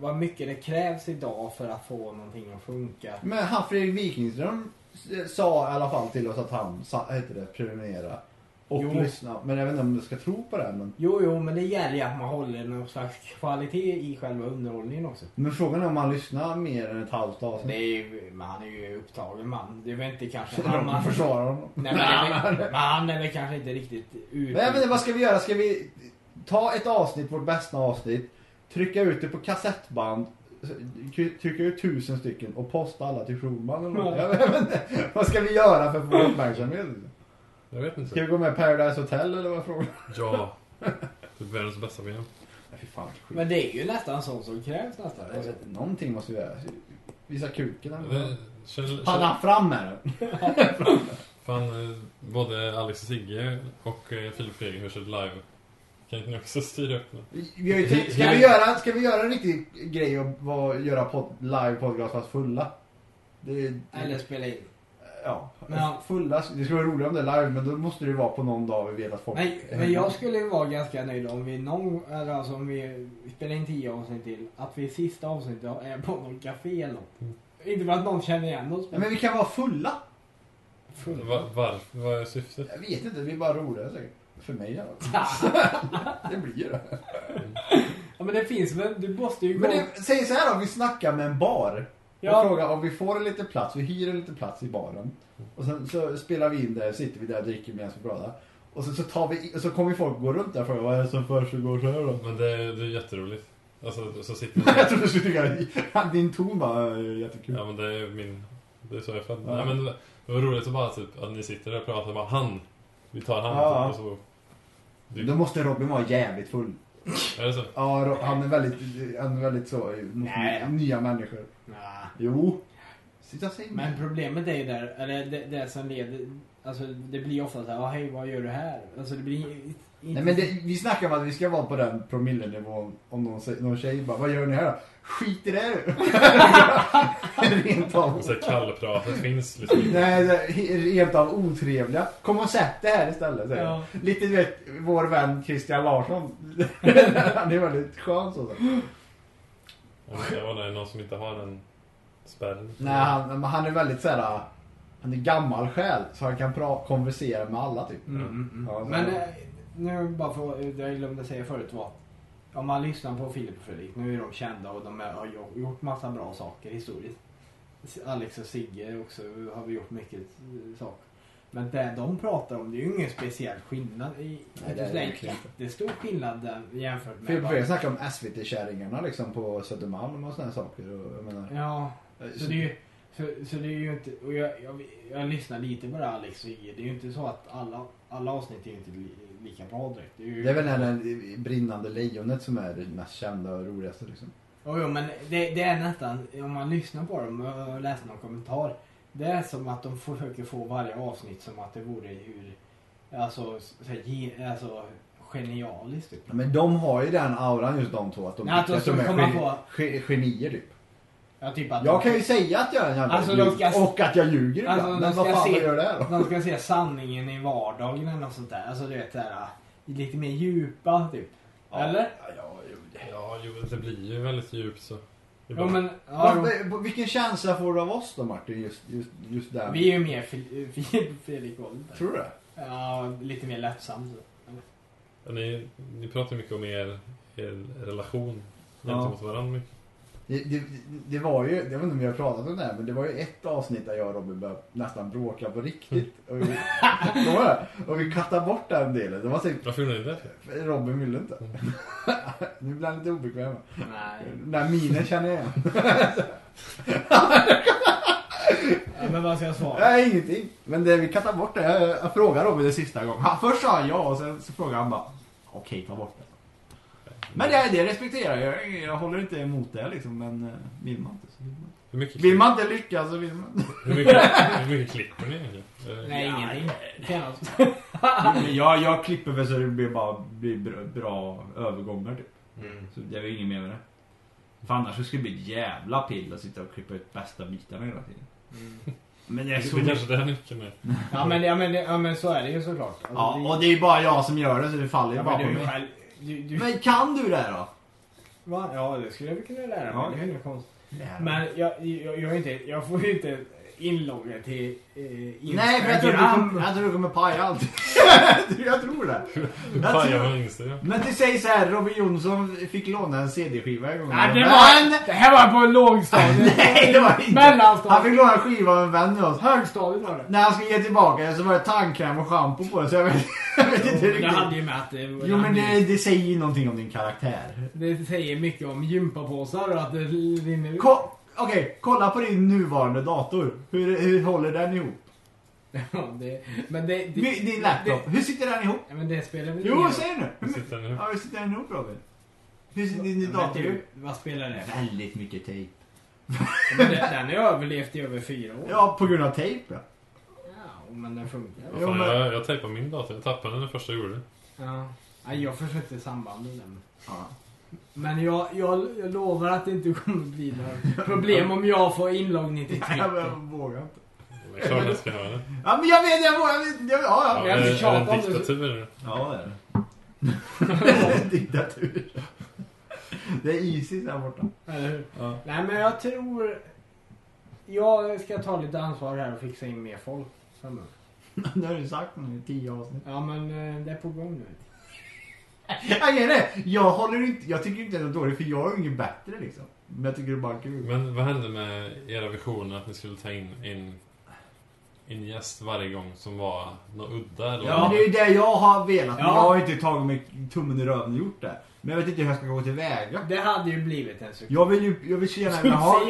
[SPEAKER 3] vad mycket det krävs idag för att få någonting att funka.
[SPEAKER 4] Men han Fredrik Wikingström s- sa i alla fall till oss att han sa, heter det, prenumerera och
[SPEAKER 3] Jo.
[SPEAKER 4] lyssna. Men jag vet inte om du ska tro på det här, men,
[SPEAKER 3] Jo, jo, men det gäller ju att man håller någon slags kvalitet i själva underhållningen också.
[SPEAKER 4] men frågan är om han lyssnar mer än ett halvt
[SPEAKER 3] Det
[SPEAKER 4] avsnitt.
[SPEAKER 3] är ju, men han är ju upptagen man. Det är väl inte kanske...
[SPEAKER 4] Så
[SPEAKER 3] Han,
[SPEAKER 4] de
[SPEAKER 3] man,
[SPEAKER 4] försvarar honom.
[SPEAKER 3] nej, men, men han är väl kanske inte riktigt ut.
[SPEAKER 4] Men jag vet inte, vad ska vi göra? Ska vi ta ett avsnitt, vårt bästa avsnitt, trycka ut det på kassettband, trycka ut tusen stycken och posta alla till Schulman eller något? Jag vet inte. <laughs> Vad ska vi göra för att få uppmärksamhet?
[SPEAKER 5] Jag vet
[SPEAKER 4] Ska
[SPEAKER 5] inte.
[SPEAKER 4] vi gå med i Paradise Hotel eller vad frågan?
[SPEAKER 5] Ja. <laughs> Typ världens bästa program.
[SPEAKER 4] Nej, fy fan. skit.
[SPEAKER 3] Men det är ju nästan sånt som krävs nästan.
[SPEAKER 4] Jag vet inte, Någonting måste vi göra. Visa kuken. eller något.
[SPEAKER 5] Det- Känner, känner,
[SPEAKER 4] Panna fram med den.
[SPEAKER 5] fan, eh, både Alex och Sigge och eh, Filip Fredrik hörs ut live. Kan inte ni också styra upp det?
[SPEAKER 4] Vi har ju tänkt- Ska vi göra, ska vi göra en riktig grej och vad, göra pod, live podcast fast fulla? Det, det,
[SPEAKER 3] Eller spela in.
[SPEAKER 4] Ja.
[SPEAKER 3] Ja.
[SPEAKER 4] Fulla, det skulle vara roligare om det är live men då måste det ju vara på någon dag vi vet att folk...
[SPEAKER 3] Men, men jag skulle ju vara ganska nöjd om vi någon, eller alltså om vi spelar in tio avsnitt till, att vi i sista avsnittet är på någon café eller något. Inte för att någon känner igen oss.
[SPEAKER 4] Ja, men vi kan vara fulla.
[SPEAKER 3] Full.
[SPEAKER 5] Va- Varför? Vad är syftet?
[SPEAKER 4] Jag vet inte, vi är bara roliga säkert. För mig i alla fall. Det blir ju det.
[SPEAKER 3] <laughs> Ja men det finns väl, du måste ju gå...
[SPEAKER 4] Men det, säg så här då, vi snackar med en bar.
[SPEAKER 3] Ja.
[SPEAKER 4] Och frågar om vi får en liten plats, vi hyr en liten plats i baren. Och sen så spelar vi in där, sitter vi där och dricker medan vi pratar. Och så, så, tar vi, i- och så kommer folk gå runt där och fråga vad är det som försiggår så här då? <laughs>
[SPEAKER 5] Men det, är- det är jätteroligt. Alltså, så sitter
[SPEAKER 4] Jag
[SPEAKER 5] man...
[SPEAKER 4] trodde du skulle tycka <laughs> att din ton var eh, jättekul.
[SPEAKER 5] Ja men det är min... Det är så jag är född.
[SPEAKER 4] Ja.
[SPEAKER 5] Nej, men det, det var roligt att bara typ, att ni sitter där och pratar bara han. Vi tar han
[SPEAKER 4] Ja.
[SPEAKER 5] typ, och så... Du,
[SPEAKER 4] Då måste Robin vara jävligt full.
[SPEAKER 5] Är det så?
[SPEAKER 4] Ja, Ro- han är väldigt, han är väldigt så eh, mot
[SPEAKER 3] Nej.
[SPEAKER 4] nya människor.
[SPEAKER 3] Nja,
[SPEAKER 4] Jo. Sitta och säga
[SPEAKER 3] Men
[SPEAKER 4] nej.
[SPEAKER 3] problemet är ju där, eller det, det som leder, alltså det blir ofta så här, "Ah, hej vad gör du här? Alltså det blir inte...
[SPEAKER 4] Nej men det, vi snackar om att vi ska vara på den promillenivån om någon, sä- någon tjej bara, vad gör ni här då? Skit i det du! <laughs> rent av,
[SPEAKER 5] Så här kallpratet finns liksom inte.
[SPEAKER 4] nej, det- rent av otrevliga. Kom och sätt det här istället säger jag.
[SPEAKER 3] Ja.
[SPEAKER 4] Lite du vet, vår vän Christian Larsson. Han är väldigt skön så.
[SPEAKER 5] Om det kan vara någon som inte har den spärren.
[SPEAKER 4] Nej, han, men han är väldigt såhär, han är gammal själ så han kan pra- konversera med alla typ.
[SPEAKER 3] Mm, mm, mm.
[SPEAKER 4] Ja, så-
[SPEAKER 3] Men eh, nu bara för det jag glömde säga förut var att om man lyssnar på Filip och Fredrik, nu är de kända och de har jo- gjort massa bra saker historiskt. S- Alex och Sigge också har vi gjort mycket eh, saker. Men det de pratar om det är ju ingen speciell skillnad. I,
[SPEAKER 4] Nej, det är det
[SPEAKER 3] det är
[SPEAKER 4] verkligen
[SPEAKER 3] en jättestor skillnad där jämfört
[SPEAKER 4] För
[SPEAKER 3] med...
[SPEAKER 4] jag började
[SPEAKER 3] vad-
[SPEAKER 4] snacka om SVT-kärringarna liksom på Södermalm och sådana saker. Och, jag menar,
[SPEAKER 3] Ja, Så det är ju, så, så det är ju inte, och jag, jag, jag lyssnar lite på det här Alex och Sigge. Det är ju inte så att alla, alla avsnitt är ju inte li, lika bra direkt. Det är ju,
[SPEAKER 4] Det är väl den här brinnande lejonet som är det mest kända och roligaste liksom.
[SPEAKER 3] Jo, jo, men det, det är nästan, om man lyssnar på dem och läser någon kommentar. Det är som att de försöker få varje avsnitt som att det vore hur, alltså, så här, ge, alltså genialiskt typ.
[SPEAKER 4] Ja, Men de har ju den auran just de två. Att de,
[SPEAKER 3] Nej, alltså, att de
[SPEAKER 4] de
[SPEAKER 3] skulle komma på.
[SPEAKER 4] ge- genier typ.
[SPEAKER 3] Ja, typ att
[SPEAKER 4] Jag
[SPEAKER 3] de-
[SPEAKER 4] kan ju säga att jag är en jävla
[SPEAKER 3] Alltså,
[SPEAKER 4] idiot
[SPEAKER 3] de ska-
[SPEAKER 4] och att jag ljuger
[SPEAKER 3] Alltså,
[SPEAKER 4] ibland.
[SPEAKER 3] de
[SPEAKER 4] Men vad
[SPEAKER 3] ska
[SPEAKER 4] fan
[SPEAKER 3] se-
[SPEAKER 4] vad gör det här då?
[SPEAKER 3] Man ska se sanningen i vardagen eller något sånt där. Alltså du vet det här, lite mer djupa typ. Eller?
[SPEAKER 4] Ja, ja, jo, det-
[SPEAKER 5] Ja, jo, det blir ju väldigt djupt så.
[SPEAKER 3] Jo, men, ja, jo.
[SPEAKER 4] Vad- vad- Vilken känsla får du av oss då Martin? Just, just, just där.
[SPEAKER 3] Vi är ju mer Fil- Fil- <laughs> Fredrik Gold.
[SPEAKER 4] Tror du det?
[SPEAKER 3] Ja, lite mer lättsam.
[SPEAKER 5] Ni, ni pratar mycket om er, er relation
[SPEAKER 4] Ja.
[SPEAKER 5] gentemot varandra. Mycket.
[SPEAKER 4] Det, det, det var ju, jag vet inte om vi har pratat om det här, men det var ju ett avsnitt där jag och Robin började nästan bråka på riktigt. Och vi, <laughs> Då var det. och vi kattade bort den delen. Det var typ
[SPEAKER 5] Varför gjorde ni det?
[SPEAKER 4] Robin ville inte. <laughs> Nu blir han lite obekväm.
[SPEAKER 3] Nej.
[SPEAKER 4] Den där minen känner jag igen.
[SPEAKER 3] Ja, men vad ska jag svara?
[SPEAKER 4] Nej, ingenting. Men det, vi kattar bort det. Jag, jag frågade Robin det sista gången. Han, först sa han ja och sen så frågade han bara okej, ta bort det. Men det, det respekterar jag. jag. Jag håller inte emot det liksom. Men eh, vill man inte så vill man inte.
[SPEAKER 5] Hur mycket,
[SPEAKER 4] Vill man inte lyckas så vill man inte.
[SPEAKER 5] hur mycket, hur mycket klipper ni? egentligen? Eh,
[SPEAKER 3] Nej, ingenting. Kan jag inte.
[SPEAKER 4] Men jag, jag klipper väl så det blir bara blir bra, bra övergångar typ.
[SPEAKER 5] Mm.
[SPEAKER 4] Så det är ju inget mer med det. För annars så skulle det bli ett jävla pill att sitta och klippa ut bästa bitarna hela tiden. Men det typ- är så
[SPEAKER 5] Det är kanske är där nyckeln är.
[SPEAKER 3] Mm. Ja, men, ja, men, ja, men så är det ju såklart. Alltså,
[SPEAKER 4] Ja,
[SPEAKER 3] det-
[SPEAKER 4] och det är bara jag som gör det så det faller ju
[SPEAKER 3] ja,
[SPEAKER 4] bara
[SPEAKER 3] men
[SPEAKER 4] på
[SPEAKER 3] du är ju
[SPEAKER 4] mig.
[SPEAKER 3] själv... Du, du,
[SPEAKER 4] Men kan du det då?
[SPEAKER 3] va? Ja, det skulle jag väl kunna lära mig.
[SPEAKER 4] Ja.
[SPEAKER 3] Det är ju inget konstigt. Men jag, jag, jag, är inte, jag får ju inte inlogga till eh,
[SPEAKER 4] Nej, för jag tror, du
[SPEAKER 3] Instagram.
[SPEAKER 4] kommer, jag tror du kommer paja allt. <laughs> jag tror det.
[SPEAKER 5] Hur
[SPEAKER 4] Jag
[SPEAKER 5] pajar
[SPEAKER 4] tror-
[SPEAKER 5] man Instagram?
[SPEAKER 4] Men det sägs så här, Robin Jonsson fick låna en CD-skiva en gång.
[SPEAKER 3] Nej, det, var,
[SPEAKER 4] Men-
[SPEAKER 3] det här var på lågstadiet.
[SPEAKER 4] <laughs> Nej, det var inte. Han
[SPEAKER 3] Mellanstadiet.
[SPEAKER 4] fick låna en skiva av en vän till oss.
[SPEAKER 3] Högstadiet var det.
[SPEAKER 4] När han skulle ge tillbaka den så var det tandkräm och schampo på den så jag vet, <laughs> jag vet inte
[SPEAKER 3] Det hade
[SPEAKER 4] riktigt.
[SPEAKER 3] ju med att det,
[SPEAKER 4] Jo men det, det säger ju någonting om din karaktär.
[SPEAKER 3] Det säger mycket om gympapåsar och att det rinner ut.
[SPEAKER 4] Ko- Okej, kolla på din nuvarande dator. Hur, hur håller den ihop?
[SPEAKER 3] Ja, det, men det, det,
[SPEAKER 4] Min- Din laptop,
[SPEAKER 3] Det,
[SPEAKER 4] hur sitter den ihop?
[SPEAKER 3] ja, men det spelar väl
[SPEAKER 4] Jo,
[SPEAKER 3] ingen
[SPEAKER 4] säg nu!
[SPEAKER 5] Hur sitter den nu?
[SPEAKER 4] Ja, hur sitter den ihop Robin? Hur sitter
[SPEAKER 3] roll.
[SPEAKER 4] din dator
[SPEAKER 3] Men
[SPEAKER 4] ihop?
[SPEAKER 3] du, vad spelar det?
[SPEAKER 4] Väldigt mycket tejp.
[SPEAKER 3] Men det- Den har ju överlevt i över fyra år.
[SPEAKER 4] Ja, på grund av tejp ja.
[SPEAKER 3] Ja, men den funkar.
[SPEAKER 4] Jo,
[SPEAKER 5] Fan,
[SPEAKER 4] men-
[SPEAKER 5] jag, jag tejpade min dator. Jag tappade den det första jag gjorde.
[SPEAKER 3] Ja. Nej, jag försökte samband med den.
[SPEAKER 4] ja.
[SPEAKER 3] Men jag, jag, jag lovar att det inte kommer bli några problem om jag får inloggning till
[SPEAKER 4] Nej, men <laughs> jag
[SPEAKER 3] Twitter.
[SPEAKER 4] vågar inte.
[SPEAKER 5] Det är klart jag ska göra det.
[SPEAKER 4] Ja, men jag vet, jag vågar jag vet- jag-
[SPEAKER 5] Ja,
[SPEAKER 4] Ja,
[SPEAKER 3] jag
[SPEAKER 5] är,
[SPEAKER 3] har inte
[SPEAKER 5] är det
[SPEAKER 3] tjatat
[SPEAKER 5] en
[SPEAKER 3] om det.
[SPEAKER 5] diktatur?
[SPEAKER 4] Ja, det är <laughs> det. Diktatur. Det är Isis där borta.
[SPEAKER 3] Eller hur?
[SPEAKER 4] Ja.
[SPEAKER 3] Nej, men jag tror... Jag ska ta lite ansvar här och fixa in mer folk framöver.
[SPEAKER 4] Nu har du sagt nu i tio avsnitt.
[SPEAKER 3] Ja, men eh, det är på gång nu.
[SPEAKER 4] Jag är det. Jag håller inte, jag tycker inte det är dåligt för jag är ju inget bättre liksom. Men jag tycker det är bara kul.
[SPEAKER 5] Men vad hände med era visioner att ni skulle ta in, in en gäst varje gång som var något udda eller
[SPEAKER 4] Ja, men det är ju det jag har velat. Men
[SPEAKER 3] Ja.
[SPEAKER 4] jag har inte tagit mig tummen i röven och gjort det. Men jag vet inte hur jag ska gå tillväga.
[SPEAKER 3] Det hade ju blivit en succé.
[SPEAKER 4] Jag vill ju, jag vill så gärna vilja ha,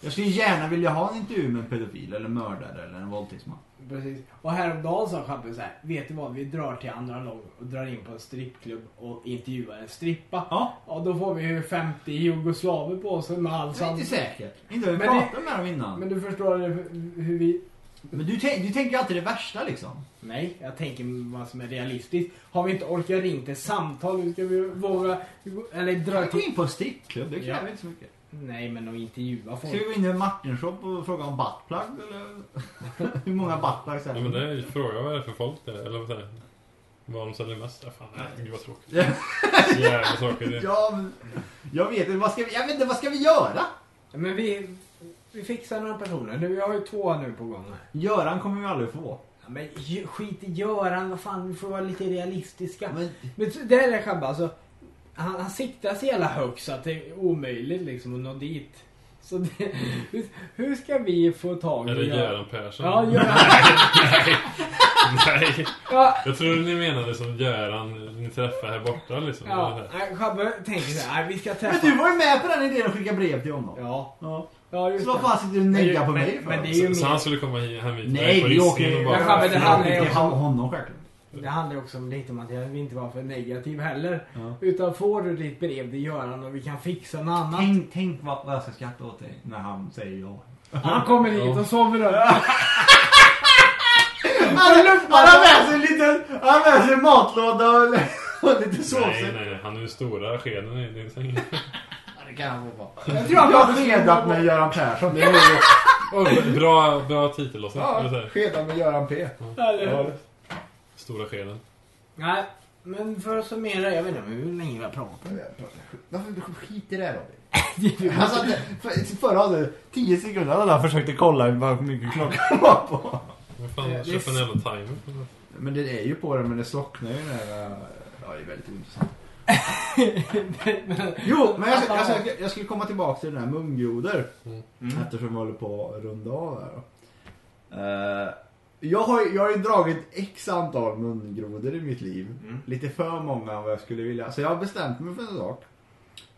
[SPEAKER 4] jag skulle gärna vilja ha en intervju med en pedofil eller mördare eller en våldtäktsman.
[SPEAKER 3] Precis. Och häromdagen sa Schabbe så här. Vet du vad? Vi drar till andra lag och drar in på en strippklubb och intervjuar en strippa.
[SPEAKER 4] Ja.
[SPEAKER 3] Ja, då får vi ju 50 jugoslaver på oss med all
[SPEAKER 4] Det är inte
[SPEAKER 3] sannolikhet.
[SPEAKER 4] säkert. Inte har vi
[SPEAKER 3] Men
[SPEAKER 4] pratat med dem innan.
[SPEAKER 3] Men
[SPEAKER 4] Men,
[SPEAKER 3] du förstår hur- hur vi...
[SPEAKER 4] du, tänk, du tänker ju alltid det värsta liksom.
[SPEAKER 3] Nej, jag tänker vad som är realistiskt. Har vi inte orkat ringa till samtal, hur ska vi våga... Eller dra
[SPEAKER 4] Jag går
[SPEAKER 3] till...
[SPEAKER 4] in på en strippklubb, det kräver
[SPEAKER 3] Ja.
[SPEAKER 4] inte så mycket.
[SPEAKER 3] Nej, men att intervjua
[SPEAKER 4] Ska vi
[SPEAKER 3] folk.
[SPEAKER 4] gå in i en Martin-shop och fråga om buttplug eller? <laughs> hur många buttplugs är
[SPEAKER 5] Ja, men det är ju fråga vad det är för folk det Eller vad säger jag? Vad de säljer mest? Ja, fan, nej, gud vad tråkigt.
[SPEAKER 4] Ja.
[SPEAKER 5] <laughs> Jävla tråkigt.
[SPEAKER 4] Ja, men, jag vet inte, vad ska vi, jag vet inte, vad ska vi göra?
[SPEAKER 3] Men vi... Vi fixar några personer. Nu, vi har ju två nu på gång här.
[SPEAKER 4] Göran kommer vi aldrig få.
[SPEAKER 3] Ja, men ju- skit i Göran, vad fan, vi får vara lite realistiska. Men,
[SPEAKER 4] Men,
[SPEAKER 3] så- det här är Shabba, alltså. Han, han siktar så jävla högt så att det är omöjligt liksom att nå dit. Så det, hur, hur ska vi få tag i
[SPEAKER 5] Eller Göran Persson?
[SPEAKER 3] Ja, Göran.
[SPEAKER 5] <laughs> Nej.
[SPEAKER 3] Ja,
[SPEAKER 5] Jag tror ni menade som Göran ni träffar här borta liksom.
[SPEAKER 3] ja.
[SPEAKER 5] Eller så här.
[SPEAKER 3] nej, Shabbe tänker så här, nej, vi ska
[SPEAKER 4] men
[SPEAKER 3] träffa...
[SPEAKER 4] du var ju med på den idén att skicka brev till honom.
[SPEAKER 3] Ja,
[SPEAKER 4] Ja.
[SPEAKER 3] ja just
[SPEAKER 4] Så vad
[SPEAKER 3] det.
[SPEAKER 4] fan sitter du och neggar på
[SPEAKER 3] Men-
[SPEAKER 4] mig för?
[SPEAKER 3] men det är ju-
[SPEAKER 5] Så, så han skulle komma hi- hem hit
[SPEAKER 4] Nej,
[SPEAKER 5] på
[SPEAKER 4] vi
[SPEAKER 5] Hisingen
[SPEAKER 4] åker
[SPEAKER 5] och
[SPEAKER 4] ju...
[SPEAKER 5] bara-
[SPEAKER 3] Ja, men det handlar ju
[SPEAKER 4] Vi åker
[SPEAKER 3] också-
[SPEAKER 4] till honom självklart.
[SPEAKER 3] Det handlar också om lite om att jag vill inte vara för negativ heller.
[SPEAKER 4] Ja.
[SPEAKER 3] Utan får du ditt brev till Göran och vi kan fixa något annat.
[SPEAKER 4] Tänk, tänk vad, vad jag ska skratta åt dig när han säger ja.
[SPEAKER 3] Han kommer hit och sover upp.
[SPEAKER 4] Han han har med sig en liten, han har med sig en matlåda och, och lite
[SPEAKER 5] Nej,
[SPEAKER 4] såser.
[SPEAKER 5] nej, nej. Han är ju stora skeden i din
[SPEAKER 3] <laughs>
[SPEAKER 5] säng.
[SPEAKER 4] Ja, Det kan han få vara.
[SPEAKER 3] Jag tror han
[SPEAKER 4] Jag har
[SPEAKER 3] kommer hit
[SPEAKER 4] fredat med Göran Persson. Det är ju-
[SPEAKER 5] Oh, bra, bra titel också. Eller så
[SPEAKER 4] Ja,
[SPEAKER 5] här,
[SPEAKER 4] fredag med Göran P.
[SPEAKER 3] Eller?
[SPEAKER 5] Stora skeden.
[SPEAKER 3] Nej, men för att summera. Jag vet inte hur länge vi har pratat.
[SPEAKER 4] Varför skit i det här Robin? Han satt för, förra hade 10 sekunder hade han försökte kolla hur mycket klockan var på.
[SPEAKER 5] Vad fan,
[SPEAKER 3] Det- det-
[SPEAKER 5] köp en jävla timer.
[SPEAKER 4] Men den är ju på den men det slocknar ju när... Ja, det är väldigt intressant. Jo, men jag, jag, jag, jag skulle komma tillbaka till den här mungroder.
[SPEAKER 5] Mm.
[SPEAKER 4] Eftersom vi håller på att runda av här då. Eh, jag, har, ju- jag har ju dragit x antal mungrodor i mitt liv.
[SPEAKER 3] Mm.
[SPEAKER 4] Lite för många än vad jag skulle vilja. Så jag har bestämt mig för en sak.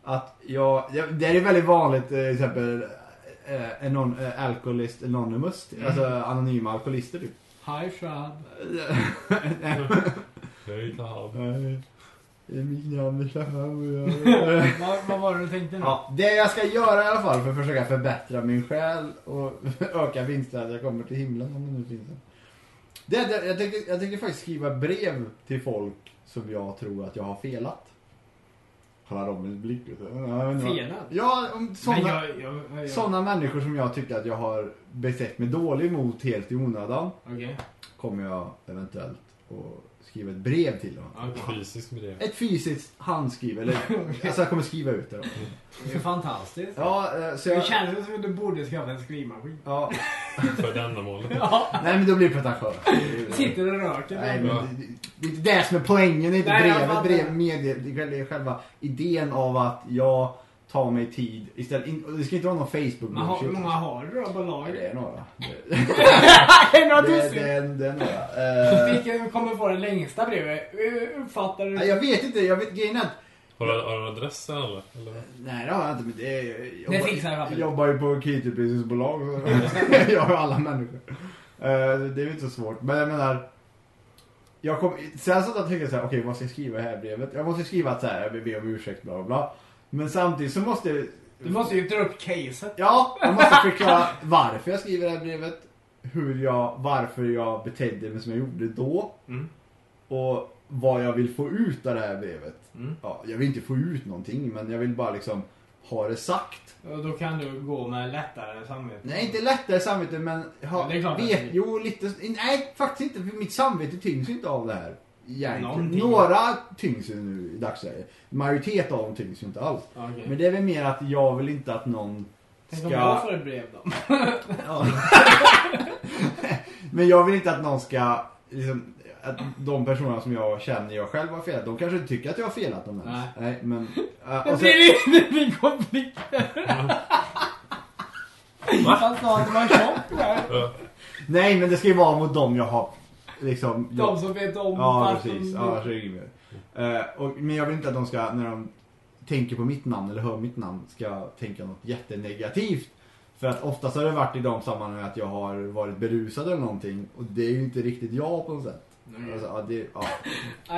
[SPEAKER 4] Att jag, jag det är väldigt vanligt eh, till exempel eh, anon, eh, Alcoholist Anonymous. Alltså anonyma alkoholister typ.
[SPEAKER 3] Hi Shad.
[SPEAKER 4] <laughs>
[SPEAKER 5] Hej, Tahab.
[SPEAKER 4] Nej, det är mitt namn är
[SPEAKER 3] <laughs>
[SPEAKER 4] Shahab och jag-
[SPEAKER 3] Vad, vad var det du tänkte nu?
[SPEAKER 4] Ja, det jag ska göra i alla fall för att försöka förbättra min själ och <laughs> öka vinsten att jag kommer till himlen om det nu finns en. Det, det, jag, tänker, jag tänker faktiskt skriva brev till folk som jag tror att jag har felat. Kolla Robins blick.
[SPEAKER 3] Felat?
[SPEAKER 4] Ja, om
[SPEAKER 3] Men
[SPEAKER 4] sådana,
[SPEAKER 3] jag... jag, jag, jag
[SPEAKER 4] sådana människor som jag tycker att jag har betett mig dåligt mot helt i onödan
[SPEAKER 3] Okej.
[SPEAKER 4] kommer jag eventuellt att skriva ett brev till dem.
[SPEAKER 5] Fysisk
[SPEAKER 3] <laughs>
[SPEAKER 5] brev.
[SPEAKER 4] Ett fysiskt handskrivet, eller alltså jag kommer skriva ut det då.
[SPEAKER 3] Det är fantastiskt.
[SPEAKER 4] Ja, eh, så
[SPEAKER 3] Det
[SPEAKER 4] jag...
[SPEAKER 3] känns som att du borde skaffa en skrivmaskin.
[SPEAKER 4] Ja,
[SPEAKER 5] För det ändamålet.
[SPEAKER 4] Nej men då blir det pretentiös.
[SPEAKER 3] <laughs> Sitter och typ. röker.
[SPEAKER 4] Nej,
[SPEAKER 3] Nej,
[SPEAKER 4] men det, det är inte det som är poängen, det är inte
[SPEAKER 3] Nej, jag
[SPEAKER 4] brevet.
[SPEAKER 3] fattar.
[SPEAKER 4] brevet med det, det är själva idén av att jag tar mig tid istället. in- och Det ska inte vara någon facebook
[SPEAKER 3] men har, hur många
[SPEAKER 4] ja,
[SPEAKER 3] har du då på <laughs>
[SPEAKER 4] Det
[SPEAKER 3] lager?
[SPEAKER 4] är några.
[SPEAKER 3] Nej, några
[SPEAKER 4] Det, det, det,
[SPEAKER 3] tusen.
[SPEAKER 4] är- det är några.
[SPEAKER 3] <laughs>
[SPEAKER 4] Eh,
[SPEAKER 3] Vilken kommer få det längsta brevet? Eh, Uppfattar du?
[SPEAKER 4] nej, jag vet inte, jag vet grejen är att...
[SPEAKER 5] Har du, har du adress alla? Eller? vad?
[SPEAKER 4] Nej det har jag inte men det är... Jag
[SPEAKER 3] Det
[SPEAKER 4] jobbar-
[SPEAKER 3] fixar jag, Rafael.
[SPEAKER 4] jag jobbar ju på ett kreditupplysningsbolag så <laughs> jag har alla människor. Eh, Det är ju inte så svårt men jag menar... Jag kom, sen så tänkte jag så här, okej vad ska jag skriva i det här brevet? Jag måste skriva att så här, jag vill be om ursäkt bla bla bla. Men samtidigt så måste jag...
[SPEAKER 3] Du måste ju dra upp caset.
[SPEAKER 4] Ja, jag måste förklara varför jag skriver det här brevet. Hur jag, varför jag betedde mig som jag gjorde då.
[SPEAKER 3] Mm.
[SPEAKER 4] Och vad jag vill få ut av det här brevet.
[SPEAKER 3] Mm.
[SPEAKER 4] Ja, jag vill inte få ut någonting men jag vill bara liksom ha det sagt.
[SPEAKER 3] Och då kan du gå med lättare samvete.
[SPEAKER 4] Nej, inte lättare samvete men... Ha,
[SPEAKER 3] Ja, det är klart
[SPEAKER 4] vet,
[SPEAKER 3] att det-
[SPEAKER 4] Jo, lite... Nej, faktiskt inte. För mitt samvete tyngs ju inte av det här. Egentligen.
[SPEAKER 3] Någonting.
[SPEAKER 4] Några tyngs ju nu i dagsläget. Majoritet av dem tyngs ju inte alls.
[SPEAKER 3] Okej.
[SPEAKER 4] Men det är väl mer att jag vill inte att någon
[SPEAKER 3] Tänk om jag
[SPEAKER 4] ska...
[SPEAKER 3] får ett brev då?
[SPEAKER 4] Ja. <laughs> men jag vill inte att någon ska... Liksom, att de personerna som jag känner jag själv har felat, de kanske inte tycker att jag har felat dem ens.
[SPEAKER 3] Nej.
[SPEAKER 4] Nej,
[SPEAKER 3] <laughs>
[SPEAKER 4] men... äh,
[SPEAKER 3] Det
[SPEAKER 4] och sen-
[SPEAKER 3] blir, det blir <laughs> konflikter. Fast sa att det var tjock där.
[SPEAKER 5] Ja.
[SPEAKER 4] Nej, men det ska ju vara mot dem jag har liksom... gjort-
[SPEAKER 3] De som vet om
[SPEAKER 4] Ja,
[SPEAKER 3] varför
[SPEAKER 4] precis.
[SPEAKER 3] de-
[SPEAKER 4] Ja, så är det inget mer. Eh, och, men jag vill inte att de ska, när de tänker på mitt namn eller hör mitt namn, ska tänka något jättenegativt. För att oftast har det varit i de sammanhang att jag har varit berusad eller någonting. Och det är ju inte riktigt jag på något sätt. Alltså, ja, det, ja.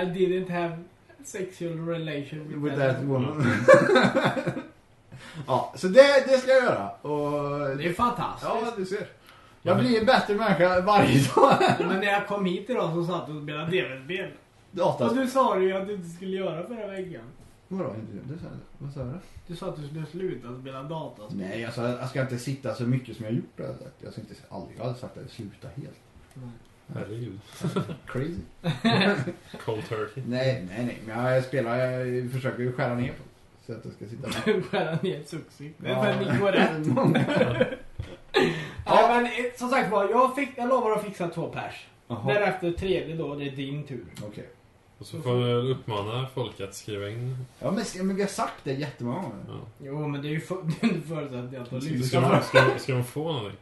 [SPEAKER 3] I didn't have sexual relation with,
[SPEAKER 4] With
[SPEAKER 3] that. <laughs>
[SPEAKER 4] that woman. <laughs> ja, så det, det ska jag göra. Och,
[SPEAKER 3] Det är fantastiskt.
[SPEAKER 4] ja, du ser. Jag blir en bättre människa varje dag. <laughs>
[SPEAKER 3] Men när jag kom hit idag så satt du och spelade DVD-spel. Och
[SPEAKER 4] Datas...
[SPEAKER 3] du sa det ju att du inte skulle göra förra veckan.
[SPEAKER 4] Vadå? inte- du sa det. Vad sa du?
[SPEAKER 3] Du sa att du skulle sluta spela Mm. dataspel.
[SPEAKER 4] Nej, alltså, jag ska inte sitta så mycket som jag gjort. har jag sagt. Jag ska inte, aldrig, jag hade sagt att jag sluta helt.
[SPEAKER 5] Herregud.
[SPEAKER 4] Crazy.
[SPEAKER 5] Cold turkey.
[SPEAKER 4] Nej, nej, nej. Men jag spelar, jag försöker ju skära ner på det. Så att jag ska sitta...
[SPEAKER 3] <laughs> Skära ner succé. <laughs> Det är
[SPEAKER 4] Ja.
[SPEAKER 3] för att ni går rätt.
[SPEAKER 4] <laughs>
[SPEAKER 3] Ja, men eh, som sagt var, jag, fick, jag lovar att fixa två pers.
[SPEAKER 4] Jaha,
[SPEAKER 3] Därefter tredje då, det är din tur.
[SPEAKER 4] Okej.
[SPEAKER 5] Och så får man uppmana folk att skriva in.
[SPEAKER 4] Ja, men, se- men vi har sagt det jättemånga gånger.
[SPEAKER 5] Ja.
[SPEAKER 3] Jo, men det är ju för, <laughs> det är förutsättning att du
[SPEAKER 5] Ska,
[SPEAKER 3] lyssnar.
[SPEAKER 5] ska, ska, ska de få någonting?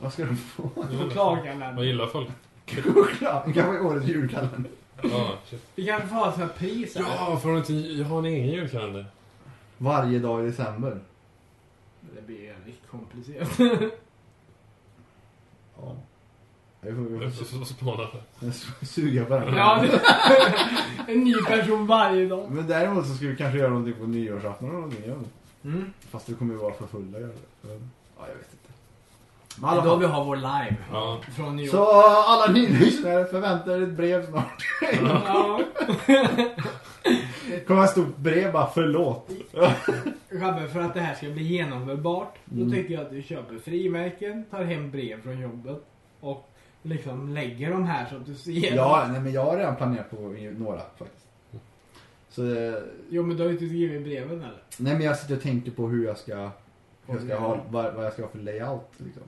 [SPEAKER 4] Vad ska de få? <laughs>
[SPEAKER 5] Vad
[SPEAKER 3] Chokladkalendern.
[SPEAKER 5] gillar folk?
[SPEAKER 4] Choklad. Det kanske är årets julkalender.
[SPEAKER 5] Ja, shit.
[SPEAKER 3] Vi kan få ha sådana här pris här.
[SPEAKER 5] ja får de inte... Jag har en egen julkalender.
[SPEAKER 4] Varje dag i december.
[SPEAKER 3] Det blir ju jävligt komplicerat.
[SPEAKER 4] Ja. Jag får,
[SPEAKER 5] Jag
[SPEAKER 4] jag
[SPEAKER 5] får-
[SPEAKER 4] får,
[SPEAKER 5] får spana.
[SPEAKER 4] <laughs> jag suga på den.
[SPEAKER 3] Ja, <laughs> det, en ny person varje dag.
[SPEAKER 4] Men däremot så ska vi kanske göra någonting på nyårsafton eller någonting. jag vet inte.
[SPEAKER 3] Mm.
[SPEAKER 4] Fast vi kommer ju vara för fulla. jag vet. Men, Ja, jag vet inte. Men alla
[SPEAKER 3] Då
[SPEAKER 4] fall.
[SPEAKER 3] vi har vår live.
[SPEAKER 5] Ja.
[SPEAKER 3] Från New York.
[SPEAKER 4] Så alla nylyssnare förväntar er ett brev snart.
[SPEAKER 3] Ja.
[SPEAKER 4] Det kommer ett stort brev bara förlåt.
[SPEAKER 3] Rabbe, för att det här ska bli genomförbart,
[SPEAKER 4] Mm.
[SPEAKER 3] då tycker jag att du köper frimärken, tar hem brev från jobbet och liksom lägger dem här så att du ser.
[SPEAKER 4] Ja, nej men jag har redan planerat på några faktiskt. Så eh,
[SPEAKER 3] Jo, men du har ju inte skrivit breven eller?
[SPEAKER 4] nej men jag sitter och tänker på hur jag ska, hur jag ska ha, vad, vad jag ska ha för layout liksom.